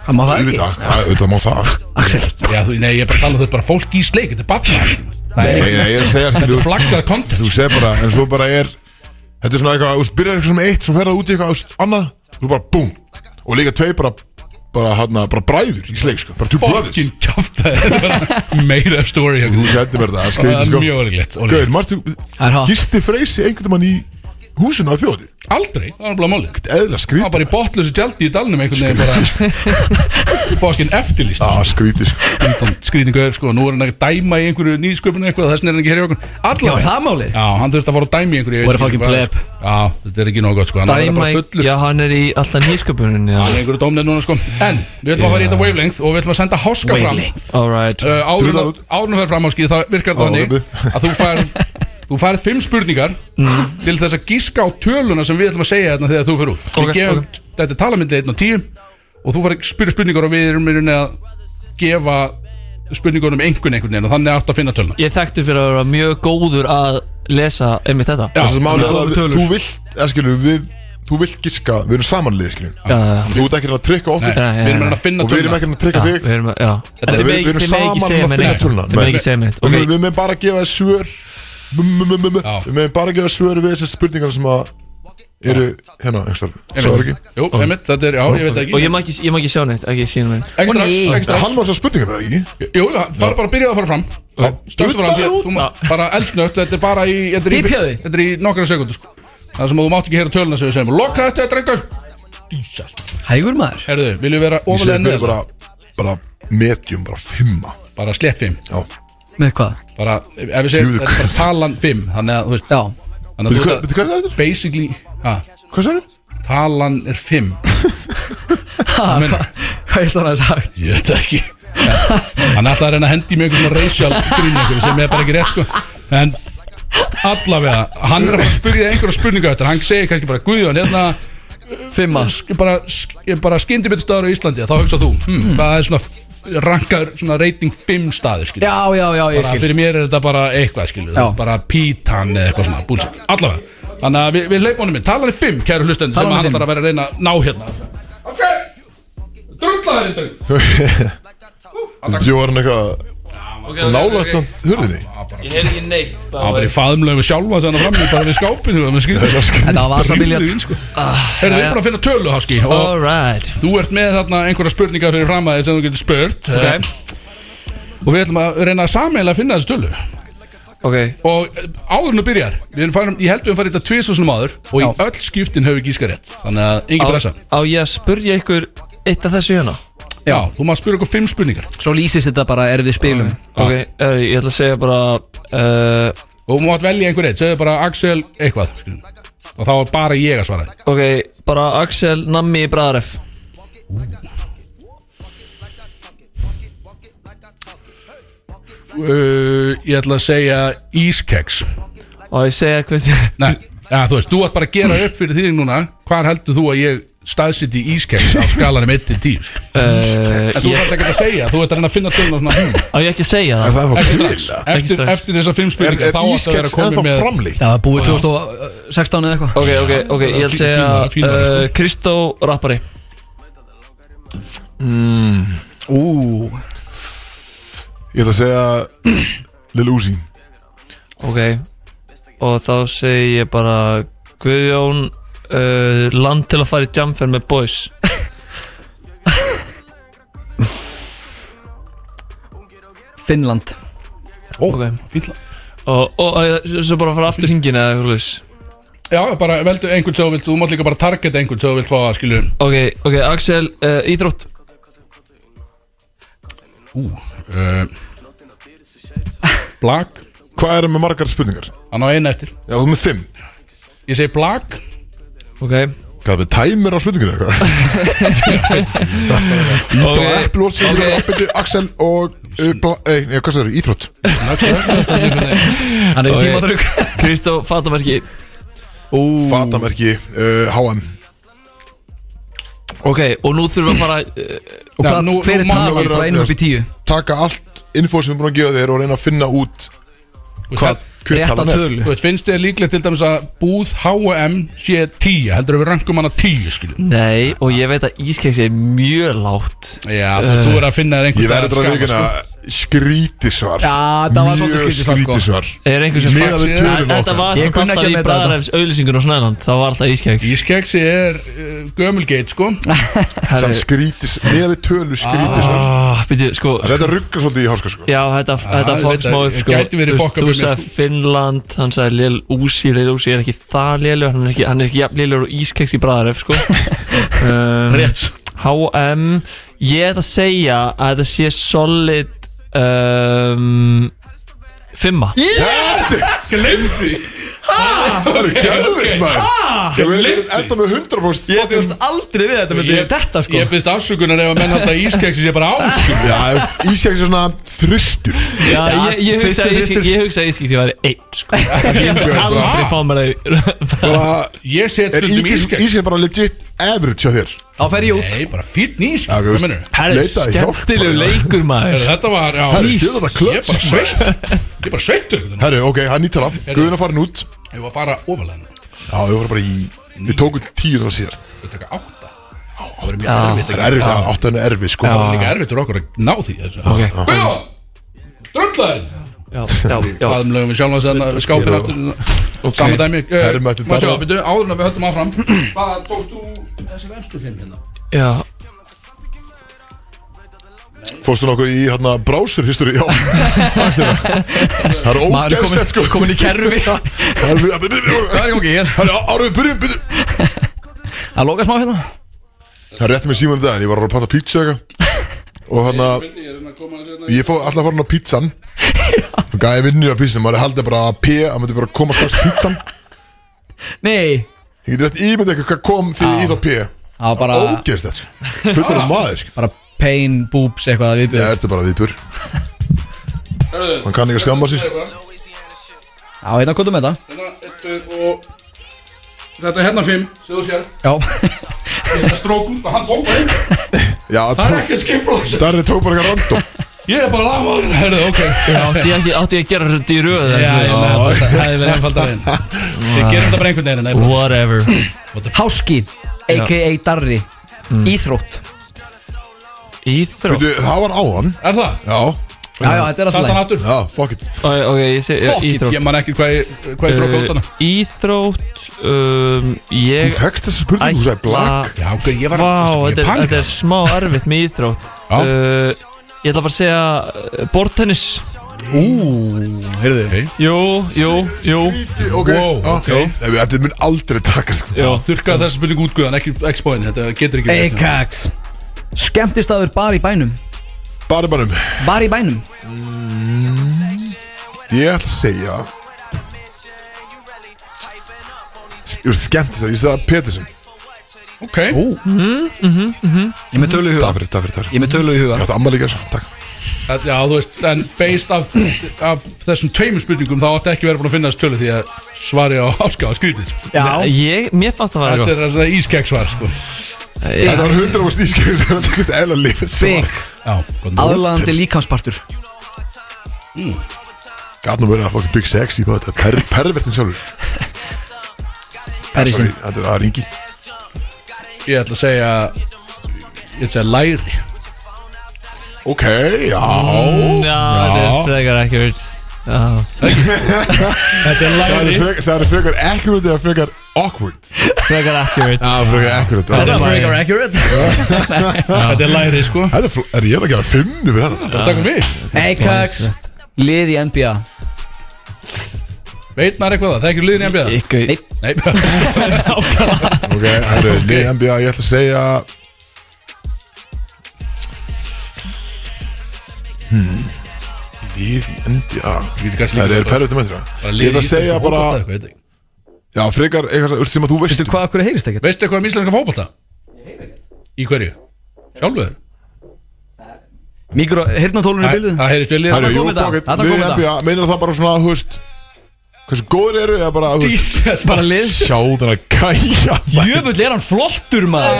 [SPEAKER 5] Hvað má það ekki?
[SPEAKER 2] þetta? auðvitað má það
[SPEAKER 5] Axel
[SPEAKER 4] já, þú, nei, ég er bara að tala um þetta bara fólk í sleik, þetta er batna það
[SPEAKER 2] Nei,
[SPEAKER 4] er
[SPEAKER 2] nei, ég er að segja
[SPEAKER 4] þetta
[SPEAKER 2] skilur
[SPEAKER 4] er flaggað
[SPEAKER 2] þú
[SPEAKER 4] content
[SPEAKER 2] segir bara, en svo bara er þetta er svona eitthvað, þú veist, byrjar eitthvað sem eitt svo fer það út í eitthvað, þú veist, annað, þú bara búm og líka tvei bara bara hann bara bræður í sleik, sko, bara two brothers
[SPEAKER 4] fokkin kjáft þetta er bara made up story hjá
[SPEAKER 2] þú
[SPEAKER 4] okkur.
[SPEAKER 2] sendir mér það,
[SPEAKER 4] það
[SPEAKER 2] skreiti,
[SPEAKER 4] er
[SPEAKER 2] sko
[SPEAKER 4] mjög orðilegt
[SPEAKER 2] Gauður, marstu,
[SPEAKER 5] Það er hot.
[SPEAKER 2] gisti freysi einhvern mann í húsinu á þjóði
[SPEAKER 4] aldrei, það er bara málið Það
[SPEAKER 2] eðla
[SPEAKER 4] var
[SPEAKER 2] skríti,
[SPEAKER 4] bara í botlösu tjaldi í dalnum einhvern veginn bara Fokkin eftirlýst
[SPEAKER 2] að skríti, sko
[SPEAKER 4] Skrýtingur, sko, nú er hann að dæma í einhverju nýsköpun eitthvað Þess vegna er hann ekki hér í okkur
[SPEAKER 5] Já
[SPEAKER 4] Allavega
[SPEAKER 5] það málið
[SPEAKER 4] Já, hann þurfti að fara að dæma í einhverju ég
[SPEAKER 5] Og
[SPEAKER 4] veit
[SPEAKER 5] er
[SPEAKER 4] ekki
[SPEAKER 5] fucking
[SPEAKER 4] hvað-
[SPEAKER 5] pleb.
[SPEAKER 4] Já, þetta er ekki nóg gott, sko Hann er
[SPEAKER 6] Dæma,
[SPEAKER 4] bara
[SPEAKER 6] í-
[SPEAKER 4] fullur
[SPEAKER 6] já hann er í alltaf nýsköpuninni
[SPEAKER 4] Hann er
[SPEAKER 6] já.
[SPEAKER 4] í einhverju dómnið núna, sko En, við ætlum að fara í þetta wavelength Og við ætlum að senda háska fram uh,
[SPEAKER 6] Alright
[SPEAKER 4] Árun
[SPEAKER 2] Þurftar út.
[SPEAKER 4] árun fer fram á skýð, það virkar
[SPEAKER 2] Á,
[SPEAKER 4] þannig
[SPEAKER 2] rubbi.
[SPEAKER 4] Að þú færð Þú færð fimm spurningar til þess að gíska á töluna sem við ætlum að segja þarna þegar þú fyrir út.
[SPEAKER 6] Ok,
[SPEAKER 4] Við gefum, Þetta er talamyndið 1 og 10 og þú færð spyrja spurningar og við erum í rauninni að gefa spurningunum einhvern einhvern veginn og þannig aftur að finna töluna.
[SPEAKER 6] Ég þekkti fyrir að vera mjög góður að lesa einmitt þetta
[SPEAKER 4] Já,
[SPEAKER 2] þess að máli er
[SPEAKER 5] góðu
[SPEAKER 2] að
[SPEAKER 5] tölur.
[SPEAKER 2] þú vilt, eða skilur, við þú vilt giska, við erum samanlið, skilur
[SPEAKER 6] Já, já, já.
[SPEAKER 2] þú ert ekki að reyna að trykka
[SPEAKER 4] Nei,
[SPEAKER 2] okkur
[SPEAKER 6] já,
[SPEAKER 4] við erum í rauninni að finna
[SPEAKER 2] og við
[SPEAKER 4] töluna.
[SPEAKER 2] erum ekki að trykka
[SPEAKER 6] Já,
[SPEAKER 2] þig
[SPEAKER 6] við erum að, já Þetta
[SPEAKER 2] við- við erum saman að finna töluna.
[SPEAKER 6] Þeir með
[SPEAKER 2] Nei.
[SPEAKER 6] ekki segja mér
[SPEAKER 2] Við
[SPEAKER 6] Ok,
[SPEAKER 2] við meðum bara að gefa þér svör M- m- m- m-
[SPEAKER 4] Já.
[SPEAKER 2] Við meðum bara að gefa svör við þessar spurningar sem að eru hérna, einhver starf Svo er ekki
[SPEAKER 4] Jú, einmitt, þetta er, já, ég veit
[SPEAKER 6] og ég
[SPEAKER 4] ekki.
[SPEAKER 6] má ekki, ég má ekki sjá neitt, ekki síðan minn
[SPEAKER 4] Ekki strax, ekki
[SPEAKER 2] Nei,
[SPEAKER 4] strax.
[SPEAKER 2] Hann var svo spurningar með ekki
[SPEAKER 4] Jú, já, það er bara að byrja að fara fram.
[SPEAKER 2] Já.
[SPEAKER 4] Stöktu fram, því að þú mátt bara eldsnögt, þetta er bara í, þetta er
[SPEAKER 5] Hypjaðu
[SPEAKER 4] í,
[SPEAKER 5] þig.
[SPEAKER 4] þetta er í nokkara sekundu, sko. Það sem að þú mátt ekki heyra töluna sem við segjum. Lokka þetta, drengur! Jesus.
[SPEAKER 5] Hægur maður
[SPEAKER 4] Herðu, viljum við vera
[SPEAKER 2] Ég
[SPEAKER 4] ofalega
[SPEAKER 2] segi fyrir
[SPEAKER 4] neðarlega?
[SPEAKER 2] bara bara medium, bara fimma
[SPEAKER 4] Bara slett fimm.
[SPEAKER 2] Já,
[SPEAKER 5] Með hvað?
[SPEAKER 4] Bara, ef við segjum,
[SPEAKER 2] Jú,
[SPEAKER 4] þetta er bara talan fimm, þannig að, þú veist,
[SPEAKER 5] Já
[SPEAKER 4] þannig að þú
[SPEAKER 2] veitu hvað
[SPEAKER 4] veist
[SPEAKER 2] veitu hvað er það
[SPEAKER 4] að,
[SPEAKER 2] þetta?
[SPEAKER 4] basically, ha,
[SPEAKER 2] Hvað sér þið?
[SPEAKER 4] talan er fimm.
[SPEAKER 5] Ha,
[SPEAKER 4] meina-
[SPEAKER 5] hva- Hvað er það að sagt?
[SPEAKER 4] Ég veit það ekki. Hann ætlaði að reyna að hendi með einhvern svona racial grín einhverju sem er bara ekki rétt sko En allavega, hann er að fara að spyrja einhverja spurninga þetta Hann segir kannski bara, Guðjón, hérna
[SPEAKER 5] Fimma
[SPEAKER 4] sk- bara, sk- bara skyndibitstaður á Íslandi Þá hugsa þú, hmm, hvað er svona f- rankaður svona rating 5 staður skil
[SPEAKER 5] Já, já, já, ég
[SPEAKER 4] bara,
[SPEAKER 5] skil
[SPEAKER 4] Fyrir mér er þetta bara eitthvað skilur
[SPEAKER 5] Já.
[SPEAKER 4] Bara pítan eða eitthvað svona búlsett Allavega, þannig að við, við leipum honum inn Talan er 5, kæru hlustendur,
[SPEAKER 5] Talan
[SPEAKER 4] sem
[SPEAKER 5] er
[SPEAKER 4] hann
[SPEAKER 5] fimm.
[SPEAKER 4] þarf að vera að reyna að ná hérna Ok, drullaður einn drögg
[SPEAKER 2] Jú, var hann eitthvað nálægt samt hurðinni
[SPEAKER 6] Ég heyr ekki neitt
[SPEAKER 4] Það var í faðumlegu sjálfa sem hann fram í bara við skápin þú veist, maður skilur.
[SPEAKER 5] Þetta var Ah, vasabiljart.
[SPEAKER 4] Drýldu í, sko. Herðu, við erum bara að finna tölu, Háski
[SPEAKER 5] Ah.
[SPEAKER 4] og
[SPEAKER 6] Alright
[SPEAKER 4] þú ert með þarna einhverja spurningar fyrir fram að þér sem þú getur spurt okay. og við ætlum að reyna sameiginlega að finna þessu tölu
[SPEAKER 6] Ok
[SPEAKER 4] og eh, áður en þú byrjar við erum farin, ég held við erum farið þetta tvisvarsunum áður og í öll skiptin höfum við gíska rétt þannig að engin pressa
[SPEAKER 6] Á, á ég að spurja ykkur eitt af þessu hérna
[SPEAKER 4] Já, þú maður spyrja okkur fimm spurningar
[SPEAKER 5] Svo lýsist þetta bara er við spilum
[SPEAKER 6] Ok, er, ég ætla að segja bara uh,
[SPEAKER 4] og þú mátt velja einhver eitt, segðu bara Axel eitthvað skilur. og þá er bara ég að svara
[SPEAKER 6] Ok, bara Axel, Nammi, Bræðaref
[SPEAKER 4] uh, Ég ætla að segja Ískeks
[SPEAKER 6] Og ég segja hvað ég
[SPEAKER 4] Nei, ja, þú veist, þú ætti bara að gera upp fyrir því núna Hvar heldur þú að ég staðsiti í ískeks á skalanum 1 til 10 sko?
[SPEAKER 6] uh,
[SPEAKER 4] En þú
[SPEAKER 6] ég,
[SPEAKER 4] ætti ekki að segja, þú ætti að reyna að finna tölun á svona hmm,
[SPEAKER 6] Á ég ekki að segja það?
[SPEAKER 2] Það er
[SPEAKER 4] Ekki
[SPEAKER 2] það
[SPEAKER 4] strax,
[SPEAKER 2] kvíla
[SPEAKER 6] Ekki
[SPEAKER 4] eftir,
[SPEAKER 6] strax.
[SPEAKER 4] eftir þessar fimm
[SPEAKER 2] Er,
[SPEAKER 4] spurningar
[SPEAKER 2] er
[SPEAKER 4] Þá ætti að vera
[SPEAKER 2] ískeks
[SPEAKER 4] að koma
[SPEAKER 2] ennþá
[SPEAKER 4] með
[SPEAKER 2] framlíkt?
[SPEAKER 5] Það var búið 2016 eða eitthvað
[SPEAKER 6] Ok, ok, ok, ég ætla að segja
[SPEAKER 4] Fínar, fínar,
[SPEAKER 6] uh,
[SPEAKER 4] sko.
[SPEAKER 6] Kristó Rappari
[SPEAKER 4] Mm.
[SPEAKER 5] Ú,
[SPEAKER 2] Ég ætla að segja Lil Uzi
[SPEAKER 6] Ok Og þá segi ég bara Guðjón uh, Land til að fara í jamfer með boys
[SPEAKER 5] Finnland
[SPEAKER 4] Ó,
[SPEAKER 6] Ok.
[SPEAKER 4] fínt lag.
[SPEAKER 6] Og, og, og svo svo bara fara aftur hringin eða eitthvað leys
[SPEAKER 4] Já, bara veldu einhvern sem þú vilt Þú mátt líka bara targeta einhvern sem þú vilt fá að skilja
[SPEAKER 6] Ok, ok, Axel, uh, Íþrótt
[SPEAKER 4] Ú, uh, Blag
[SPEAKER 2] Hvað er með margar spurningar?
[SPEAKER 4] Hann á eina eftir
[SPEAKER 2] Já, þú er með fimm
[SPEAKER 4] Ég segi blag
[SPEAKER 6] Ok,
[SPEAKER 2] Hvað er með tæmir á spurninginu eða eitthvað? Íta á eplur, sem er appið Axel og uh, bla- Nei, nei, hvað segir þú? Íþrótt
[SPEAKER 5] Hann er í
[SPEAKER 6] Ok.
[SPEAKER 5] tímatrug
[SPEAKER 6] Kristó Fatamerki
[SPEAKER 2] Fatamerki uh, HM
[SPEAKER 6] Ok, og nú þurfum við að fara uh,
[SPEAKER 5] Og
[SPEAKER 4] Já,
[SPEAKER 5] hvað,
[SPEAKER 4] nú-
[SPEAKER 5] hver
[SPEAKER 4] nú
[SPEAKER 5] er
[SPEAKER 4] má-
[SPEAKER 5] talan frá einum upp í tíu?
[SPEAKER 2] Taka allt info sem við erum búin að gefa þér og reyna að finna út hvað, hver
[SPEAKER 5] Rétt
[SPEAKER 2] talan er
[SPEAKER 5] tölu
[SPEAKER 4] Þú veit, finnst þið líklegt til dæmis að búð H&M sé 10 heldur að við rankum hana 10 skilju
[SPEAKER 6] Nei, og ég veit að ískeks er mjög lágt
[SPEAKER 4] Já, þú, þú er að finna þér
[SPEAKER 2] Ég
[SPEAKER 4] einhvern
[SPEAKER 2] verður að
[SPEAKER 4] skala,
[SPEAKER 2] vikina skrítisvar
[SPEAKER 5] Já, það var svolítið skrítið svar, sko.
[SPEAKER 2] skrítisvar
[SPEAKER 6] Er einhver sem
[SPEAKER 2] Miðað við
[SPEAKER 6] faxi-
[SPEAKER 2] töluna
[SPEAKER 6] Æ, Þetta
[SPEAKER 2] okkar.
[SPEAKER 5] Ég
[SPEAKER 6] var samt
[SPEAKER 5] kunni ekki
[SPEAKER 6] alltaf
[SPEAKER 5] að
[SPEAKER 6] í
[SPEAKER 5] meta þetta.
[SPEAKER 6] bræðarefs auðlýsingun á Snæland Það var alltaf ískeks
[SPEAKER 4] Ískeksi er
[SPEAKER 2] eh,
[SPEAKER 4] uh, gömulgeit sko
[SPEAKER 2] Sann skrítis, meðaleg tölu skrítisvar
[SPEAKER 6] ah, byrju, sko,
[SPEAKER 2] Þetta ruggar svolítið í háska sko
[SPEAKER 6] Já, þetta, þetta
[SPEAKER 4] þetta
[SPEAKER 6] fokk smá upp sko.
[SPEAKER 4] gæti verið
[SPEAKER 6] Þú-
[SPEAKER 4] fokk upp
[SPEAKER 6] Þú
[SPEAKER 4] með,
[SPEAKER 6] sagði
[SPEAKER 4] sko.
[SPEAKER 6] Finnland, hann sagði Lil Uzi Lil Uzi er ekki það lélur Hann er ekki, hann er ekki jafn lélur og ískeks í bræðaref sko. um, Rétt H&M Ég ætla að segja að þetta sé solid um, Fimma
[SPEAKER 4] Glemdi
[SPEAKER 2] Það eru gæðið maður Ég verður enda með 100%
[SPEAKER 5] Ég bjóst aldrei við þetta myndi þetta sko
[SPEAKER 4] Ég byrst afsökunar ef að menn halda að ískeksi sé bara áskil
[SPEAKER 2] Já, þú veist, ísjæk er svona þristur
[SPEAKER 6] Já,
[SPEAKER 5] ég- ég hugsaði
[SPEAKER 6] Ég,
[SPEAKER 5] ískeks-
[SPEAKER 6] ég hugsaði ískeks ég væri einn sko. Ég myndi
[SPEAKER 2] bara-
[SPEAKER 6] aldrei fá mér það í-
[SPEAKER 2] Bara,
[SPEAKER 4] Ég set
[SPEAKER 2] er
[SPEAKER 4] stundum ískeks
[SPEAKER 2] ísjæk bara legit average á þér
[SPEAKER 5] Þá fer ég út
[SPEAKER 4] Nei, bara fýtt nýsk
[SPEAKER 2] Já, þú veist.
[SPEAKER 6] Herri,
[SPEAKER 2] Leitaði hjálpar.
[SPEAKER 6] skemmtilegu leikur maður
[SPEAKER 4] Þetta var á
[SPEAKER 2] Herri,
[SPEAKER 4] Ég
[SPEAKER 2] djöfull, þetta klöpp,
[SPEAKER 4] er
[SPEAKER 2] sko.
[SPEAKER 4] bara sveitt Ég er bara sveittur einhvern veginn.
[SPEAKER 2] Herru, ok, hann nýtala, Guðin að fara út
[SPEAKER 4] Ég var að fara ofalega hérna.
[SPEAKER 2] Já, við vorum bara í, við tókum tíu það síðast
[SPEAKER 4] Ég taka átta Það verður mjög erfitt
[SPEAKER 2] Það er erfið, það átti henni erfið sko
[SPEAKER 4] Það er líka erfitt fyrir okkur að ná því
[SPEAKER 6] Ok.
[SPEAKER 4] Guðjón, drullar
[SPEAKER 6] Já, já, já
[SPEAKER 4] Faðum um lögum við sjálf að segna við skápin aftur og saman dæmi
[SPEAKER 2] Herri, mætti
[SPEAKER 4] Má sjá,
[SPEAKER 2] bara-
[SPEAKER 4] byrju, áður en að við höldum áfram Hvað tókst þú þessi vensturslim hérna?
[SPEAKER 6] Já,
[SPEAKER 2] Fórstu nokkuð í hérna browser history Já, Axel, það er
[SPEAKER 5] Maður er komin,
[SPEAKER 2] ógæðslegt sko
[SPEAKER 5] komin í kerfi Það
[SPEAKER 2] Það er við, það
[SPEAKER 5] er ekki hér
[SPEAKER 2] Herru, árum við byrjum, byrjum
[SPEAKER 5] Það loka smá hérna
[SPEAKER 2] Það er rétt með síma um daginn, ég var að panta pizza eitthvað Og hérna,
[SPEAKER 4] Ég er hérna að koma að hérna
[SPEAKER 2] ég fór alltaf að fara hann á pizzan Og gæði vinnu á pizzan, maður haldið bara að P Að maður bara að koma strax pizzan
[SPEAKER 5] Nei
[SPEAKER 2] Ég get rétt ímyndið eitthvað hvað kom fyrir í þá P
[SPEAKER 5] Það var bara
[SPEAKER 2] Ógæðslegt sko Fullur maður sko
[SPEAKER 5] Bara pain, boobs eitthvað að
[SPEAKER 2] Það
[SPEAKER 5] viðbjöð
[SPEAKER 2] ertu bara viðbjör Hann kann ekki að skamma sér
[SPEAKER 4] Hérna,
[SPEAKER 5] Já, hérna komdu með þetta
[SPEAKER 4] Þetta er hérna fimm sem þú sér,
[SPEAKER 5] Já,
[SPEAKER 4] þetta er strókun og hann tók það inn.
[SPEAKER 2] Já,
[SPEAKER 4] það er
[SPEAKER 2] tó-
[SPEAKER 4] ekki að skipla þessu
[SPEAKER 2] Darri tók bara eitthvað random
[SPEAKER 4] Ég er bara lagmaður Herðu, ok Já,
[SPEAKER 6] Átti ég, ekki, átti ég að gera þetta í röð eða
[SPEAKER 4] já, ég
[SPEAKER 6] eitthvað?
[SPEAKER 4] með það Það er vel einfaldar inn Við gerum þetta bara einhvern veginn nei, bara-
[SPEAKER 6] Whatever
[SPEAKER 5] Háski, a.k.a. Darri Mm. Íþrótt
[SPEAKER 6] Íþrótt
[SPEAKER 2] Veitu, það var áðan
[SPEAKER 4] Er það?
[SPEAKER 2] Já,
[SPEAKER 5] Já, já, þetta er alltaf
[SPEAKER 4] Satt hann
[SPEAKER 5] leið
[SPEAKER 4] aftur
[SPEAKER 2] já, fuck it
[SPEAKER 6] Ó, Ok, ég sé
[SPEAKER 4] Fuck it,
[SPEAKER 6] Íþrótt
[SPEAKER 4] ég Eh, man ekki hvað ég hvað ég strók
[SPEAKER 6] Uh,
[SPEAKER 4] út hana
[SPEAKER 6] Íþrótt um,
[SPEAKER 2] Þú
[SPEAKER 6] Ég
[SPEAKER 2] fegst þessi spurningu, þú sagði black
[SPEAKER 4] Já, ok, ég var
[SPEAKER 6] Vá,
[SPEAKER 4] ég
[SPEAKER 6] þetta er,
[SPEAKER 4] panika.
[SPEAKER 6] þetta er smá erfitt með íþrótt
[SPEAKER 4] Já.
[SPEAKER 6] uh, Ég ætla bara að segja uh, Bortennis
[SPEAKER 4] Heyrðu
[SPEAKER 6] Jú, jú, jú
[SPEAKER 2] Ok,
[SPEAKER 4] Wow,
[SPEAKER 2] já.
[SPEAKER 4] ok.
[SPEAKER 2] Nei, við- Þetta mun aldrei taka sko
[SPEAKER 6] Já,
[SPEAKER 4] Þurkaði þessi spurning útguðan, ekki ekki spáin Þetta getur ekki verið.
[SPEAKER 5] Eikax Skemmtistaður bar í bænum
[SPEAKER 2] Bara bara um
[SPEAKER 5] Bar í bænum
[SPEAKER 2] Ég ætla að segja Ég veist skemmt þess að ég segja Petersen
[SPEAKER 4] Ok
[SPEAKER 5] Ég er með tölu í huga
[SPEAKER 2] Dafri, Dafri, Dafri
[SPEAKER 5] Ég er með tölu í huga
[SPEAKER 2] Ég ætla amma líka þessu, sko. takk
[SPEAKER 4] Þetta- Já, þú veist, en based af, af þessum tveimur spurningum þá átti ekki verið búin að finna þessu tölu því að svari á áská skrítið
[SPEAKER 5] Já,
[SPEAKER 6] Ég, mér fannst það að
[SPEAKER 4] Þetta
[SPEAKER 6] vera
[SPEAKER 4] er þess að ískegg svar, sko
[SPEAKER 2] Þetta var 100% ískjöfis Þetta er eitthvað eðla lífið sem
[SPEAKER 5] big
[SPEAKER 2] var
[SPEAKER 4] Já, gott nú.
[SPEAKER 5] Aðlaðandi líkamspartur
[SPEAKER 2] Gat nú verið að fucking big sexy maður, Þetta er per, pervertin sjálfur
[SPEAKER 5] Perisin
[SPEAKER 2] Sorry, Þetta er að ringi
[SPEAKER 4] Ég ætla að segja Ég ætla að segja læri
[SPEAKER 2] Ok, já
[SPEAKER 6] góð Já, þetta er frekar ekki verið Já,
[SPEAKER 4] Þetta er
[SPEAKER 2] Það
[SPEAKER 4] læri
[SPEAKER 2] eru frekar, það eru frekar accurate eða frekar awkward Já,
[SPEAKER 6] frekar ekki verið
[SPEAKER 2] frekar accurate
[SPEAKER 6] Þetta
[SPEAKER 2] já.
[SPEAKER 6] er frekar ekki
[SPEAKER 4] Þetta er læri, sko
[SPEAKER 2] Þetta er, fl- er ég að gefa fimmu fyrir þetta?
[SPEAKER 4] Þetta er mig
[SPEAKER 5] Eikax Lið í NBA
[SPEAKER 4] Veit maður eitthvað það, það er ekki liðin í NBA
[SPEAKER 6] Ykkur,
[SPEAKER 5] Nei.
[SPEAKER 4] Nei, það
[SPEAKER 2] Ok, það eru lið NBA, ég ætla að segja Hmm Lið í NBA
[SPEAKER 4] getur kannski
[SPEAKER 2] Það
[SPEAKER 4] líka
[SPEAKER 2] eru pervertin mættur
[SPEAKER 4] bara
[SPEAKER 2] Ég
[SPEAKER 4] lið
[SPEAKER 2] ætla að
[SPEAKER 4] í
[SPEAKER 2] segja
[SPEAKER 4] íslenska
[SPEAKER 2] bara
[SPEAKER 4] fótbolta eitthvað, ég veit ekki.
[SPEAKER 2] Já, frekar eitthvað sem- sem að þú veist
[SPEAKER 5] Veistu hvað okkur heyrist ekkert?
[SPEAKER 4] Veistu eitthvað um íslenska fótbolta? Í hverju? Sjálfur?
[SPEAKER 5] Mikro, heyrnatólunni í bylluð
[SPEAKER 4] Það heyrist vel í
[SPEAKER 2] Herru,
[SPEAKER 4] þetta
[SPEAKER 2] jú,
[SPEAKER 5] kom þetta,
[SPEAKER 2] fokit,
[SPEAKER 5] þarna kom
[SPEAKER 2] lið
[SPEAKER 5] þetta.
[SPEAKER 2] NBA Meinar það bara svona, þú veist Hversu góður eru, eða bara, þú veist
[SPEAKER 4] Jesus, bara lið
[SPEAKER 2] Sjá þennan gæja maður.
[SPEAKER 5] Jöfull er hann flottur maður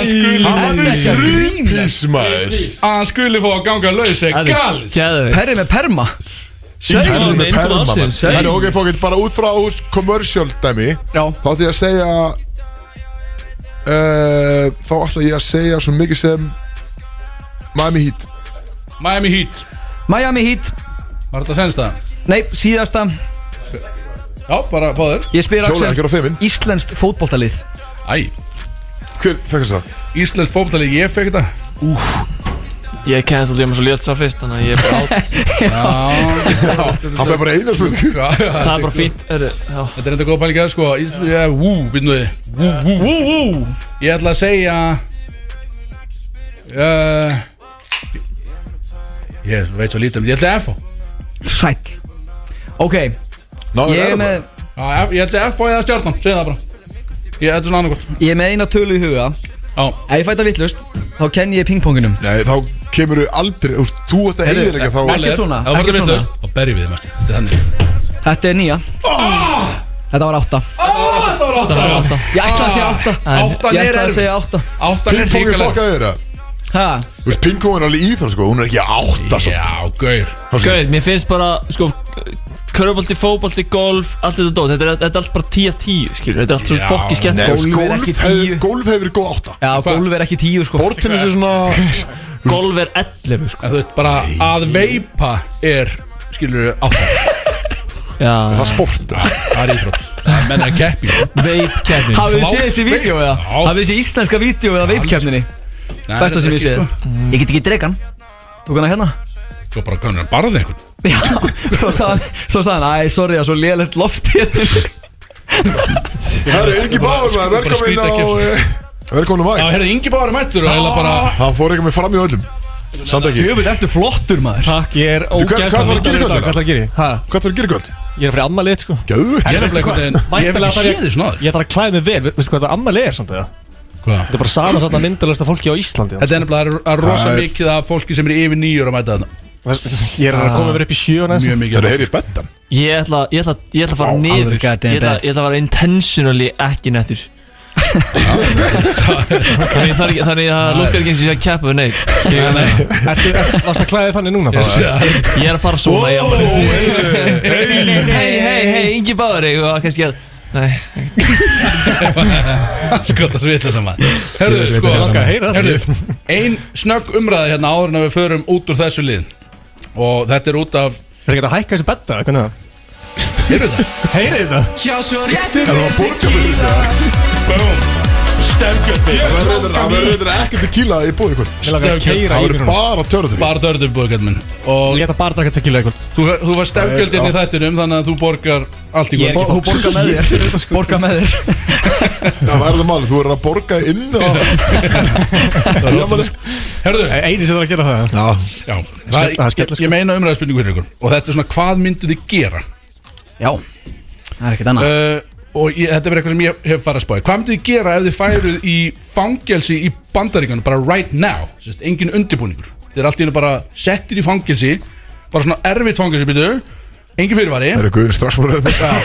[SPEAKER 2] Hann er
[SPEAKER 5] Æ.
[SPEAKER 2] þrjúpís maður
[SPEAKER 4] Að hann skuli fá að ganga laus er galist
[SPEAKER 6] gæðu
[SPEAKER 5] Perri með perma
[SPEAKER 2] Perri
[SPEAKER 6] Segjum
[SPEAKER 2] með perma maður.
[SPEAKER 6] Segjum
[SPEAKER 2] Herru, ok, fokit, bara út frá, þú veist, commercial dæmi
[SPEAKER 5] Já
[SPEAKER 2] Þá ætla ég að segja uh, Þá ætla ég að segja svo mikið sem Miami Heat
[SPEAKER 4] Miami Heat
[SPEAKER 5] Miami Heat
[SPEAKER 4] Var þetta senst það?
[SPEAKER 5] Nei, síðasta
[SPEAKER 4] Já, bara báður
[SPEAKER 5] Ég spyr
[SPEAKER 2] Hjólaði ekki
[SPEAKER 5] Axel
[SPEAKER 2] á feimin
[SPEAKER 5] Íslenskt fótboltalið
[SPEAKER 4] Æ,
[SPEAKER 2] Hver fekk þess að?
[SPEAKER 4] íslensk fótbolta ég fekk þetta
[SPEAKER 6] Ég cancel ég mér svo létt svar fyrst Þannig að ég er bara átt
[SPEAKER 2] Hann fekk bara eina spurning
[SPEAKER 4] Já, já,
[SPEAKER 6] Það er bara fínt Heyrðu, já.
[SPEAKER 4] Þetta er enda góð pælingar sko Ísland, ja, Vú, býtum við Vú, vú, vú, vú Ég ætla að segja uh, Ég veit svo lítið um Ég ætla að F
[SPEAKER 5] Sæll Ok,
[SPEAKER 2] Náðu
[SPEAKER 5] ég er
[SPEAKER 2] þér
[SPEAKER 5] með
[SPEAKER 2] bara.
[SPEAKER 4] Ég ætla að F eða stjarnan Segð það bara Ég ætla svona annað
[SPEAKER 5] Ég er með eina tölu í huga
[SPEAKER 4] Já,
[SPEAKER 5] Ef ég fæta vittlust, þá kenn ég pingponginum
[SPEAKER 2] Nei, þá kemur þú aldrei Þú veist, þú ætti að heiðir ekki þá
[SPEAKER 5] Ekkert svona,
[SPEAKER 4] Það var
[SPEAKER 5] ekkert
[SPEAKER 4] þetta
[SPEAKER 5] svona.
[SPEAKER 4] vitlaust Þá berjum við þið mest Þetta er þannig
[SPEAKER 5] Þetta er nýja Þetta var átta
[SPEAKER 4] Þetta var átta
[SPEAKER 5] Ég ætla að segja átta
[SPEAKER 4] Áttan
[SPEAKER 5] Ég
[SPEAKER 4] er
[SPEAKER 5] ætla að
[SPEAKER 4] erfið
[SPEAKER 5] segja átta
[SPEAKER 4] Áttan er
[SPEAKER 2] Pingpongin
[SPEAKER 4] hrikalega
[SPEAKER 2] fokkaði þeirra
[SPEAKER 5] Ha,
[SPEAKER 2] Þú veist, pingpongin er alveg íþjóð sko Hún er ekki átta svo
[SPEAKER 4] Já, gaur
[SPEAKER 6] Gauð, mér finnst bara Sko Körubolti, fótbolti, golf Allt þetta dót Þetta er, þetta er allt bara 10 af 10 Skilur Þetta er
[SPEAKER 4] Já.
[SPEAKER 6] allt svona fokki skemmt
[SPEAKER 2] Nei, þú veist,
[SPEAKER 5] Gólf er
[SPEAKER 2] gólf hefur
[SPEAKER 5] ekki tíu.
[SPEAKER 2] Gólf hefur verið góð átta
[SPEAKER 5] já, gólf er ekki tíu sko
[SPEAKER 2] Bortinni sé svona
[SPEAKER 6] Golf er 11 sko
[SPEAKER 4] En þú veit bara að veipa er Skilur áttan
[SPEAKER 6] Já
[SPEAKER 2] Það sport
[SPEAKER 4] Það er íþrótt Það menn er að keppi
[SPEAKER 6] Veip kefnin
[SPEAKER 5] Hafið þið séð þessi vídeo eða? Hafið þið séð íslenska vídeo eða veipkjöfninni? Besta sem ég séð
[SPEAKER 8] sko.
[SPEAKER 5] Ég get ekki dregan Tók hana hérna
[SPEAKER 4] Svo bara kannar að barða einhvern
[SPEAKER 5] Já, svo sagði hann, svo sagði hann, æ, sorry, það er svo lélegt loft hér
[SPEAKER 2] Herru, Ingi Báður maður,
[SPEAKER 4] bara
[SPEAKER 2] velkomin
[SPEAKER 4] skrýta
[SPEAKER 2] á
[SPEAKER 4] ekki.
[SPEAKER 2] eh, Velkomin á
[SPEAKER 4] Já,
[SPEAKER 2] væg
[SPEAKER 4] herri, Ingi Bári mættur og heila bara
[SPEAKER 2] Hann fór eitthvað með fram í öllum Samt ekki
[SPEAKER 5] Jöfull, ertu flottur maður
[SPEAKER 3] Takk, ég er
[SPEAKER 2] hvað-
[SPEAKER 3] ógæðslega
[SPEAKER 2] hvað ætlarðu að gera í kvöld,
[SPEAKER 3] Hvað ætlar að gera? í?
[SPEAKER 5] Ha,
[SPEAKER 2] Hvað þarf að gera gott?
[SPEAKER 3] Ég er að fyrir ammalið sko
[SPEAKER 2] Gæðvögt
[SPEAKER 4] Ég er nefnilega einhvern veginn Ég hef ekki
[SPEAKER 3] Væntanlega þarf ég-
[SPEAKER 4] séð því svona
[SPEAKER 3] Ég þarf að klæða mig vel, Ve- veistu hvað þetta ammalið er samt eða?
[SPEAKER 4] Hvað?
[SPEAKER 3] Þetta er bara saman samt að myndalasta fólki á Íslandi
[SPEAKER 4] Þetta er nefnilega að rosa
[SPEAKER 2] Það er-
[SPEAKER 4] mikið af fólki sem er yfir nýjur að mæta þarna
[SPEAKER 8] Ég er að koma verið upp í sjö næst
[SPEAKER 4] mjög mikið
[SPEAKER 2] Þeir eru heyrið bettan
[SPEAKER 6] Ég ætla, ég ætla, ég ætla að fara niður
[SPEAKER 5] alveg
[SPEAKER 6] ég ætla,
[SPEAKER 5] goddamn
[SPEAKER 6] ég
[SPEAKER 5] bad.
[SPEAKER 6] ætla að fara intentionally ekki nettur Þannig þarf ekki- þannig að það lukkar ekki eins og ég sé að keppa við neitt ég, nei,
[SPEAKER 8] Ertu varst að klæða þig þannig núna? Yes,
[SPEAKER 6] ég er að fara svona í alvöru.
[SPEAKER 2] Hey,
[SPEAKER 6] Hei, hei, hei, Ingi Báður og kannski að Nei,
[SPEAKER 4] sko það svitla saman Herðu, sko
[SPEAKER 8] Ég langa að heyra það.
[SPEAKER 4] herðu, Ein snögg umræði hérna áður en að við förum út úr þessu liðin Og þetta er út af
[SPEAKER 8] Er ekki hægt að hækka þessi betta? Hvernig er það?
[SPEAKER 4] Heyrðu það?
[SPEAKER 8] Heyrið þið það?
[SPEAKER 2] Það var borgarbyrðin Það verður- það verður ekki til kíla í búið ykkur
[SPEAKER 8] Ég langa að keyra
[SPEAKER 2] Það
[SPEAKER 8] yfir
[SPEAKER 2] verður
[SPEAKER 8] hún
[SPEAKER 2] bara törður
[SPEAKER 4] Bara dörðum búið minn Og
[SPEAKER 8] Ég ætla bara að taka tequila eitthvað
[SPEAKER 4] þú, þú var stefngjöldin
[SPEAKER 2] Það
[SPEAKER 4] í
[SPEAKER 2] er-
[SPEAKER 4] þættinum Þannig að þú borgar allt í góð
[SPEAKER 5] Þú borga með þér Borga með þér
[SPEAKER 2] Það verður málið, þú verður að borga inn og
[SPEAKER 4] Herðu,
[SPEAKER 8] Einu sem þarf að gera Eh, það
[SPEAKER 2] Já,
[SPEAKER 8] skell-
[SPEAKER 4] já
[SPEAKER 8] það er
[SPEAKER 4] það-
[SPEAKER 8] skella,
[SPEAKER 4] Ég
[SPEAKER 8] sko.
[SPEAKER 4] ég meina umræðspurningu fyrir ykkur Og þetta er svona hvað myndu þið gera
[SPEAKER 5] Já Það er ekkert annað
[SPEAKER 4] uh, Og ég, þetta er bara eitthvað sem ég hef farið að spáði Hvað myndið þið gera ef þið færuð í fangelsi í bandaríkanu Bara right now Sest, Engin undirbúningur Þið er allt í hennu bara settir í fangelsi Bara svona erfitt fangelsi byrju Engin fyrirvari
[SPEAKER 2] það eru guðin strax múlið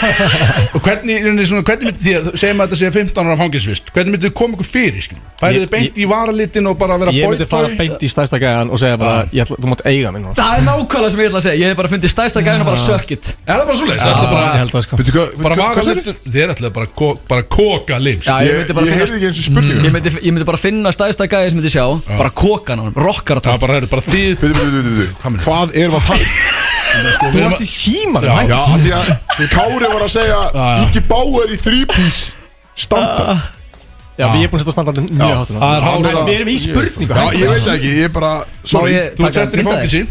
[SPEAKER 4] Og hvernig, í rauninni svona, hvernig myndið þið Segjum að þetta sé 15 ára fangelsvist Hvernig myndið þið koma ykkur fyrir skilur? Færið
[SPEAKER 8] Ég-
[SPEAKER 4] þið beint í varalitin og bara vera
[SPEAKER 8] Ég myndi
[SPEAKER 4] boyboy?
[SPEAKER 8] fara beint í stærsta gæðan og segja bara ég ætla, Þú mátt eiga mig nú
[SPEAKER 5] Það er nákvæmlega sem ég ætla að segja Ég hef bara fundið stæsta gæðin og bara suck it
[SPEAKER 4] Er það bara svoleiðis? Það er
[SPEAKER 8] Ég
[SPEAKER 4] bara
[SPEAKER 8] held það sko
[SPEAKER 2] Býttu hvað,
[SPEAKER 4] bara
[SPEAKER 2] hvað
[SPEAKER 4] varalitin
[SPEAKER 2] sér?
[SPEAKER 4] Þið er alltaf bara, ko- bara koka lim
[SPEAKER 5] Já, ég
[SPEAKER 2] Ég
[SPEAKER 5] myndi bara
[SPEAKER 2] ég heyrði
[SPEAKER 5] finna
[SPEAKER 2] ekki eins og spurningu
[SPEAKER 5] Ég myndi, ég myndi bara finna stæsta gæði sem myndi sjá Bara kokan á hann, rockar á
[SPEAKER 4] Það
[SPEAKER 5] tók
[SPEAKER 4] er bara, bara þið
[SPEAKER 2] Býttu, býttu, býttu,
[SPEAKER 4] Mm. Hvað meinarðu?
[SPEAKER 2] býttu Hvað erum við að tala? um?
[SPEAKER 8] Þú varst í síman
[SPEAKER 4] Já.
[SPEAKER 2] Já, af því að Kári var að segja
[SPEAKER 4] já.
[SPEAKER 2] Ingi Báer í þrípís Standard
[SPEAKER 8] Já, við erum búin að setja standardin mjög hátt núna.
[SPEAKER 4] Það er
[SPEAKER 8] En
[SPEAKER 2] Hann er að-
[SPEAKER 8] Ah. Við erum í spurningu
[SPEAKER 2] Já, ég veit það ekki, ég er bara Sorry,
[SPEAKER 5] ég-
[SPEAKER 4] Þú ert
[SPEAKER 5] Taka
[SPEAKER 4] settur í
[SPEAKER 5] mynd af þér.
[SPEAKER 4] fangelsi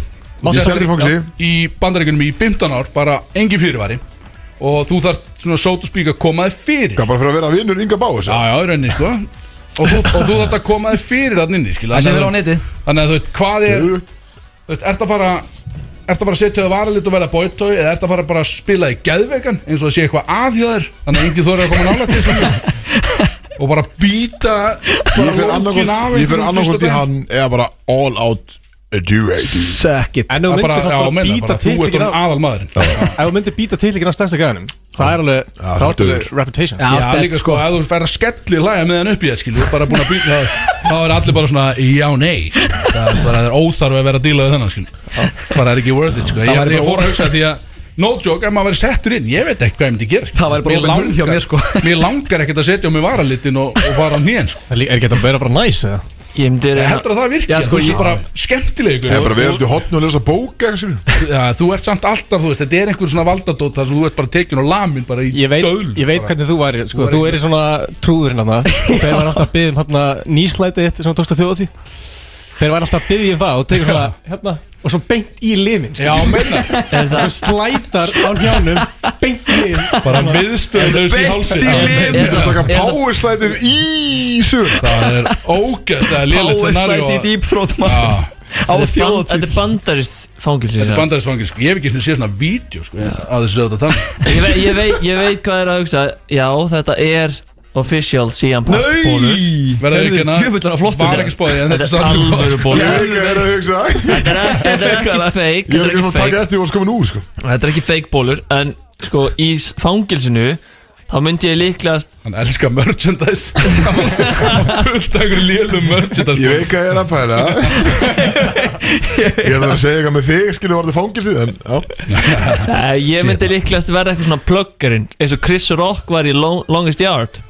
[SPEAKER 2] ég er sendur í fangsi
[SPEAKER 4] í bandaríkunum í 15 ár bara engin fyrirvari og þú þarf svona sót og spík að koma þér fyrir já,
[SPEAKER 2] Hvað, bara fyrir að vera vinnur Inga Báer sagði?
[SPEAKER 4] já, í rauninni sko og þú, og þú þarf að koma þér fyrir þannig inni skilur.
[SPEAKER 5] Það sé
[SPEAKER 4] Þannig
[SPEAKER 5] vel á
[SPEAKER 4] að þú-
[SPEAKER 5] netið
[SPEAKER 4] þannig að þú veit hvað er
[SPEAKER 2] Þú-
[SPEAKER 4] þú veit, ert að fara ert að fara að setja þau varalit og verða bóittói eða ert að fara bara að spila í geðveikan eins og það sé eitthvað aðhjóður þannig að enginn þorði að koma nálægt til skilur. og bara býta
[SPEAKER 2] Ég fer annarkvort- ég fer annarkvort í hann Eða bara all out Adurated
[SPEAKER 5] Suck it
[SPEAKER 8] En ef þú
[SPEAKER 4] Það bara,
[SPEAKER 8] myndir
[SPEAKER 4] já,
[SPEAKER 8] samt bara
[SPEAKER 4] meina,
[SPEAKER 8] býta
[SPEAKER 4] bara þú ert
[SPEAKER 8] titlikinn á
[SPEAKER 4] um aðal maðurinn
[SPEAKER 8] Ef þú myndir býta titlikinn á stærsta gæðanum Það er alveg Það
[SPEAKER 2] það
[SPEAKER 8] er
[SPEAKER 2] er
[SPEAKER 8] alveg
[SPEAKER 2] döður.
[SPEAKER 8] reputation
[SPEAKER 5] Já,
[SPEAKER 4] Já, líka sko, ef þú fær að skelli hlæja með hann upp í það, skilju, bara búin að býta það, þá er allir bara svona, já, nei, það er bara það er óþarfi að vera að díla við þennan, skilju, bara er ekki worth it, sko, ég,
[SPEAKER 5] væri
[SPEAKER 4] ég
[SPEAKER 5] bara-
[SPEAKER 4] fór að hugsa því að, no joke, ef maður verið settur inn, ég veit ekki hvað ég myndi gera,
[SPEAKER 5] Það væri bara
[SPEAKER 4] Mér
[SPEAKER 5] Robin Hood hjá
[SPEAKER 4] langar-
[SPEAKER 5] mér, sko.
[SPEAKER 4] Mér langar ekkert að setja á mig varalitin og, og fara á nýjan, sko,
[SPEAKER 8] Er líka- er ekki þetta að vera bara næs eða?
[SPEAKER 6] ég myndi
[SPEAKER 4] ég
[SPEAKER 6] reyna
[SPEAKER 4] heldur að það virkja,
[SPEAKER 5] Já, sko,
[SPEAKER 4] þú
[SPEAKER 5] ég-
[SPEAKER 4] er bara skemmtilegur,
[SPEAKER 2] Ég er bara verið út í hotnu og lesa bók eitthvað skilur.
[SPEAKER 4] ja, þú ert samt alltaf, þú veist, þetta er einhver svona valdadót þar sem þú ert bara tekin og lamin bara í
[SPEAKER 8] Ég veit,
[SPEAKER 4] döl,
[SPEAKER 8] ég veit
[SPEAKER 4] bara.
[SPEAKER 8] hvernig þú væri sko, Þú erir svona trúðurinn hann Þeir var alltaf að byggja um hérna, nýslætið þitt sem þú tókst að þjóða því Þeir var alltaf að byggja um það og tegur svona hérna, og svo beint í limin
[SPEAKER 4] Já, meina,
[SPEAKER 6] Er
[SPEAKER 8] Þú
[SPEAKER 6] það-
[SPEAKER 8] slætar á hjánum beint í limin
[SPEAKER 4] bara viðstöðlaus í hálsin
[SPEAKER 2] Ég er að taka
[SPEAKER 6] er það-
[SPEAKER 2] power slætið í sögur
[SPEAKER 4] Það er ógæðslega lélitt
[SPEAKER 5] Power
[SPEAKER 4] scenario
[SPEAKER 5] slide í deep throat maður.
[SPEAKER 4] Já,
[SPEAKER 5] Á
[SPEAKER 6] Ban-
[SPEAKER 5] þjóðatíð
[SPEAKER 6] Þetta er bandarist fangilsi
[SPEAKER 4] Þetta er bandarisfangir sko, ég hef ekki séð svona vídeo sko á þessu auðvitað tann
[SPEAKER 6] ég, ve ég, veit, ég veit hvað er að hugsa Já, þetta er official CM Punk bólur
[SPEAKER 4] Verða
[SPEAKER 5] Heyrðu,
[SPEAKER 4] ekki hérna
[SPEAKER 5] djöfull er það flottur.
[SPEAKER 4] Var ekki spáði en þetta
[SPEAKER 6] Þetta
[SPEAKER 4] sko. er
[SPEAKER 6] er
[SPEAKER 4] sann
[SPEAKER 6] alvöru
[SPEAKER 2] Ég
[SPEAKER 6] bólur
[SPEAKER 2] veit hvað ég er að hugsa
[SPEAKER 6] Þetta er ek- þetta er
[SPEAKER 2] Ég er
[SPEAKER 6] ekki fake Þetta er
[SPEAKER 2] ekki
[SPEAKER 6] ekki
[SPEAKER 2] að taka
[SPEAKER 6] fake
[SPEAKER 2] eftir og varst komin úr sko.
[SPEAKER 6] Þetta er ekki fake bólur En sko, í s- fangilsinu Þá myndi ég líklegast
[SPEAKER 4] Hann elskar merchandise Hann fullt af einhverju lélum merchandise
[SPEAKER 2] Ég veit hvað ég er að pæla Ég ætla að segja eitthvað með þig skilur var þetta fangilsið en já.
[SPEAKER 6] Nei, Ég myndi líklegast verða eitthvað svona pluggarinn Eins og Chris Rock var í Long- Longest Yard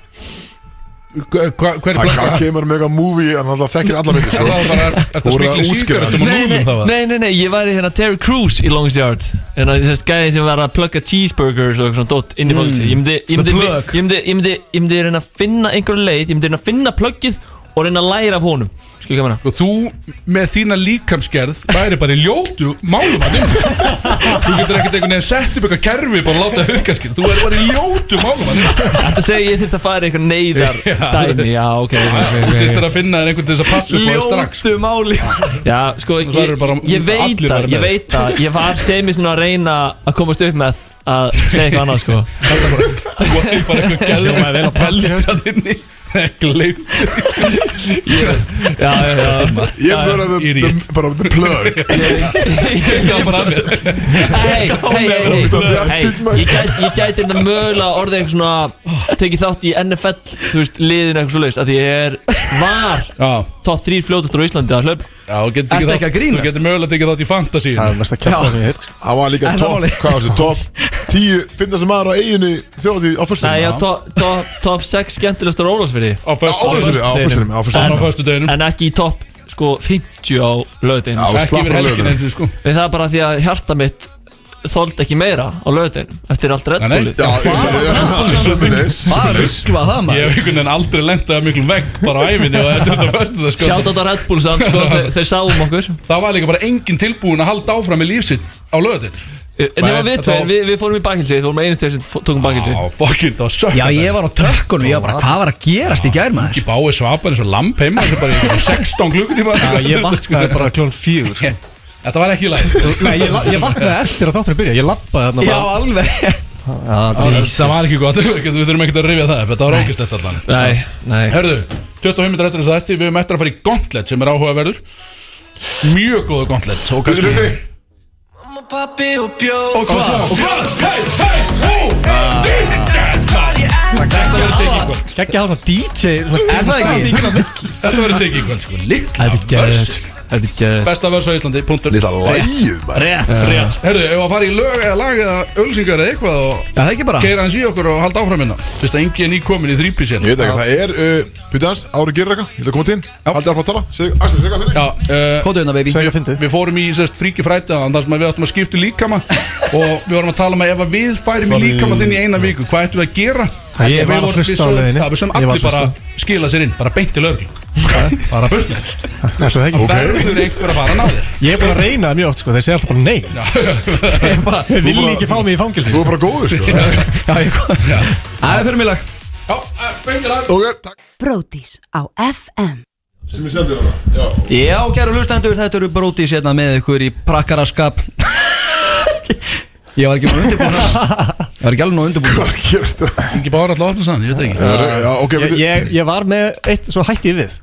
[SPEAKER 4] Hva- hva- Hver er
[SPEAKER 2] Hann hann
[SPEAKER 4] plakka?
[SPEAKER 2] kemur með eitthvað movie en hann þekkir alla
[SPEAKER 4] Það
[SPEAKER 2] myndir sko.
[SPEAKER 4] var bara, er þetta
[SPEAKER 2] Voru
[SPEAKER 4] smikli
[SPEAKER 2] að útskýra
[SPEAKER 4] síkaretum og
[SPEAKER 6] Nei, nei,
[SPEAKER 4] núnum það var
[SPEAKER 6] nei, nei, nei, ég var í hérna Terry Crews í Longest Yard En það er gæði sem var að plugga cheeseburgers og eitthvað svona dótt
[SPEAKER 4] Mm.
[SPEAKER 6] inn í fólkið Ég myndi, ég myndi,
[SPEAKER 5] plug.
[SPEAKER 6] ég myndi, ég myndi, ég myndi reyna að finna einhverju leið Ég myndi reyna að finna pluggið og reyna að læra af honum Skilur hvað ég meina?
[SPEAKER 4] Og Sko, þú með þína líkamsgerð væri bara í ljótu málum að nefna Þú getur ekkert einhvern veginn sett upp eitthvað kerfi bara að láta það hugga skil Þú væri bara í ljótu málum að nefna
[SPEAKER 6] Þetta segi ég þurft að fara í eitthvað neyðar
[SPEAKER 4] Já.
[SPEAKER 6] dæmi Já, ok, ok,
[SPEAKER 4] Þú þurftir að finna þér einhvern til þess að passa upp á þér strax
[SPEAKER 5] Ljótu máli
[SPEAKER 6] ok Já, sko,
[SPEAKER 4] Og svo
[SPEAKER 6] ég,
[SPEAKER 4] eru bara-
[SPEAKER 6] ég veit
[SPEAKER 4] allir
[SPEAKER 6] það,
[SPEAKER 4] væru
[SPEAKER 6] ég
[SPEAKER 4] með.
[SPEAKER 6] veit það Ég var semi svona að reyna að komast upp með að segja eitthvað annað, sko
[SPEAKER 4] Þú ætti bara eitthvað gæðum
[SPEAKER 8] Hljómaði vel á
[SPEAKER 4] Heldrað inni Gleim
[SPEAKER 5] Já, já, já
[SPEAKER 2] Ég er bara the, the, bara the plug
[SPEAKER 4] Tengja bara að mér
[SPEAKER 6] Hei, hei, hei,
[SPEAKER 2] Ógeðslega
[SPEAKER 6] hei
[SPEAKER 2] bjartsýnn, maður.
[SPEAKER 6] Ég gæti ég gæti hérna mögulega orðið einhvern svona Tekið þátt í NFL, þú veist, liðinu eitthvað svo leiðist Því ég er var
[SPEAKER 4] Já,
[SPEAKER 6] top 3 fljótastur á Íslandi að hlaup
[SPEAKER 4] já, þú getur
[SPEAKER 5] Ertu
[SPEAKER 4] tekið
[SPEAKER 5] ekki að
[SPEAKER 4] þátt-
[SPEAKER 5] grínast?
[SPEAKER 4] Þú getur mögulega tekið þátt í fantasy
[SPEAKER 8] Það er mest að kjarta sem ég heyrt sko.
[SPEAKER 2] Hann var líka
[SPEAKER 5] En það
[SPEAKER 2] topp,
[SPEAKER 5] máli.
[SPEAKER 2] hvað var þessi, topp 10, 15 maður á eiginni þjóðatíð á fyrstum
[SPEAKER 6] Nei, já, top, top, top 6 skemmtilegastur á Ólasfyrði
[SPEAKER 4] Á föstu
[SPEAKER 2] Á fyrstum, á
[SPEAKER 4] Bara á
[SPEAKER 2] fyrstum
[SPEAKER 4] föstu deginum
[SPEAKER 6] En ekki í top, sko, 50 á löðin
[SPEAKER 2] Já,
[SPEAKER 4] Ekki
[SPEAKER 2] slappar
[SPEAKER 4] verið helgin
[SPEAKER 2] lögum
[SPEAKER 4] eins og sko
[SPEAKER 6] Við það er bara því að hjarta mitt Þoldi ekki meira á löðin Eftir allt Red
[SPEAKER 4] Nei, nei.
[SPEAKER 6] Bullið
[SPEAKER 2] Já, ég segi, já,
[SPEAKER 4] um
[SPEAKER 2] sömulegis
[SPEAKER 5] Það er ruggla það
[SPEAKER 4] Ég hef
[SPEAKER 5] maður
[SPEAKER 4] einhvern veginn aldrei lendað miklum vegg bara á æfinni og þetta er þetta það sko
[SPEAKER 6] Sjátt á Red Bull samt, sko, þeir, þeir sáum okkur
[SPEAKER 4] Það var líka bara enginn tilbúin að halda áfram í lífsitt á löðin
[SPEAKER 6] En nema
[SPEAKER 4] Nei,
[SPEAKER 6] við
[SPEAKER 4] þá-
[SPEAKER 6] tveir, við, við fórum í bakilsi Þú vorum einu tveir sem fó- tókum bakilsi
[SPEAKER 4] Á, fokkin, það var sökk
[SPEAKER 5] Já, ég var á tökkunum, ég var bara, hvað var að gerast í gær maður?
[SPEAKER 4] Ég bái svapan eins og lamp heima Þetta er bara í einhverjum 16 klukkutíma
[SPEAKER 8] Já, ég vaknaði bara klón fjögur sko.
[SPEAKER 4] Þetta var ekki læg
[SPEAKER 8] Nei, ég, la- ég vaknaði eftir að þátturinn byrja Ég lappaði þarna
[SPEAKER 5] Já,
[SPEAKER 8] bara
[SPEAKER 5] alveg
[SPEAKER 4] Það var ekki gott, við þurfum ekkert að rifja það upp, Þetta var ógislegt allan
[SPEAKER 6] Nei, nei
[SPEAKER 4] Herðu, 25 minnir eftir þess að þetta Við erum eftir að fara í gauntlet sem er áhugaverður Mjög góða gauntlet Og
[SPEAKER 2] Hvernig
[SPEAKER 4] kannski
[SPEAKER 2] hlusti?
[SPEAKER 1] Pappi og bjóð
[SPEAKER 2] Og hvað? Og
[SPEAKER 4] Hvað? Hei, hei, hú, hei, Þetta verður tekið kvöld
[SPEAKER 8] Gekkja þarna DJ svona
[SPEAKER 5] Er það ekki?
[SPEAKER 4] Þetta verður tekið kvöld sko Lilla
[SPEAKER 6] Þetta er
[SPEAKER 4] vörs
[SPEAKER 6] gæðið Þetta er gæðið
[SPEAKER 4] Besta vörs á Íslandi, punktur
[SPEAKER 2] Lítið að lægið, maður
[SPEAKER 6] Rétt, rétt
[SPEAKER 4] Herðu, ef að fara í lög eða lag eða ölsingar eða eitthvað og
[SPEAKER 5] Já, það ekki bara
[SPEAKER 4] keira hans í okkur og halda áfram hérna Fyrst að engin er nýkomin í þrýpis
[SPEAKER 2] Ég
[SPEAKER 4] hérna
[SPEAKER 2] veit ekki, það er, uh, býttu aðeins, Ári gerir eitthvað, ég vil að koma til hinn Haldið áfram að tala, segðu, Axel, segðu hvað fyrir
[SPEAKER 4] Já, uh,
[SPEAKER 5] Kóðu hérna, baby
[SPEAKER 8] Svo ekki að fyndi
[SPEAKER 4] við fórum í sérst fríki frætaðan þar sem að við áttum að skipta um líkama og við vorum að tala um að ef að við færum í líkama þinn í eina viku, hvað ættum við að gera?
[SPEAKER 8] Já, ég
[SPEAKER 4] En við
[SPEAKER 8] var að
[SPEAKER 4] vorum- við
[SPEAKER 8] hlusta á
[SPEAKER 4] sögðum-
[SPEAKER 8] leiðinni.
[SPEAKER 4] Já, við sögum
[SPEAKER 8] Ég var
[SPEAKER 4] allir
[SPEAKER 8] að
[SPEAKER 4] bara skila sér inn, bara beint til örgl Bara burt með
[SPEAKER 8] Það
[SPEAKER 4] þér.
[SPEAKER 8] er ekki
[SPEAKER 4] Verður einhver að fara að ná þér
[SPEAKER 8] Ég er búin að reyna það mjög oft sko Þeir segja alltaf bara nei Þeir vilja ekki fá mig í fangelsi
[SPEAKER 2] Þú er bara góður, sko
[SPEAKER 5] Það er fyrir mig lag
[SPEAKER 4] Já, eh, beint til örgl
[SPEAKER 2] Ok, takk
[SPEAKER 7] Bródís á FM
[SPEAKER 2] Sem ég sendir hana Já,
[SPEAKER 5] Já, kæru hlustendur, þetta eru brótis hérna með ykkur í prakkaraskap Ég var ekki búin undirbúin Ég var ekki alveg nú undirbúin
[SPEAKER 2] hvað gerist það?
[SPEAKER 4] Ingi Bára alltaf opna sann, ég veit ekki
[SPEAKER 2] Já, ok,
[SPEAKER 8] Ég,
[SPEAKER 2] veitu
[SPEAKER 8] ég, ég var með eitt svo hætti ég við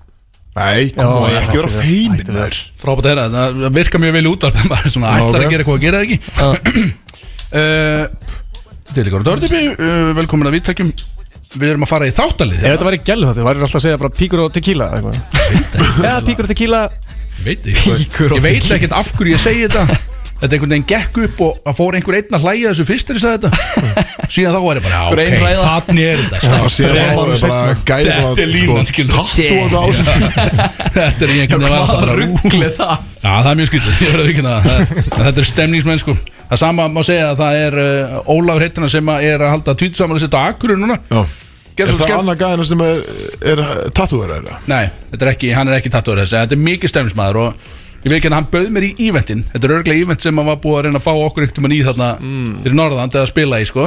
[SPEAKER 2] Nei,
[SPEAKER 8] Já,
[SPEAKER 2] kom á, ekki vera
[SPEAKER 8] hættu við,
[SPEAKER 2] feiminn
[SPEAKER 8] hættu við.
[SPEAKER 2] maður.
[SPEAKER 4] Frábært að heyra, það virka mjög vel í útvarp maður er svona ætlar
[SPEAKER 2] ok.
[SPEAKER 4] að gera eitthvað að gera það ekki uh, Dillikar og Dördipi uh, velkomin að viðtækjum Við erum að fara í þáttalið
[SPEAKER 8] Ef þetta væri gælu þetta, þú væri alltaf að segja bara píkur og tequila eða eitthvað Já, píkur og tequila
[SPEAKER 4] Ég veit, ekki hvað-
[SPEAKER 5] Píkur og
[SPEAKER 4] ég veit ekkert af hverju ég segi þetta Þetta einhvern veginn gekk upp og það fór einhver einn að hlæja þessu fyrst þegar ég sagði þetta Síðan þá var ég bara,
[SPEAKER 5] Hver
[SPEAKER 4] já
[SPEAKER 5] ein
[SPEAKER 4] ok,
[SPEAKER 5] ræða.
[SPEAKER 4] þannig er þetta
[SPEAKER 2] Já,
[SPEAKER 4] sko.
[SPEAKER 2] síðan var maður bara gæði bara
[SPEAKER 4] Þetta er sko. línan, skilur
[SPEAKER 2] Þú er það ásins
[SPEAKER 4] Þetta er einhvern veginn var þetta
[SPEAKER 5] Hvað
[SPEAKER 4] bara, ú.
[SPEAKER 5] ruggli það?
[SPEAKER 4] Já, það er mjög skrítið, ég verði að vikina það En Þetta er stemningsmenn sko Það sama má segja að það er uh, Ólafur heitina sem að er að halda tvítusamali sitt á Akurur núna
[SPEAKER 2] Er
[SPEAKER 4] Gerðu svo
[SPEAKER 2] það
[SPEAKER 4] skemmt
[SPEAKER 2] annað gæðina sem er, er tattúverðar, eða?
[SPEAKER 4] Nei, þetta er ekki, hann er ekki tattur þessi Þetta er mikið stemningsmaður og ég veit ekki að hann bauð mér í eventin Þetta er örglega event sem hann var búið að reyna að fá okkur einhvern veginn í þarna fyrir norðan til að spila í sko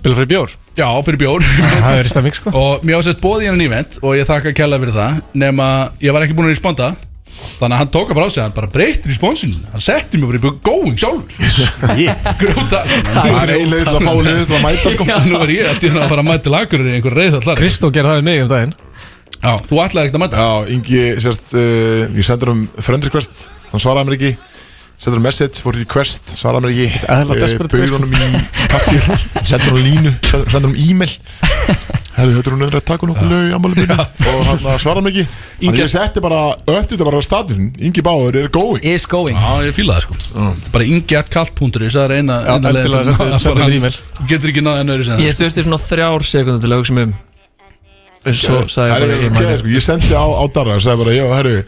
[SPEAKER 8] Spila fyrir bjór
[SPEAKER 4] Já, fyrir bjór
[SPEAKER 8] Það er í stemming sko
[SPEAKER 4] Og mér ásett bóði hann event og ég þakka kella fyrir það Nefn að ég var ekki búin að responda Þannig að hann tóka bara á sig, hann bara breytti responsinu Hann setti mér bara í going sjálfur Grjóta
[SPEAKER 2] Það er einlega til að fá liðið til að mæta, sko
[SPEAKER 4] Já, nú er ég alltaf að fara að mæta til Akureyri í einhver reyð allar
[SPEAKER 8] Kristó gerði það við mig um daginn
[SPEAKER 4] Já, þú ætlaði ekkert að mæta
[SPEAKER 2] Já, Ingi, sérst, uh, ég sendur um friend request, hann svaraði mér ekki sendur um message, fór í quest, svaraði mér ekki Eh,
[SPEAKER 8] eðla desperate
[SPEAKER 2] bauð honum í pappir sendur honum línu, sendur sendur honum e-mail herru, þetta er hún öðru að taka nokkuð lög í ammali minni og hann svaraði mér ekki Þannig
[SPEAKER 4] Ingi-
[SPEAKER 2] ég setti bara, öftu þetta bara á staðin Ingi Báður er going
[SPEAKER 5] Is going
[SPEAKER 4] Já, ég fíla það sko Bara ingjatkallt.is, það er eina
[SPEAKER 8] Já,
[SPEAKER 4] eina leiðin
[SPEAKER 8] endilega
[SPEAKER 4] til-
[SPEAKER 8] sendu- sendu
[SPEAKER 4] bara-
[SPEAKER 8] mér e-mail.
[SPEAKER 4] Þú Getur ekki náðið enn öðru sem
[SPEAKER 6] Ég þurfti svona þrjár sekundar til að hugsa mig um En Svo sagði
[SPEAKER 2] Það er
[SPEAKER 6] ég bara
[SPEAKER 2] ekki
[SPEAKER 6] ég
[SPEAKER 2] geðið,
[SPEAKER 6] maður
[SPEAKER 2] sko. Ég sendi á, á Darra og sagði bara, já, herru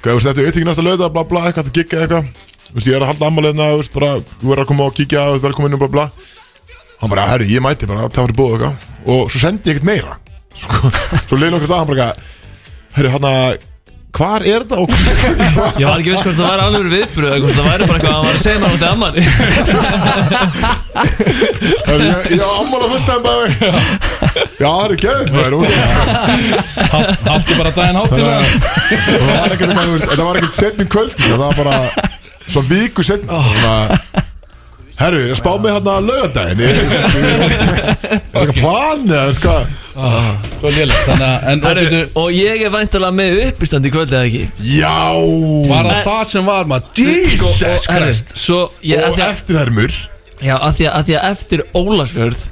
[SPEAKER 2] Hvað, veist, þetta er auðvitað næsta löða, bla, bla, eitthvað, það gikk eitthvað Þú veist, ég er að halda ammaliðna, þú veist, bara Þú er að koma og kíkja, þú veist, velkomin og bla, bla Hann bara, herru, ég mæti bara, það var í búið eitthvað Og svo sendi ég ekkert meira Sko, Svo leiði okkur það, hann bara Herru, hann að, hvar er þetta og
[SPEAKER 6] Ég var ekki veist hvort það væri alveg viðbröð eða hvort það væri bara eitthvað að hann var að segja mér átti amman
[SPEAKER 2] Herru, ég, ég á ammalið fyrst en bara Já, herru, geðið, maður og-
[SPEAKER 4] Haltu bara daginn hátt til
[SPEAKER 2] Þannig
[SPEAKER 4] það
[SPEAKER 2] að- það var ekkert um
[SPEAKER 6] Ah.
[SPEAKER 2] eitthvað, þú veist, Þetta var ekkert setnum kvöldi Það var bara Svo viku setna Þannig að Herru, ég er að spá mig hérna lögadaginn Ég ég- ég- er ekki plan eða, veist hvað?
[SPEAKER 4] Svo lélegt Þannig að En
[SPEAKER 6] Herru,
[SPEAKER 4] byrju,
[SPEAKER 6] Og ég er væntalega með uppistand í kvöld eða ekki
[SPEAKER 2] Já
[SPEAKER 4] Var
[SPEAKER 2] Og
[SPEAKER 4] það það sem var maður Jesus
[SPEAKER 6] Sko, og, herru,
[SPEAKER 4] Christ
[SPEAKER 6] Svo ég, að því að,
[SPEAKER 2] eftirhermur
[SPEAKER 6] já, að, því að, að því að eftir Ólasfjörð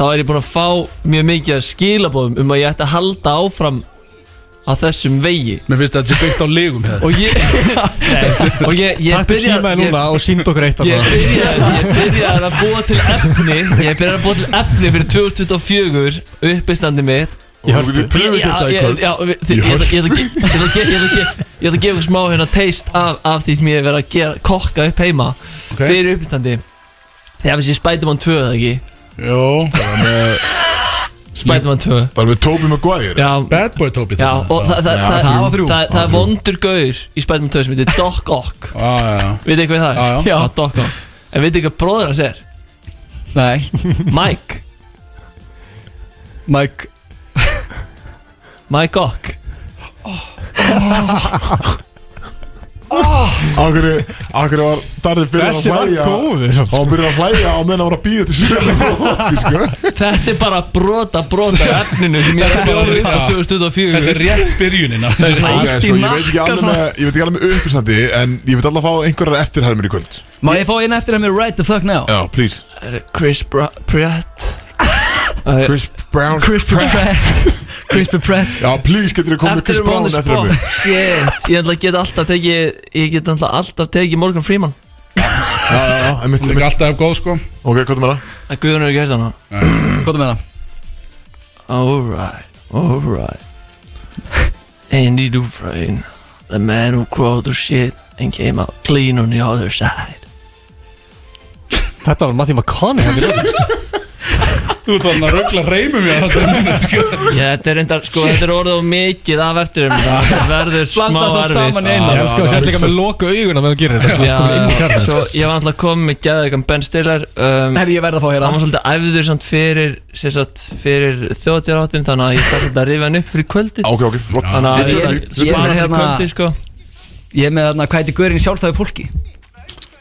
[SPEAKER 6] Þá er ég búin að fá mjög mikið af skilabóðum Um að ég ætti að halda áfram Á þessum vegi
[SPEAKER 4] Mér finnst þetta sé byggt á legum hér
[SPEAKER 6] Og ég Nei, Og ég, ég
[SPEAKER 8] Taktu
[SPEAKER 6] byrja-
[SPEAKER 8] símaði
[SPEAKER 6] ég-
[SPEAKER 8] núna og sínd okkur eitt
[SPEAKER 6] Ég
[SPEAKER 8] allavega.
[SPEAKER 6] byrjaði ég byrjaði að búa til efni Ég byrjaði að búa til efni fyrir 2024 Uppistandi mitt
[SPEAKER 8] Í
[SPEAKER 2] Og
[SPEAKER 8] Hörpu.
[SPEAKER 2] við pröfum þetta í kvöld
[SPEAKER 6] já, við- þið-
[SPEAKER 2] Í
[SPEAKER 6] ég ætla- ég ætla að ge- ég ætla að ge- ég ætla að ge- ég ætla að gefa ykkur smá hérna taste af, af því sem ég hef verið að gera, kokka upp heima
[SPEAKER 4] Ok.
[SPEAKER 6] fyrir uppbytandi þegar við séum Spiderman 2 eða ekki
[SPEAKER 4] Jó
[SPEAKER 6] Spiderman 2
[SPEAKER 2] Bara með Tobey Maguire
[SPEAKER 6] já,
[SPEAKER 4] Bad boy Tobi
[SPEAKER 6] já og það, það,
[SPEAKER 2] Já,
[SPEAKER 6] það,
[SPEAKER 2] það
[SPEAKER 5] var þrjú.
[SPEAKER 6] það, það er
[SPEAKER 2] þrjú.
[SPEAKER 6] vondur gaur í Spiderman 2 sem heitir Doc Ock
[SPEAKER 4] Já,
[SPEAKER 6] veit ekki hvað það
[SPEAKER 4] Já,
[SPEAKER 6] er?
[SPEAKER 5] já.
[SPEAKER 6] Doc Ock en veit ekki hvað bróður hans er?
[SPEAKER 5] Nei,
[SPEAKER 6] Mike
[SPEAKER 5] Mike
[SPEAKER 6] Mike Ock
[SPEAKER 2] Akkur Akkur var Darri byrjar að
[SPEAKER 8] Þessi var
[SPEAKER 2] hlæja
[SPEAKER 8] góður, samt,
[SPEAKER 6] sko.
[SPEAKER 2] Hann byrjar að hlæja á meðan hann var að býða til sér sko.
[SPEAKER 6] þetta er bara brota brota af efninu sem ég er að bjóða upp á
[SPEAKER 4] Já. Þetta
[SPEAKER 6] 2024
[SPEAKER 4] er rétt byrjunina
[SPEAKER 6] svona
[SPEAKER 2] Ok,
[SPEAKER 6] Allt
[SPEAKER 2] sko,
[SPEAKER 6] í
[SPEAKER 2] Ég veit ekki
[SPEAKER 6] nakka
[SPEAKER 2] alveg
[SPEAKER 6] svona.
[SPEAKER 2] með Ég veit ekki alveg með uppistandi En ég veit alveg að fá einhverjar eftirhermur í kvöld
[SPEAKER 5] Má ég fá eina eftir að mér right the fuck now
[SPEAKER 2] Já, please
[SPEAKER 6] Chris Bra- Pratt
[SPEAKER 2] Chris Brown
[SPEAKER 5] Crispy Pratt Crispy Pratt
[SPEAKER 2] Já, please getur þið komið með Chris
[SPEAKER 6] After on
[SPEAKER 2] Brown
[SPEAKER 6] the spot
[SPEAKER 2] eftirhermur
[SPEAKER 6] Shit Ég ætla að geta alltaf tekið Ég get alltaf, alltaf tekið Morgan Freeman
[SPEAKER 2] Já, já, já,
[SPEAKER 4] Það
[SPEAKER 2] einmitt,
[SPEAKER 4] er
[SPEAKER 2] einmitt.
[SPEAKER 4] alltaf góð sko
[SPEAKER 2] Ok, hvað er með það?
[SPEAKER 6] Það guðun er ekki hægt hana
[SPEAKER 5] Hvað er með það?
[SPEAKER 6] Alright Alright Andy Dufresne The man who crawled through shit And came out clean on the other side
[SPEAKER 8] Þetta var Matthew McConaughey
[SPEAKER 4] Þú ert þannig að röggla reymum ég að þetta minna sko
[SPEAKER 6] Já, þetta er reyndar Sko, þetta er orðið á mikið af eftir þeim Það verður smá
[SPEAKER 5] Blanda það saman
[SPEAKER 6] erfitt
[SPEAKER 5] í einu
[SPEAKER 8] Ég elskar að sérleika með loka auguna meðan þú gerir þetta sko,
[SPEAKER 6] Já,
[SPEAKER 8] komin inn í kjarnann.
[SPEAKER 6] svo ég var alltaf komið með geðaukan Ben Stiller um,
[SPEAKER 5] Herri, ég verð að fá
[SPEAKER 6] hann var
[SPEAKER 5] hérna
[SPEAKER 6] svolítið æfður samt fyrir, sem sagt, fyrir þjóðtjárháttin þannig að ég þarf svolítið að rifa hann upp fyrir kvöldið
[SPEAKER 2] Ok, ok, flott
[SPEAKER 6] þannig að
[SPEAKER 2] Við
[SPEAKER 6] ég,
[SPEAKER 2] tökum því.
[SPEAKER 6] ég, ég
[SPEAKER 5] tökum
[SPEAKER 6] er
[SPEAKER 5] því.
[SPEAKER 6] hérna
[SPEAKER 5] Hérna-
[SPEAKER 6] kvöldið sko
[SPEAKER 5] Ég er með hérna, hvað heitir Guðurinn í sjálfstæðu fólki?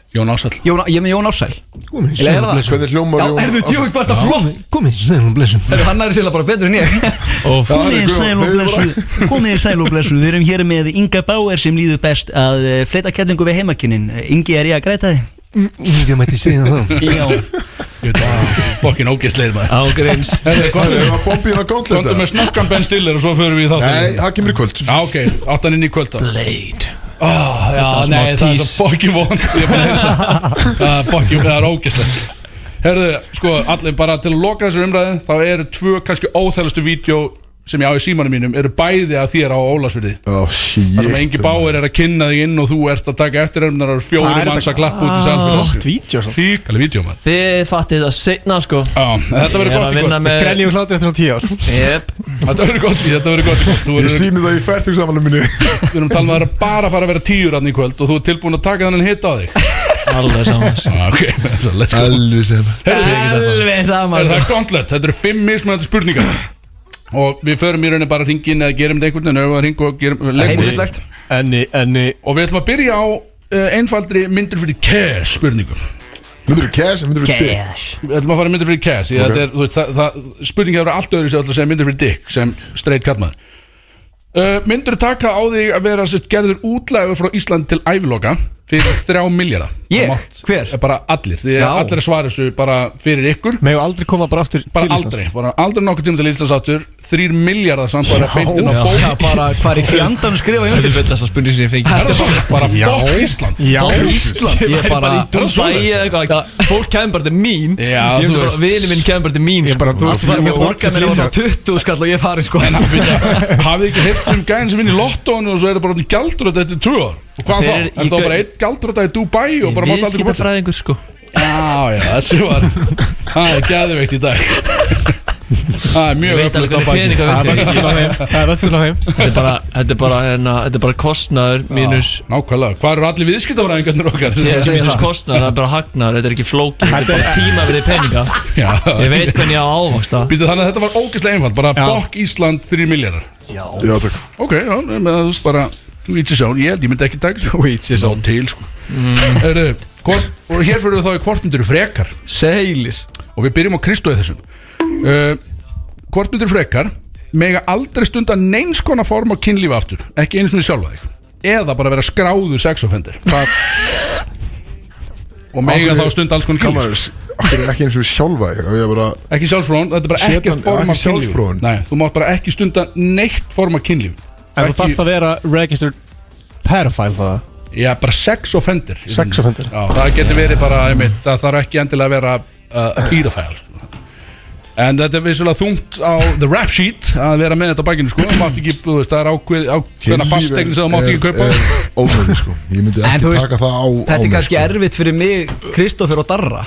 [SPEAKER 4] Jón Ásall
[SPEAKER 5] Jón, ég er með Jón Ársæl
[SPEAKER 8] Guð minn,
[SPEAKER 5] Ég leiði það
[SPEAKER 2] Hvernig hljómar
[SPEAKER 5] Já,
[SPEAKER 2] Jón
[SPEAKER 5] herðu, djók, var þetta flott
[SPEAKER 8] Gómið, segðum blessum
[SPEAKER 5] Herru, Hann er sérlega bara betur en ég
[SPEAKER 2] Já, herru, Guðjón, þið voru-
[SPEAKER 9] Komið er sæl og blessu, við erum hér með Inga Bauer sem líður best að eh, fleyta kettingu við heimakinnin Ingi er ég að græta þið?
[SPEAKER 8] Ég mætti segja það
[SPEAKER 5] Já
[SPEAKER 4] Ég veit að Fokkin ógeðsleir maður
[SPEAKER 6] ágrims
[SPEAKER 4] Herri,
[SPEAKER 2] Herru,
[SPEAKER 4] komdu-
[SPEAKER 2] erum við að bomba hérna góndleita?
[SPEAKER 4] Komdu með snöggan Ben Stiller og svo förum við í þátt
[SPEAKER 2] Nei, það kemur í kvöld
[SPEAKER 4] Já, ok, áttan inn í kvöld þá
[SPEAKER 6] Blade
[SPEAKER 4] oh, Já,
[SPEAKER 6] var smá
[SPEAKER 4] nei, það er
[SPEAKER 6] tease.
[SPEAKER 4] svo fokkin von Ég er búin að heyra það. Það er fokkin, það er ógeðslegt Herðu, sko, allir bara til að loka þessu umræðu Þá eru tvö kannski óþælustu vídeo sem ég á í símanum mínum eru bæði að þér á Ólasverði
[SPEAKER 2] Ó,
[SPEAKER 4] Það sem Engi
[SPEAKER 2] shit
[SPEAKER 4] Báir er að kynna þig inn og þú ert að taka eftir ermnar og fjóri manns að klappa út í
[SPEAKER 8] Gott
[SPEAKER 4] salfið
[SPEAKER 6] Ah.
[SPEAKER 8] vídeo svo
[SPEAKER 4] Ríkali vídeo maður
[SPEAKER 6] þið fattið það setna sko
[SPEAKER 4] Já, þetta verður sko.
[SPEAKER 6] ég
[SPEAKER 4] gott
[SPEAKER 6] er að
[SPEAKER 4] í
[SPEAKER 6] vinna
[SPEAKER 4] kvöld
[SPEAKER 6] með
[SPEAKER 8] Grænni og hlátur eftir svona tíu ár
[SPEAKER 6] yep.
[SPEAKER 4] Þetta verður gott í, þetta verður gott í kvöld. Þú
[SPEAKER 2] Ég
[SPEAKER 4] verður,
[SPEAKER 2] sýni það í færtugsamalum minni
[SPEAKER 4] við erum talað um að það er bara að fara að vera tíur hann í kvöld og þú ert tilbúin að taka þannig hitt á þig
[SPEAKER 6] alveg saman
[SPEAKER 4] ah, Ok, let's go
[SPEAKER 2] Elvis hérna
[SPEAKER 4] Herðu,
[SPEAKER 6] alveg sko.
[SPEAKER 4] Er
[SPEAKER 6] saman
[SPEAKER 4] það gauntlet, þetta eru fimm mismunandi spurningar Og við förum í rauninni bara að ringin eða gerum þetta einhvern veginn eða ringu og gerum legum út.
[SPEAKER 5] Heimilislegt
[SPEAKER 8] Enni, enni
[SPEAKER 4] Og við ætlum að byrja á uh, einfaldri myndur fyrir cash spurningum
[SPEAKER 2] Myndur þú cash, myndur þú dick
[SPEAKER 4] Við ætlum að fara í myndir fyrir Cass okay.
[SPEAKER 2] Ok.
[SPEAKER 4] þetta er, þú veist, það, það, Spurningið eru allt öðru sem ætlum að segja myndir fyrir Dick sem straight kallmaður uh, Myndir taka á þig að vera sitt, gerður útlægur frá Ísland til æviloka fyrir þrjá miljara
[SPEAKER 5] Ég? Hver?
[SPEAKER 4] Eh, Bara allir, því
[SPEAKER 5] Já.
[SPEAKER 4] að allir svara þessu bara fyrir ykkur
[SPEAKER 8] Megum aldrei koma bara aftur til
[SPEAKER 4] Bara
[SPEAKER 8] Íslands
[SPEAKER 4] aldrei, bara aldrei nokkuð tíma til Íslands aftur Þrýr miljardar samt bara beintin á
[SPEAKER 6] já.
[SPEAKER 4] bók
[SPEAKER 5] Já, bara hvað er í fjandan skrifa ég
[SPEAKER 6] Þetta
[SPEAKER 5] undir
[SPEAKER 6] er betast að spurning sem ég fengi
[SPEAKER 4] Þetta er bara, bara bók Ísland
[SPEAKER 8] Já
[SPEAKER 4] Ísland
[SPEAKER 5] Ég er bara
[SPEAKER 6] Bæ eða eitthvað Fólk kemur bara til mín
[SPEAKER 4] sko. Já, þú
[SPEAKER 6] Ég myndi bara
[SPEAKER 4] veist.
[SPEAKER 6] Vini minn kemur bara til mín sko.
[SPEAKER 8] Þú veist,
[SPEAKER 5] Ég
[SPEAKER 8] ég
[SPEAKER 5] borga mér
[SPEAKER 8] var
[SPEAKER 5] á 20 skall og ég er farin sko
[SPEAKER 4] Hafið ekki hitt um gæðin sem vinn í lottónu og svo er það bara gældröð eftir tvö ár Og hvað
[SPEAKER 6] Þeir
[SPEAKER 4] þá? Er
[SPEAKER 6] eru í
[SPEAKER 4] það bara
[SPEAKER 6] gau-
[SPEAKER 4] einn gældröð í Dubai og bara mátt aldrei koma til?
[SPEAKER 6] Viðskiptafræðingur sko
[SPEAKER 4] Já, já, þessi var Það er gæðveikt í dag Það er
[SPEAKER 6] Ég
[SPEAKER 4] mjög
[SPEAKER 6] veit alveg
[SPEAKER 4] öflugt á
[SPEAKER 6] hvernig
[SPEAKER 4] baki
[SPEAKER 6] peninga við fyrir
[SPEAKER 8] Vöndun á þeim Það er vöndun á þeim
[SPEAKER 6] Þetta er bara Þetta er bara hérna Þetta er bara kostnaður mínus
[SPEAKER 4] Nákvæmlega, hvað eru allir viðskiptafræðingarnir okkar?
[SPEAKER 6] Ég er sem þess kostnar, það er bara hagnar, þetta er ekki flókið Þetta er bara tíma verið peninga
[SPEAKER 4] Já.
[SPEAKER 6] Ég veit hvernig ég á að ávaksta
[SPEAKER 4] Býtu þannig að þetta var ógeðslega einfalt Bara fokk Ísland 3 miljardar
[SPEAKER 2] Já, takk
[SPEAKER 4] Ok, já, með það þú veist bara Þú veit sér sjón, ég held ég myndi ekki taka þessu
[SPEAKER 5] Wait, ég
[SPEAKER 4] Sá til, sko mm. Hvort, og hér fyrir þá í hvort myndir frekar
[SPEAKER 5] Seilir
[SPEAKER 4] og við byrjum á Kristóið þessum uh, hvort myndir frekar mega aldrei stunda neins konar form á kynlífi aftur, ekki eins og sjálfa þig eða bara vera skráðu sexofendir það og mega þá stunda alls konar kynlíf
[SPEAKER 2] Kamarus, okkur er ekki eins og við sjálfa þig Við erum bara,
[SPEAKER 4] ekki sjálfsfrón, þetta er bara
[SPEAKER 2] Setan-
[SPEAKER 4] ekkert form
[SPEAKER 2] ekki
[SPEAKER 4] af kynlífi
[SPEAKER 2] sjálfsfróun.
[SPEAKER 4] Nei, þú mátt bara ekki stunda neitt form af kynlífi
[SPEAKER 8] En þú
[SPEAKER 4] Ekki-
[SPEAKER 8] þarft að vera registered pedophile það
[SPEAKER 4] Já, bara sex offender
[SPEAKER 8] Sex offender.
[SPEAKER 4] Já, það getur verið bara, einmitt, það þarf ekki endilega að vera uh, pedophile sko. En þetta er vissulega þungt á the rap sheet að vera með þetta á bækinu sko. Mátt ekki, þú veist, það er ákveð, ákveðna
[SPEAKER 2] kynlíf
[SPEAKER 4] fastegn sem þú mátt
[SPEAKER 2] er-
[SPEAKER 4] ekki kaupa
[SPEAKER 2] er Ómögulegt, sko, ég myndi
[SPEAKER 5] En
[SPEAKER 2] ekki
[SPEAKER 5] þú veist,
[SPEAKER 2] taka það á á
[SPEAKER 5] Þetta
[SPEAKER 2] mig,
[SPEAKER 5] er kannski
[SPEAKER 2] sko.
[SPEAKER 5] erfitt fyrir mig, Kristoffer og Darra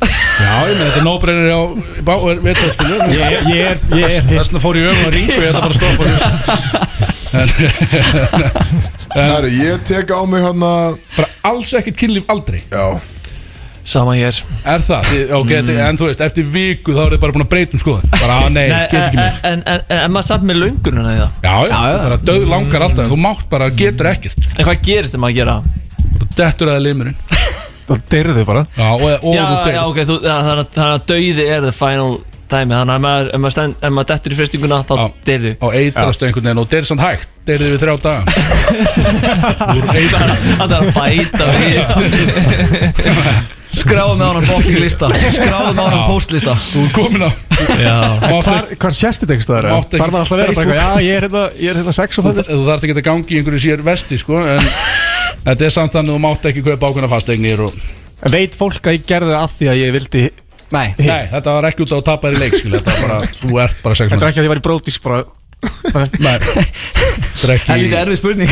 [SPEAKER 4] Já, ég með þetta nóbreynir á bá, er, veit, það, sko,
[SPEAKER 8] Ég ég er, ég er
[SPEAKER 4] Þess vegna fór ég öfum að ringu Ég ætla bara að stoppa því
[SPEAKER 2] Herri, ég tek á mig hann að
[SPEAKER 4] Bara alls ekkert kynlíf aldrei
[SPEAKER 2] Já,
[SPEAKER 6] Sama hér
[SPEAKER 4] Er það? Þið- Ok, mm. en þú veist, eftir viku þá er þið bara búin að breyta um skoðan Bara, "Ah, nei,
[SPEAKER 6] Nei, eh,
[SPEAKER 4] get ekki
[SPEAKER 6] en,
[SPEAKER 4] mér
[SPEAKER 6] en, en, en, en maður samt með löngununa í það
[SPEAKER 4] Já, já, það er að döð langar alltaf en Þú mátt bara, getur ekkert
[SPEAKER 6] En hvað gerist þegar maður gera það?
[SPEAKER 4] Dettur eða limurinn
[SPEAKER 8] Það deyrðu bara
[SPEAKER 4] Já, og, og
[SPEAKER 6] Já,
[SPEAKER 4] þú deyr
[SPEAKER 6] já, ok, þú, ja, þannig, að- þannig að dauði er the final dæmi Þannig að maður, ef maður, stend, ef maður dettur í fristinguna þá
[SPEAKER 4] Já.
[SPEAKER 6] deyrðu
[SPEAKER 4] Og eitrast einhvern veginn og deyr samt hægt Deyrið við þrjá daga
[SPEAKER 6] Það er að bæta við
[SPEAKER 5] Skráðu með honum fucking lista Skráðu með honum
[SPEAKER 4] Já.
[SPEAKER 5] postlista
[SPEAKER 4] Þú er komin á Mátt-
[SPEAKER 8] Hvar, hvar sést þetta einhverstaðar?
[SPEAKER 4] Mátt ekki-
[SPEAKER 8] Þar maður alltaf að vera bara eitthvað Já, ég er hérna, ég er hérna sex og
[SPEAKER 4] Þú
[SPEAKER 8] það
[SPEAKER 4] þú þarft ekki að gangi í einhverju sér vesti, sko En þetta er samt þannig að þú mátt ekki kaupa ákveðna fastegnir og...
[SPEAKER 8] En veit fólk að ég gerði það af því að ég vildi
[SPEAKER 5] Nei
[SPEAKER 4] Nei, þetta var ekki út á að tapa þér í leik, skil Þetta var bara, þú ert bara
[SPEAKER 8] Þetta er
[SPEAKER 4] sexmenn
[SPEAKER 8] ekki að ég var í brótis bara
[SPEAKER 4] Nei, þetta er
[SPEAKER 5] Það er lítið
[SPEAKER 4] ekki
[SPEAKER 5] erfið spurning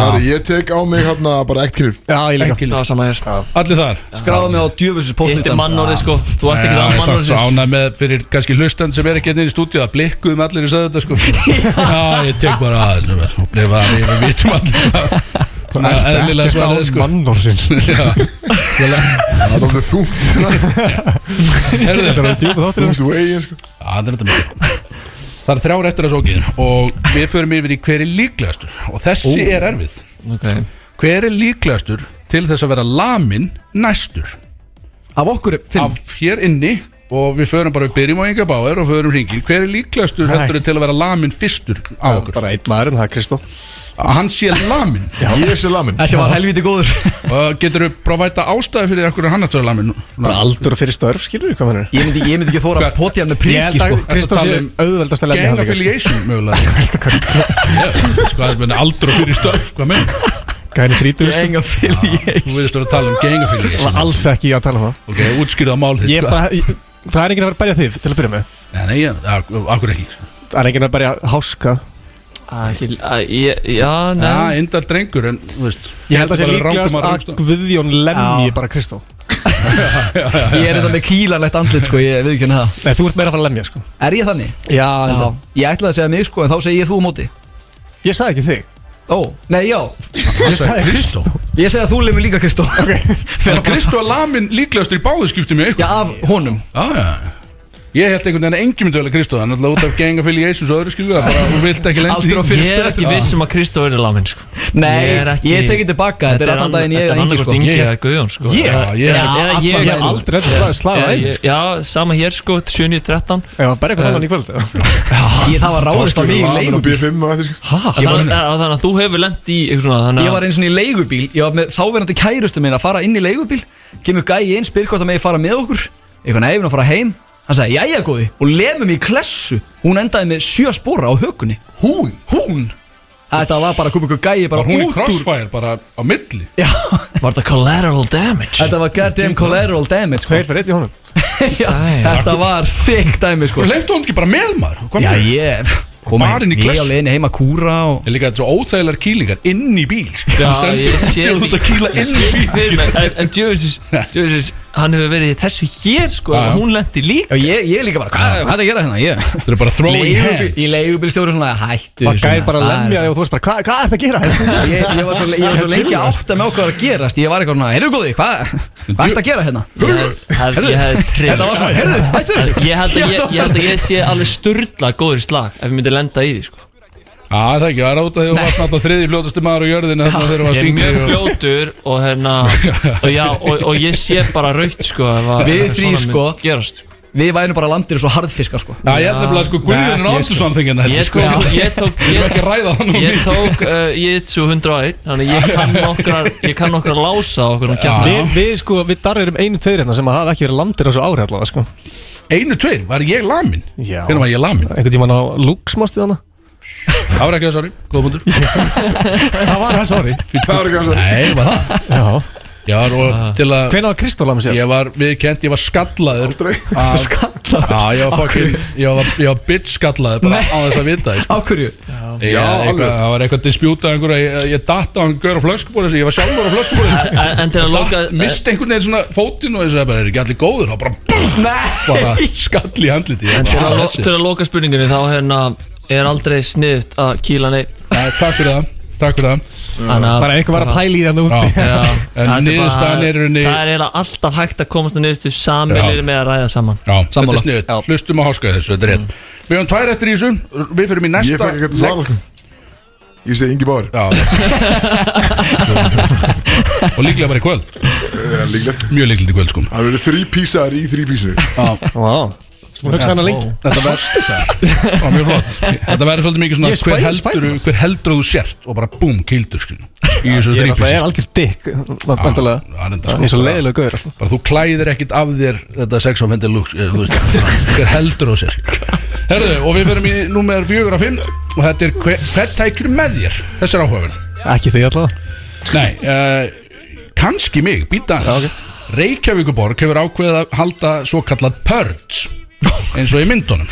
[SPEAKER 2] herri, ég tek á mig hann að bara ekkert kynlíf
[SPEAKER 8] Já, ég líka
[SPEAKER 6] Já, sama hér
[SPEAKER 4] Allir þar
[SPEAKER 5] Skráðu með á djöfusins
[SPEAKER 6] Hitt
[SPEAKER 5] postlista
[SPEAKER 6] er mannorðið sko, þú ert ekki
[SPEAKER 4] Já, ég
[SPEAKER 6] það
[SPEAKER 4] samt svo
[SPEAKER 6] mannorðið
[SPEAKER 4] ánægð með fyrir kannski hlustand sem er ekki hérna inn í stúdíu að blikkuðum allir í söðu þetta sko Já, ég tek bara að nú er svo bleið að við við vitum allir Svona
[SPEAKER 8] Ertu
[SPEAKER 4] eðlilega
[SPEAKER 8] ekkert
[SPEAKER 4] svarið,
[SPEAKER 8] án
[SPEAKER 4] sko.
[SPEAKER 8] mannorðsins
[SPEAKER 2] Það er alveg þungt
[SPEAKER 4] Herðu,
[SPEAKER 8] Þetta er alveg djúpa þáttur
[SPEAKER 2] Þungt veginn, sko
[SPEAKER 4] Já, það er þetta mikið sko. Það er þrjár eftir að sókið og við förum yfir í hver er líklegastur og þessi er erfið
[SPEAKER 6] okay.
[SPEAKER 4] Hver er líklegastur til þess að vera lamin næstur
[SPEAKER 5] Af okkur fimm
[SPEAKER 4] af hér inni og við förum bara, við byrjum á Inga Bauer og förum hringin Hver er líklegastur
[SPEAKER 8] Nei.
[SPEAKER 4] heldur til að vera lamin fyrstur á okkur?
[SPEAKER 8] Bara einn maður en það er Kristó
[SPEAKER 4] Að hann sé lamin
[SPEAKER 2] Ég sé lamin
[SPEAKER 5] Þessi var helviti góður
[SPEAKER 4] Og getur þú provæta ástæði fyrir okkur hann að tala minn?
[SPEAKER 8] Bara aldur og fyrir störf, skilur við hvað mennur
[SPEAKER 5] Ég myndi, ég myndi ekki þóra að potja hann
[SPEAKER 8] Ég
[SPEAKER 5] með priki
[SPEAKER 8] held að
[SPEAKER 5] sko
[SPEAKER 8] Kristó sé
[SPEAKER 4] Ertu að tala um
[SPEAKER 8] auðveldast að lemja
[SPEAKER 4] Gang
[SPEAKER 8] hann líka
[SPEAKER 4] affiliation mögulega sko. Já, Sko það er meina aldur og fyrir stöf Hvað minn?
[SPEAKER 8] Gæni frítur sko
[SPEAKER 5] Enga fylg
[SPEAKER 4] Þú verðist að vera að tala um gang affiliation
[SPEAKER 8] Það var alls ekki að tala um það
[SPEAKER 4] Ok, útskýrðu á mál þitt
[SPEAKER 8] Ég
[SPEAKER 4] sko.
[SPEAKER 8] bara, ég- það er enginn að vera að berja þig til að byrja með
[SPEAKER 4] Nei, nei, ég- ak- akkur ekki sko.
[SPEAKER 8] Það er enginn að berja háska
[SPEAKER 6] Já,
[SPEAKER 4] Já,
[SPEAKER 6] nei
[SPEAKER 4] indar Ah, drengur en þú veist
[SPEAKER 8] Ég held að sé
[SPEAKER 4] bara
[SPEAKER 8] líklegast
[SPEAKER 4] rangum
[SPEAKER 8] að
[SPEAKER 4] rangstað.
[SPEAKER 8] Guðjón lemji
[SPEAKER 5] Já.
[SPEAKER 8] bara Kristó
[SPEAKER 5] Ég er þetta með kýlanlegt andlit sko Ég við ekki henni það
[SPEAKER 8] Nei, þú ert meira að fara að lemja sko
[SPEAKER 5] Er ég þannig?
[SPEAKER 8] Já, ég held að
[SPEAKER 5] Ég ætlaði að segja mig sko En þá segi ég þú á móti
[SPEAKER 8] Ég sagði ekki þig
[SPEAKER 5] Ó, nei já
[SPEAKER 8] Ég sagði
[SPEAKER 4] Kristó
[SPEAKER 5] Ég segi að þú lemur líka Kristó
[SPEAKER 4] En Kristó er lamin líklegastur í báðu skiptum í ykkur
[SPEAKER 5] Já, af honum
[SPEAKER 4] Já, já Ég held einhvern veginn að engin myndi velja Kristó Þannig að út af gang affiliations og öðru skilju Það bara, hún vilt ekki lengt
[SPEAKER 5] Aldur og fyrir
[SPEAKER 6] Ég er
[SPEAKER 5] stöð
[SPEAKER 6] ekki viss um að Kristó er lamin sko.
[SPEAKER 5] Nei,
[SPEAKER 6] Ég er ekki-
[SPEAKER 5] ég tekið tilbaka Þetta er allan daginn ég eða
[SPEAKER 6] Þetta
[SPEAKER 5] Ingi
[SPEAKER 6] er annarkort
[SPEAKER 5] sko
[SPEAKER 6] Ingi
[SPEAKER 4] Ég-
[SPEAKER 6] eða Guðjón sko.
[SPEAKER 8] Ég-
[SPEAKER 6] Eða-
[SPEAKER 4] Já, ég-
[SPEAKER 6] eða
[SPEAKER 8] Ég
[SPEAKER 6] ég
[SPEAKER 8] hef aldrei eftir slaga
[SPEAKER 6] Eða
[SPEAKER 8] einu
[SPEAKER 6] ég- Já, sama hér sko, 7-13
[SPEAKER 8] Já, berja hvað þannig í kvöld eða?
[SPEAKER 5] Ég- Það var ráðist á mig í
[SPEAKER 2] Lamin og
[SPEAKER 5] leigubíl
[SPEAKER 2] B5 og eftir, sko
[SPEAKER 6] Þannig að- þannig að þú hefur lent í eitthvað svona, þannig að-
[SPEAKER 5] Ég var eins og í leigubíl Ég var með þáverandi kærustu minn að fara inn í leigubíl Kemur gæi inn, spyr hvort að megi fara með okkur Eitthvað nefn að fara heim Hann sagði, jæja góði Og lemum í klessu Hún endaði með sjö spora á hökunni
[SPEAKER 2] Hún
[SPEAKER 5] Hún Þetta var bara að koma ykkur gæi bara
[SPEAKER 4] Var hún í
[SPEAKER 5] út úr
[SPEAKER 4] crossfire bara á milli
[SPEAKER 5] Já,
[SPEAKER 6] Var þetta collateral damage?
[SPEAKER 5] Þetta var goddamn collateral damage sko.
[SPEAKER 8] Tveir fyrir einn í honum
[SPEAKER 5] Já,
[SPEAKER 6] Æ.
[SPEAKER 5] Þetta var sick dæmi sko
[SPEAKER 4] Þú lemtu hún ekki bara með maður Hvað
[SPEAKER 5] Já
[SPEAKER 4] meinar?
[SPEAKER 5] ég kom
[SPEAKER 4] Bara inn í
[SPEAKER 5] Ég
[SPEAKER 4] klessu.
[SPEAKER 5] á leiðinni heima að kúra og
[SPEAKER 4] Ég líka þetta svo óþægilegar kýlingar inn í bíl
[SPEAKER 6] Já,
[SPEAKER 4] Það
[SPEAKER 6] ég sé
[SPEAKER 4] stendur út að kýla
[SPEAKER 6] ég
[SPEAKER 4] inn
[SPEAKER 6] sé
[SPEAKER 4] í
[SPEAKER 6] því fyrir
[SPEAKER 4] bíl
[SPEAKER 6] mér. En- En Djöfisins, Djöfisins, hann hefur verið í þessu hér sko
[SPEAKER 4] Já, já.
[SPEAKER 6] og hún lendi líka
[SPEAKER 5] Já, ég, ég líka bara, hvað hvað er að gera hérna? Ég
[SPEAKER 4] Þetta er bara Ah, throwing
[SPEAKER 5] Leigubíl- Í
[SPEAKER 4] hands
[SPEAKER 5] leigubílstjóri svona, hættu
[SPEAKER 8] Var
[SPEAKER 5] svona,
[SPEAKER 8] gæði bara að
[SPEAKER 5] það
[SPEAKER 8] lemja þig og þú veist bara "Hva- Hvað er það að gera?
[SPEAKER 5] er- Ég, ég var svo, ég var svo lengi átt að með okkur að gerast Ég var eitthvað svona, heyrðu góði, hvað Hvað ert að gera hérna?
[SPEAKER 6] Hef- Ég hefði
[SPEAKER 5] Þetta var svona,
[SPEAKER 6] trefn
[SPEAKER 5] heyrðu, hættu þessu
[SPEAKER 6] Ég held að ég, ég, held að ég sé alveg sturla góður í slag ef ég myndi lenda í því sko
[SPEAKER 4] það er ekki, það er út af því að þú varst alltaf þriði fljótastu maður á jörðinu þannig að þeir eru að
[SPEAKER 6] Ég er mjög
[SPEAKER 4] stinga
[SPEAKER 6] fljótur og, hérna, og, já, og, og ég sé bara raukt sko, ef að-
[SPEAKER 5] Við
[SPEAKER 6] ef að
[SPEAKER 5] þrír,
[SPEAKER 6] svona myndi
[SPEAKER 5] sko.
[SPEAKER 6] gerast.
[SPEAKER 5] Við værum bara landir svo harðfiskar sko
[SPEAKER 4] Já, ég er nefnilega sko Guðjón
[SPEAKER 8] Nei, ég sko.
[SPEAKER 4] Áttursson fengið
[SPEAKER 6] Ég,
[SPEAKER 4] þetta
[SPEAKER 6] sko,
[SPEAKER 4] sko
[SPEAKER 6] ég tók,
[SPEAKER 4] Ég vil ekki
[SPEAKER 6] ég,
[SPEAKER 4] ræða það nú
[SPEAKER 6] ég tók uh, Jitsu 101 Þannig ég kann nokkrar, ég kann nokkrar lása á okkur um kjarni
[SPEAKER 8] Við, við sko, við darrirum einu tveir hérna sem hafa ekki verið landir á svo ári allavega sko
[SPEAKER 4] Einu, tveir, var ég lamin?
[SPEAKER 8] Já.
[SPEAKER 4] Hvernig var ég lamin?
[SPEAKER 8] Einhvern tímann á lúksmástið hana
[SPEAKER 4] Það var ekki þess ári, góða búndur
[SPEAKER 8] Það var hans ári
[SPEAKER 2] Það var ekki að segja
[SPEAKER 4] Nei, var það
[SPEAKER 8] Já
[SPEAKER 4] Já, og til að
[SPEAKER 8] Hvenær var Kristóla með sér?
[SPEAKER 4] Ég var viðkend, ég var skallaður
[SPEAKER 2] Aldrei
[SPEAKER 4] af- Já, ég var fucking Ég var, ég var bitch skallaður bara á þess að vita sko.
[SPEAKER 5] Á hverju?
[SPEAKER 4] Já,
[SPEAKER 2] alveg.
[SPEAKER 4] Það var eitthvað dispjúta einhverja Ég, ég datt á hann gaur á flöskubóri Ég var sjálfur á flöskubóri
[SPEAKER 6] En en til að loka en
[SPEAKER 4] Misti einhvern veginn svona fótinn og þessi bara, Er ekki allir góður? Og bara, búm, bara skall í handliti Ég
[SPEAKER 6] til
[SPEAKER 4] bara,
[SPEAKER 6] að, lo-
[SPEAKER 4] þessi.
[SPEAKER 6] til að loka spurningunni þá hérna er aldrei sniðt að kýla neitt
[SPEAKER 4] Nei, Takk fyrir það Takk fyrir það
[SPEAKER 6] Þannig að
[SPEAKER 8] Bara einhver var að pæla í þannig úti
[SPEAKER 4] Já,
[SPEAKER 6] Já,
[SPEAKER 4] En
[SPEAKER 6] það bara-
[SPEAKER 4] niðurstaðan er í rauninni-
[SPEAKER 6] Það er eiginlega alltaf hægt að komast að niðurstu sammelir
[SPEAKER 4] Já.
[SPEAKER 6] með að ræða saman
[SPEAKER 4] Já, þetta
[SPEAKER 5] Sammála.
[SPEAKER 4] er sniðut, hlustum að háska þessu, þetta er rétt Við höfum tvær eftir í þessu, við fyrir í
[SPEAKER 2] Ég
[SPEAKER 4] næsta
[SPEAKER 2] fæk ekki að svara sko Ég segi Ingi Báður
[SPEAKER 4] Já Og líklega bara í kvöld,
[SPEAKER 2] Eh, Líklegt
[SPEAKER 4] mjög líklega í kvöld sko
[SPEAKER 2] Það verður þrý písaðar í þrý písu
[SPEAKER 8] Hún hugsa hana lengt
[SPEAKER 4] Þetta verður Já, mjög flott Þetta verður svolítið mikið svona
[SPEAKER 8] Ég er
[SPEAKER 4] hver
[SPEAKER 8] spæ-
[SPEAKER 4] heldur, hver heldur þú sért og bara búm, kildur sko Í þessu sko.
[SPEAKER 8] Ég er alltaf, ég er
[SPEAKER 4] þrýfísist
[SPEAKER 8] algjör dikk Vandalega Ég er svo
[SPEAKER 4] sko. Bara
[SPEAKER 8] leiðilega gauður alltaf
[SPEAKER 4] þú klæðir ekkit af þér þetta sex og fendi lúks eh, þú veist, Hver heldur þú sér Herðu, og við fyrir í númer 4 og 5 og þetta er hver, hver tækir með þér Þessi er áhugaverð
[SPEAKER 8] Ekki þig alltaf
[SPEAKER 4] Nei, uh, kannski mig, býta hans Reykjavíkuborg hefur ákveðið að halda svo kallað purge eins og í myndunum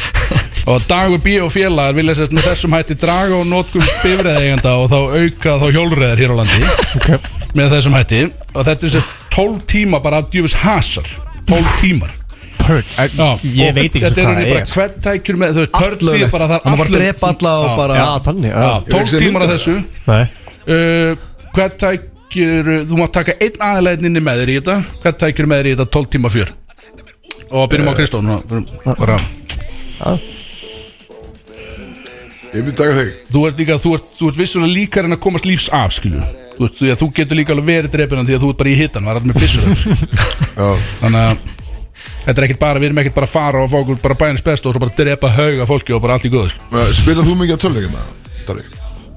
[SPEAKER 4] og dagur bí og félagar vilja sérst með þessum hætti draga og notkum bifræðeigenda og þá auka þá hjólreðar hér á landi með þessum hætti og þetta er sérst 12 tíma bara af djöfis hasar 12 tímar Já,
[SPEAKER 8] Ég
[SPEAKER 4] og
[SPEAKER 8] veit ekki
[SPEAKER 4] þetta
[SPEAKER 8] svo hvað
[SPEAKER 4] er rauninni bara
[SPEAKER 8] það er
[SPEAKER 4] hvert tækjur með þau veist, purge því
[SPEAKER 5] Allöflegt
[SPEAKER 4] er bara það er
[SPEAKER 5] Hann var bara að
[SPEAKER 4] allt-
[SPEAKER 5] drepa alla og
[SPEAKER 4] Já,
[SPEAKER 5] bara
[SPEAKER 8] Já, þannig já.
[SPEAKER 4] Já,
[SPEAKER 2] Ég hef
[SPEAKER 4] 12
[SPEAKER 2] ekki séð
[SPEAKER 4] tímar af
[SPEAKER 2] myndina.
[SPEAKER 4] þessu
[SPEAKER 8] Nei
[SPEAKER 4] uh, hvað tækir þú mátt taka einn aðalegin inni með þér í þetta hvað tækir með þér í þetta 12 tíma fjör og
[SPEAKER 2] Eh,
[SPEAKER 4] byrjum á Kristó núna, byrjum bara-
[SPEAKER 2] Ég myndi taka þig
[SPEAKER 4] þú ert líka þú ert, þú ert vissulega líkar en að komast lífs af skilju þú, veist, því að þú getur líka alveg verið drefina því að þú ert bara í hittan var allir með pissur
[SPEAKER 2] Já
[SPEAKER 4] þannig að þetta er ekkert bara við erum ekkert bara að fara og fá okkur bara bæins best og svo bara drepa hauga fólki og bara allt í góðu sko.
[SPEAKER 2] Eh, Spilar þú mikið að tölvleikina? Darri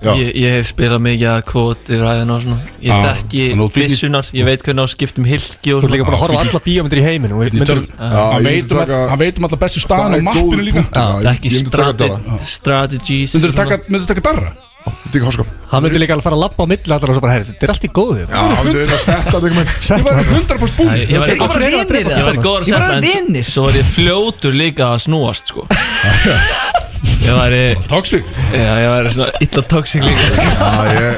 [SPEAKER 2] Já
[SPEAKER 6] ég, ég hef spilað mikið að kóti ræðin og svona Ég
[SPEAKER 4] Já,
[SPEAKER 6] þekki
[SPEAKER 4] þannig að þú fylgir-
[SPEAKER 6] vissunar, ég veit hvernig á skiptum hilki og
[SPEAKER 8] Þú ert líka
[SPEAKER 6] svona
[SPEAKER 8] bara að horfa á alla bíómyndir í heiminum og myndir-
[SPEAKER 2] Já,
[SPEAKER 4] hann
[SPEAKER 2] ég myndi
[SPEAKER 4] veit um
[SPEAKER 2] taka-
[SPEAKER 4] all- hann veit um alltaf bestu staðan á
[SPEAKER 2] Það er
[SPEAKER 4] mappinu
[SPEAKER 2] góður
[SPEAKER 4] líka
[SPEAKER 2] punktur, já, ég-
[SPEAKER 6] Þekki
[SPEAKER 2] ég myndi taka
[SPEAKER 6] strate-
[SPEAKER 2] Darra.
[SPEAKER 6] strategies
[SPEAKER 4] myndur þú
[SPEAKER 6] svona.
[SPEAKER 4] taka, myndirðu taka darra?
[SPEAKER 2] Þetta er ekki háskap
[SPEAKER 8] Hann myndi líka alveg fara að labba á milli allra og svo bara Herri, þetta er allt í góðu
[SPEAKER 2] Já, hann myndi reyna að setja þetta einhvern veginn
[SPEAKER 4] ég
[SPEAKER 8] Sættu
[SPEAKER 4] var
[SPEAKER 8] hann
[SPEAKER 4] 100%
[SPEAKER 6] Æ,
[SPEAKER 4] búin
[SPEAKER 6] Ég var
[SPEAKER 5] Ég var vinir
[SPEAKER 6] ég- ég var
[SPEAKER 5] þeirra.
[SPEAKER 6] góður að
[SPEAKER 5] Ég var
[SPEAKER 6] setja en
[SPEAKER 5] vinir.
[SPEAKER 6] s- Svo var ég fljótur líka að snúast sko Ég var ég
[SPEAKER 4] Tóksvík
[SPEAKER 6] Ég var svona illa toxic líka sko.
[SPEAKER 2] Já, ég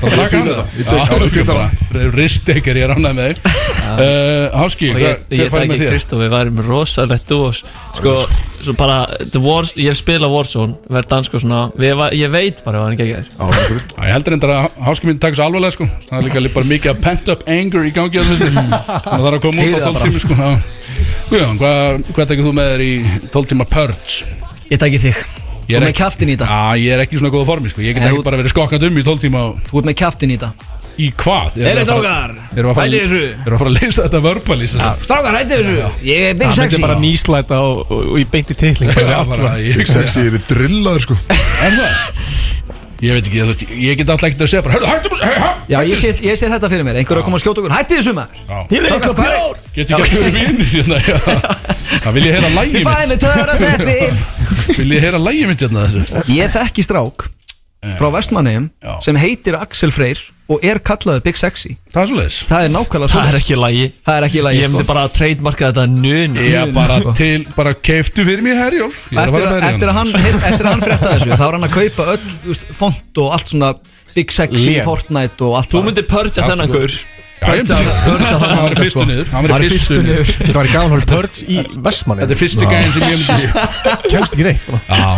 [SPEAKER 4] Takk
[SPEAKER 2] fíla
[SPEAKER 4] hana.
[SPEAKER 2] þetta. Ég tek- já, ég tek
[SPEAKER 4] Já,
[SPEAKER 2] þetta.
[SPEAKER 4] bara Ristekar ég rannaði með þig Eh, Háski,
[SPEAKER 6] og
[SPEAKER 4] hver
[SPEAKER 6] ég, ég
[SPEAKER 4] hver fær
[SPEAKER 6] dæki
[SPEAKER 4] með þér?
[SPEAKER 6] Kristof, við værum rosalegt dúos sko, svo bara The Wars, ég hef spilað Warzone, verð dansk og svona við, var- ég veit bara hvað hann geggjær
[SPEAKER 2] Já, það er fyrir
[SPEAKER 4] Já, Ég heldur endur að Háski mín takk svo alvarlega sko Það er líka bara mikið að pent up anger í gangi að þessu Það þarf að koma út á
[SPEAKER 5] Heyrið það
[SPEAKER 4] 12 tími sko já. Guðjón, hvað hva tekur þú með þér í 12 tíma purge?
[SPEAKER 5] Ég tæki þig
[SPEAKER 4] Ég er
[SPEAKER 5] Þú ert með
[SPEAKER 4] ekki-
[SPEAKER 5] kjaftin í þetta
[SPEAKER 4] Já, ég er ekki í svona góða formi sko Ég get
[SPEAKER 5] Nei,
[SPEAKER 4] ekki
[SPEAKER 5] þú-
[SPEAKER 4] bara verið skokkand um í 12 tíma og-
[SPEAKER 5] Þú ert með kjaftin í þetta
[SPEAKER 4] Í hvað?
[SPEAKER 5] Heyrið,
[SPEAKER 4] að fara-
[SPEAKER 5] strákar,
[SPEAKER 4] Erum við að fara-
[SPEAKER 5] pælið í þessu.
[SPEAKER 4] erum við að fara að leysa þetta vörpalýsa?
[SPEAKER 5] Strákar, hætti þessu Ég er big
[SPEAKER 8] Hann myndi
[SPEAKER 5] sexy
[SPEAKER 8] bara nýslæta og, og, og í beinti titling bara við
[SPEAKER 4] Já,
[SPEAKER 8] alla.
[SPEAKER 4] bara, ég
[SPEAKER 2] Big sexy er drillaður sko
[SPEAKER 4] Er það? Ég veit ekki, þú veist, ég get alltaf ekkert að segja bara Hörðu, hættu mús, hættu
[SPEAKER 5] Já, ég sé, ég sé þetta fyrir mér Einhver er að koma að skjóta okkur Hætti þessu maður
[SPEAKER 4] Já,
[SPEAKER 5] vil eitthvað bjór
[SPEAKER 4] get ekki að skjóra vinir hérna já. Það vil ég heyra lægi
[SPEAKER 5] Ég
[SPEAKER 4] mitt
[SPEAKER 5] fæði mig töra teppi
[SPEAKER 4] Vil ég heyra lægi mitt hérna þessu
[SPEAKER 5] Ég þekki strák frá Vestmanneum
[SPEAKER 4] Já.
[SPEAKER 5] sem heitir Axel Freyr og er kallaður Big Sexy
[SPEAKER 4] Það er svo leiðis
[SPEAKER 5] Það er nákvæmlega
[SPEAKER 6] það er
[SPEAKER 5] svo
[SPEAKER 6] ekki lægi
[SPEAKER 5] Það er ekki í lagi
[SPEAKER 6] ég myndi
[SPEAKER 5] sko.
[SPEAKER 6] bara að trademarka þetta nöni
[SPEAKER 4] Já, bara til, bara keiftu fyrir mér herjóf
[SPEAKER 5] eftir, að,
[SPEAKER 4] hérna.
[SPEAKER 8] hérna.
[SPEAKER 5] eftir, að hann, eftir að hann frétta þessu þá er hann að kaupa öll þú veist, font og allt svona Big Sexy,
[SPEAKER 8] Lén.
[SPEAKER 5] Fortnite og allt
[SPEAKER 6] þú myndi purja þennan gaur
[SPEAKER 4] Börja Hann var fyrstu niður Hann var fyrstu niður
[SPEAKER 8] Þetta var í gaman hóri Purge í Vestmanni
[SPEAKER 4] Þetta er fyrstu gæðin sem ég myndi Já,
[SPEAKER 8] Kemst ekki neitt bara.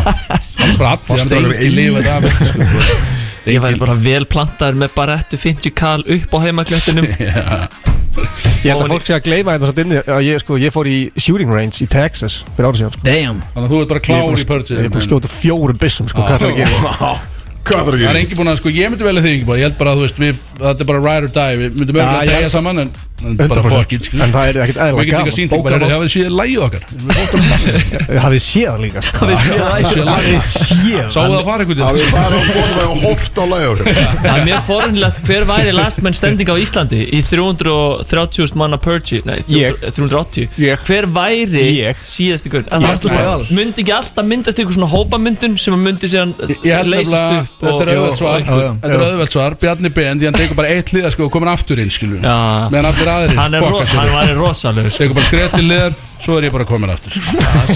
[SPEAKER 4] það er bara allir
[SPEAKER 2] Fastur
[SPEAKER 4] Hann er
[SPEAKER 2] okkur
[SPEAKER 4] engin
[SPEAKER 2] einn.
[SPEAKER 4] lifað af þessu, sko.
[SPEAKER 6] ég væri bara vel plantaður með barettu 50 kal upp á heimaklettinum
[SPEAKER 8] Ég held að fólk sé að gleyma þetta satt inni að ég, sko, ég fór í shooting range í Texas fyrir árið síðan sko.
[SPEAKER 5] Damn
[SPEAKER 4] Þannig að þú ert bara
[SPEAKER 8] Ég er búin
[SPEAKER 4] klár
[SPEAKER 8] að- Ég
[SPEAKER 4] í purge
[SPEAKER 8] er búin að skjóta fjórum byssum sko, hvað það er að gera
[SPEAKER 2] Já, Hvað þarf
[SPEAKER 4] Það
[SPEAKER 2] að
[SPEAKER 4] er
[SPEAKER 2] gera?
[SPEAKER 4] engi búin að, sko, ég myndi velja þig engi búin Ég held bara að, þú veist, við, þetta er bara ride or die Við myndum
[SPEAKER 8] Já,
[SPEAKER 4] örugglega að
[SPEAKER 8] ég-
[SPEAKER 4] degja saman En, en bara fuck it,
[SPEAKER 8] 100%
[SPEAKER 4] sko
[SPEAKER 8] En það er ekkert
[SPEAKER 4] Við
[SPEAKER 8] eðlilega
[SPEAKER 4] getum líka
[SPEAKER 8] gaman
[SPEAKER 4] sínt, bara,
[SPEAKER 8] Bókamál.
[SPEAKER 4] það við síðan lægið okkar
[SPEAKER 8] Hafið þið séð það líka sko?
[SPEAKER 4] Síðan lagið.
[SPEAKER 8] Séð
[SPEAKER 4] Sáu það að fara einhvern
[SPEAKER 2] Það
[SPEAKER 4] veginn
[SPEAKER 2] er bara að skoða og hort á lægur
[SPEAKER 6] Það er mér forunlegt hver væri last man standing á Íslandi í 330.000 manna purge Nei, 300 380
[SPEAKER 8] Ég.
[SPEAKER 6] Hver væri
[SPEAKER 8] Ég.
[SPEAKER 6] síðasti gaur En
[SPEAKER 8] Ég.
[SPEAKER 6] það Myndi ekki alltaf myndast ykkur svona hópamyndun sem að myndi síðan eh,
[SPEAKER 4] Ég ég held nefnilega,
[SPEAKER 6] leysast upp
[SPEAKER 4] þetta er
[SPEAKER 6] og-
[SPEAKER 4] auðvelt svar
[SPEAKER 5] já, já.
[SPEAKER 4] Þetta er auðvelt svar, Bjarni Ben Því hann tekur bara eitt liða, sko, og komin aftur inn, skilur við.
[SPEAKER 6] Já.
[SPEAKER 4] Meðan allir aðrir
[SPEAKER 6] Hann, er ro-
[SPEAKER 4] fokka sér
[SPEAKER 6] hann var rosalegur sko.
[SPEAKER 4] Tekur bara skref til liðar, svo er ég bara komin aftur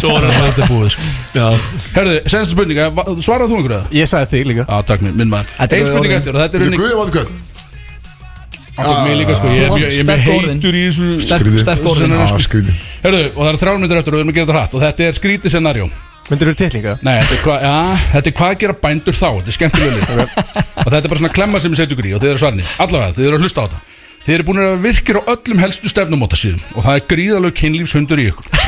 [SPEAKER 6] Svo er hann
[SPEAKER 4] Þetta er búið, sko Herðu, senstu spurninga, va- svaraðu þú einhverja?
[SPEAKER 8] Ég sagði þig líka
[SPEAKER 4] Já, takk mér, minn maður
[SPEAKER 5] Þetta er
[SPEAKER 4] Ein spurning
[SPEAKER 5] orðin-
[SPEAKER 4] eftir og þetta er unni
[SPEAKER 2] Guði vandu hvern
[SPEAKER 4] Akkur mér líka sko, ég er
[SPEAKER 5] Þú-
[SPEAKER 4] mjög- ég er mjög
[SPEAKER 5] sterk orðin.
[SPEAKER 4] heitur í þessu
[SPEAKER 5] Sterk- Sterk orðin
[SPEAKER 4] Sennan-
[SPEAKER 2] Já, skrýti
[SPEAKER 4] Herðu, og það eru þrjár myndir eftir og við erum að gera þetta hratt Og þetta er skrítið scenarjó
[SPEAKER 8] Myndir þú titlinga?
[SPEAKER 4] Nei, þetta er hvað, já, þetta er hvað gera bændur þá Þetta er skemmtilega lið Og þetta er bara svona klemma sem við setjum ykkur í og þið eru svarni Allavega, þið eru að hlusta á þetta Þið eru búin að vera virkir á öllum helstu stefnumótasíðum Og það er gríðalög kynlífshundur í ykkur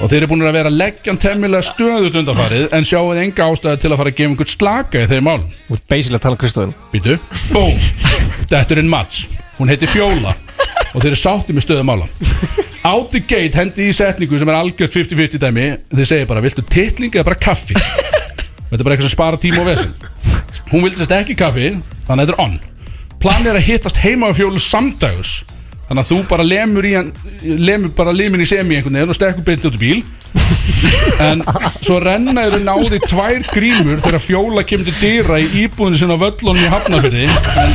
[SPEAKER 4] Og þeir eru búin að vera leggjan temmilega stöðut undanfarið En sjáuð enga ástæði til að fara að gefa einhvern slaka í þeim málum
[SPEAKER 8] Þú ert basically að tala um Kristóðin
[SPEAKER 4] Býtu, búm Þetta er einn mats, hún heitir Fjóla Og þeir eru sátti með stöðumála Out the gate hendi í setningu sem er algjört 50-50 dæmi Þeir segja bara, viltu titling eða bara kaffi? Þetta er bara eitthvað sem spara tíma og vesen Hún vildi sérst ekki kaffi, þannig að þetta er on Planið er að hittast heima á Fjólu samdags Þannig að þú bara lemur í hann Lemur bara limin í semi einhvern veginn Og stekkur beint út í bíl En svo renna eru náði tvær grímur þegar fjóla kemur til dýra í íbúðinu sinna á völlunum í Hafnafyrði en,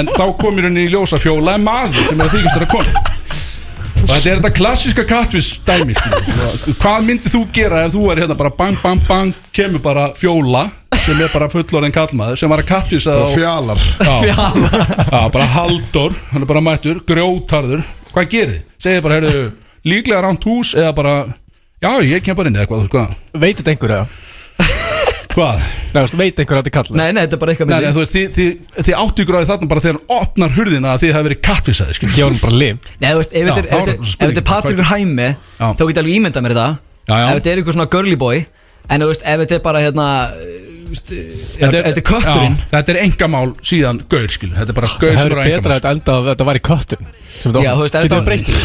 [SPEAKER 4] en þá komir henni í ljósa fjóla er maður sem er að þykist vera konu og þetta er þetta klassiska kattvís dæmi skilur. hvað myndir þú gera ef þú er hérna bara bang bang bang kemur bara fjóla sem er bara fullorðin kallmaður sem var að kattvisa
[SPEAKER 2] Og
[SPEAKER 4] á,
[SPEAKER 2] fjalar
[SPEAKER 4] á, á, bara haldur, hann er bara mættur grjótarður, hvað gerir þið? segir bara, heyrðu, líklega ránt hús eða bara, já ég kem bara inn eða hvað, hvað
[SPEAKER 8] Veit þetta einhver eða?
[SPEAKER 4] Hvað?
[SPEAKER 8] Nei, þú veist, veit einhver að þetta er kallað
[SPEAKER 5] Nei, nei, þetta er bara eitthvað
[SPEAKER 4] Nei, nei,
[SPEAKER 5] myndi
[SPEAKER 4] þú veist, þið, þið, þið áttu ykkur á því þarna bara þegar hann opnar hurðina að þið hafi verið kattvisaði, skil.
[SPEAKER 8] Ég var nú bara lim
[SPEAKER 5] Nei, þú veist, ef
[SPEAKER 4] Já,
[SPEAKER 5] þetta er-
[SPEAKER 4] þá
[SPEAKER 5] ef
[SPEAKER 4] er
[SPEAKER 5] þetta er- ef
[SPEAKER 4] spurning.
[SPEAKER 5] þetta er Patrikur Hæmi
[SPEAKER 4] Já.
[SPEAKER 5] Þá get ég alveg ímyndað mér þetta
[SPEAKER 4] Já, já.
[SPEAKER 5] Ef þetta er eitthvað svona girly boy En þú veist, ef þetta er bara hérna þú veist, Ef þetta er kötturinn
[SPEAKER 4] Já, þetta er engamál síðan gaur, skil. Þetta er bara gaur
[SPEAKER 8] Það
[SPEAKER 4] sem
[SPEAKER 8] hefur
[SPEAKER 4] er á
[SPEAKER 8] betra að
[SPEAKER 4] engamál.
[SPEAKER 8] þetta enda að þetta var í köttun
[SPEAKER 5] Já, þú veist, ef
[SPEAKER 8] Getur
[SPEAKER 5] þetta
[SPEAKER 8] við breytt því?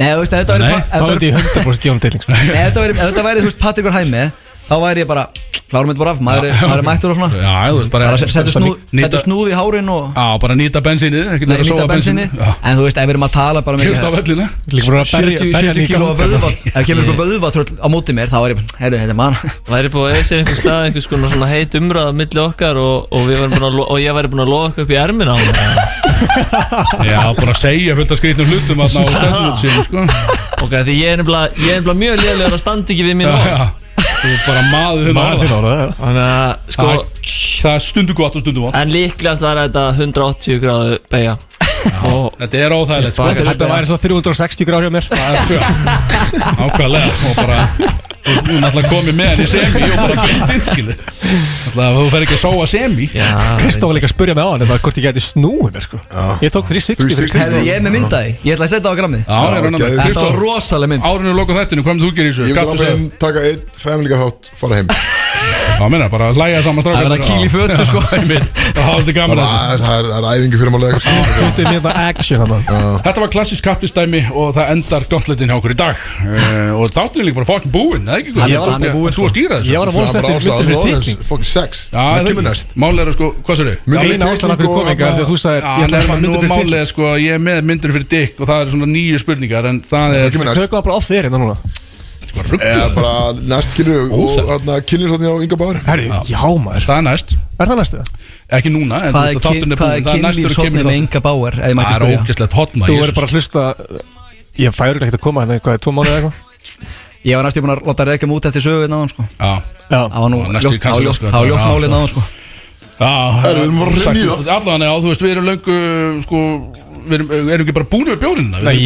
[SPEAKER 5] Nei, þú veist, ef þetta væri
[SPEAKER 4] Nei,
[SPEAKER 5] ef
[SPEAKER 8] Þá
[SPEAKER 5] þetta væri-
[SPEAKER 8] veit ég 100% Jón Tilling sko.
[SPEAKER 5] Nei, ef þetta væri, ef þetta væri, þú veist, Patrikur Hæmi Þá væri ég bara, klárum þetta bara af Maður, er- maður er mættur og svona
[SPEAKER 4] Já, þú veist, bara...
[SPEAKER 5] Bara se- Settu snúð,
[SPEAKER 4] nýta-
[SPEAKER 5] settu snúð í hárin og
[SPEAKER 4] Já, bara nýta bensínið, ekkert
[SPEAKER 5] Nei,
[SPEAKER 4] vera að
[SPEAKER 5] nýta
[SPEAKER 4] sóa
[SPEAKER 5] bensinni
[SPEAKER 4] bensínið. Já,
[SPEAKER 5] En þú veist, ef við erum að tala bara með
[SPEAKER 4] hlut á vellina.
[SPEAKER 8] Líka bara að berja
[SPEAKER 5] 70
[SPEAKER 8] berja hann
[SPEAKER 5] 70
[SPEAKER 8] í
[SPEAKER 5] kíló
[SPEAKER 8] gang.
[SPEAKER 5] vöðva Ef kemur ykkur vöðvatröll á móti mér Þá er ég, heyrðu, þetta er mann
[SPEAKER 4] Ah,
[SPEAKER 6] væri búið að eða sér einhver stað einhvers konar svona heit umræða milli okkar og, og, við værum búin að lo- og ég væri búin að loka upp í ermin á hann
[SPEAKER 4] Já, bara segja fullt af skrýtnum hlutum að ná stendurinn síðan, sko.
[SPEAKER 6] ok, því ég er nefnilega ég er nefnilega mjög lélegur að standa ekki við mín
[SPEAKER 4] Já,
[SPEAKER 6] orð.
[SPEAKER 4] já. Þú er bara maður þinn
[SPEAKER 8] Maður þinn orða það
[SPEAKER 6] þannig að sko
[SPEAKER 4] Það það er stundu gott og stundu vant.
[SPEAKER 6] en líklegast var þetta 180 gráðu beigja og
[SPEAKER 4] Þetta er óþægilegt, sko.
[SPEAKER 8] Þetta væri svo 360 gráð hjá mér
[SPEAKER 4] Það er fjör Ákvæðlega Og bara Þú er náttúrulega komið með henni í semi Og bara beint inn skilu Náttúrulega ef þú fer ekki að sóa semi
[SPEAKER 6] já,
[SPEAKER 8] Kristóf var líka að spurja mig á hann Hvort ég gæti snúið mér sko Ég tók 360 fyrir Kristóf
[SPEAKER 5] Heyrðu, ég er með myndaði Ég ætla að setja á grammið
[SPEAKER 4] Já, það er hann að
[SPEAKER 2] geðveikt.
[SPEAKER 5] Þetta var
[SPEAKER 4] Kristóf
[SPEAKER 5] rosaleg mynd
[SPEAKER 4] Árinu loka þættinu Hvað með þú gerir í
[SPEAKER 2] Ég
[SPEAKER 4] þessu?
[SPEAKER 2] vil
[SPEAKER 4] Gattu
[SPEAKER 2] alveg
[SPEAKER 4] segja
[SPEAKER 2] inn, taka einn, family þátt, fara heim
[SPEAKER 4] Já, minna bara Læja saman strákar
[SPEAKER 5] Það verða kýl í fötu, sko.
[SPEAKER 4] Það hafði gaman
[SPEAKER 2] Bara,
[SPEAKER 4] að þessu
[SPEAKER 2] Það er- það er- það er æfingi fyrir málega
[SPEAKER 8] 20 mínúta action hann
[SPEAKER 4] Þetta var klassisk kattistæmi og það endar gauntletin hjá okkur í dag uh, og þáttunni líka bara fokkin búinn, eða ekki?
[SPEAKER 8] Hann var- hann er búinn,
[SPEAKER 4] Þú að stýra þessu
[SPEAKER 8] Ég var að vonast eftir myndir fyrir titling
[SPEAKER 2] Fucking sex
[SPEAKER 4] Já,
[SPEAKER 2] Það
[SPEAKER 4] það
[SPEAKER 2] kemur
[SPEAKER 4] er
[SPEAKER 2] næst
[SPEAKER 4] ekki. Mál er að sko, hvað sér þau?
[SPEAKER 8] Það er
[SPEAKER 2] Myndir
[SPEAKER 8] eina
[SPEAKER 2] fyrir
[SPEAKER 8] ástæðan af hverju
[SPEAKER 2] titling
[SPEAKER 8] ég kom
[SPEAKER 2] og
[SPEAKER 8] ekki Þegar þú
[SPEAKER 2] þarna-
[SPEAKER 8] sagði Ég ætla að fara myndir fyrir titling
[SPEAKER 4] Já, nú er málið er sko að ég er með myndir fyrir Dick og það er svona nýju spurningar en það
[SPEAKER 2] Það
[SPEAKER 4] er
[SPEAKER 2] kemur næst
[SPEAKER 8] Tökum það bara off þér hérna núna
[SPEAKER 4] sko rugg
[SPEAKER 2] Eða bara næst kynir og hérna kynir hérna á Inga Báður
[SPEAKER 8] Herri, já maður
[SPEAKER 4] Það er næst,
[SPEAKER 8] Er það næstu það?
[SPEAKER 4] ekki núna en þú
[SPEAKER 5] Hvað
[SPEAKER 4] veist
[SPEAKER 5] er
[SPEAKER 4] að þátturinn
[SPEAKER 5] kyn-
[SPEAKER 4] er
[SPEAKER 5] hvað er
[SPEAKER 4] búinn, það er næstur og
[SPEAKER 5] kynlífsofnið
[SPEAKER 4] kemur
[SPEAKER 5] með
[SPEAKER 4] þátturinn.
[SPEAKER 5] enga báar Ef ég mætti
[SPEAKER 4] Það er
[SPEAKER 5] spyrja
[SPEAKER 4] ógæslegt hotna
[SPEAKER 8] Þú verður bara að hlusta Ég fæ örugglega ekkert að koma hérna í, Hvað er tvo mánuði eða eitthvað?
[SPEAKER 5] Ég var næstu búin að láta reykja mút eftir sögu náðan sko
[SPEAKER 4] Já,
[SPEAKER 5] Það var nú
[SPEAKER 4] Já, næstu í
[SPEAKER 5] ljótt- það var
[SPEAKER 4] kansellið,
[SPEAKER 5] ljótt
[SPEAKER 4] sko.
[SPEAKER 5] það var ljótt
[SPEAKER 4] Já,
[SPEAKER 5] málið
[SPEAKER 4] það-
[SPEAKER 5] náðan sko
[SPEAKER 4] já
[SPEAKER 2] Herru,
[SPEAKER 8] um
[SPEAKER 2] við erum bara að rinja í það.
[SPEAKER 4] Allan, já, þú veist, við erum löngu sko, við erum, erum ekki bara búin með bjórinna
[SPEAKER 8] Nei,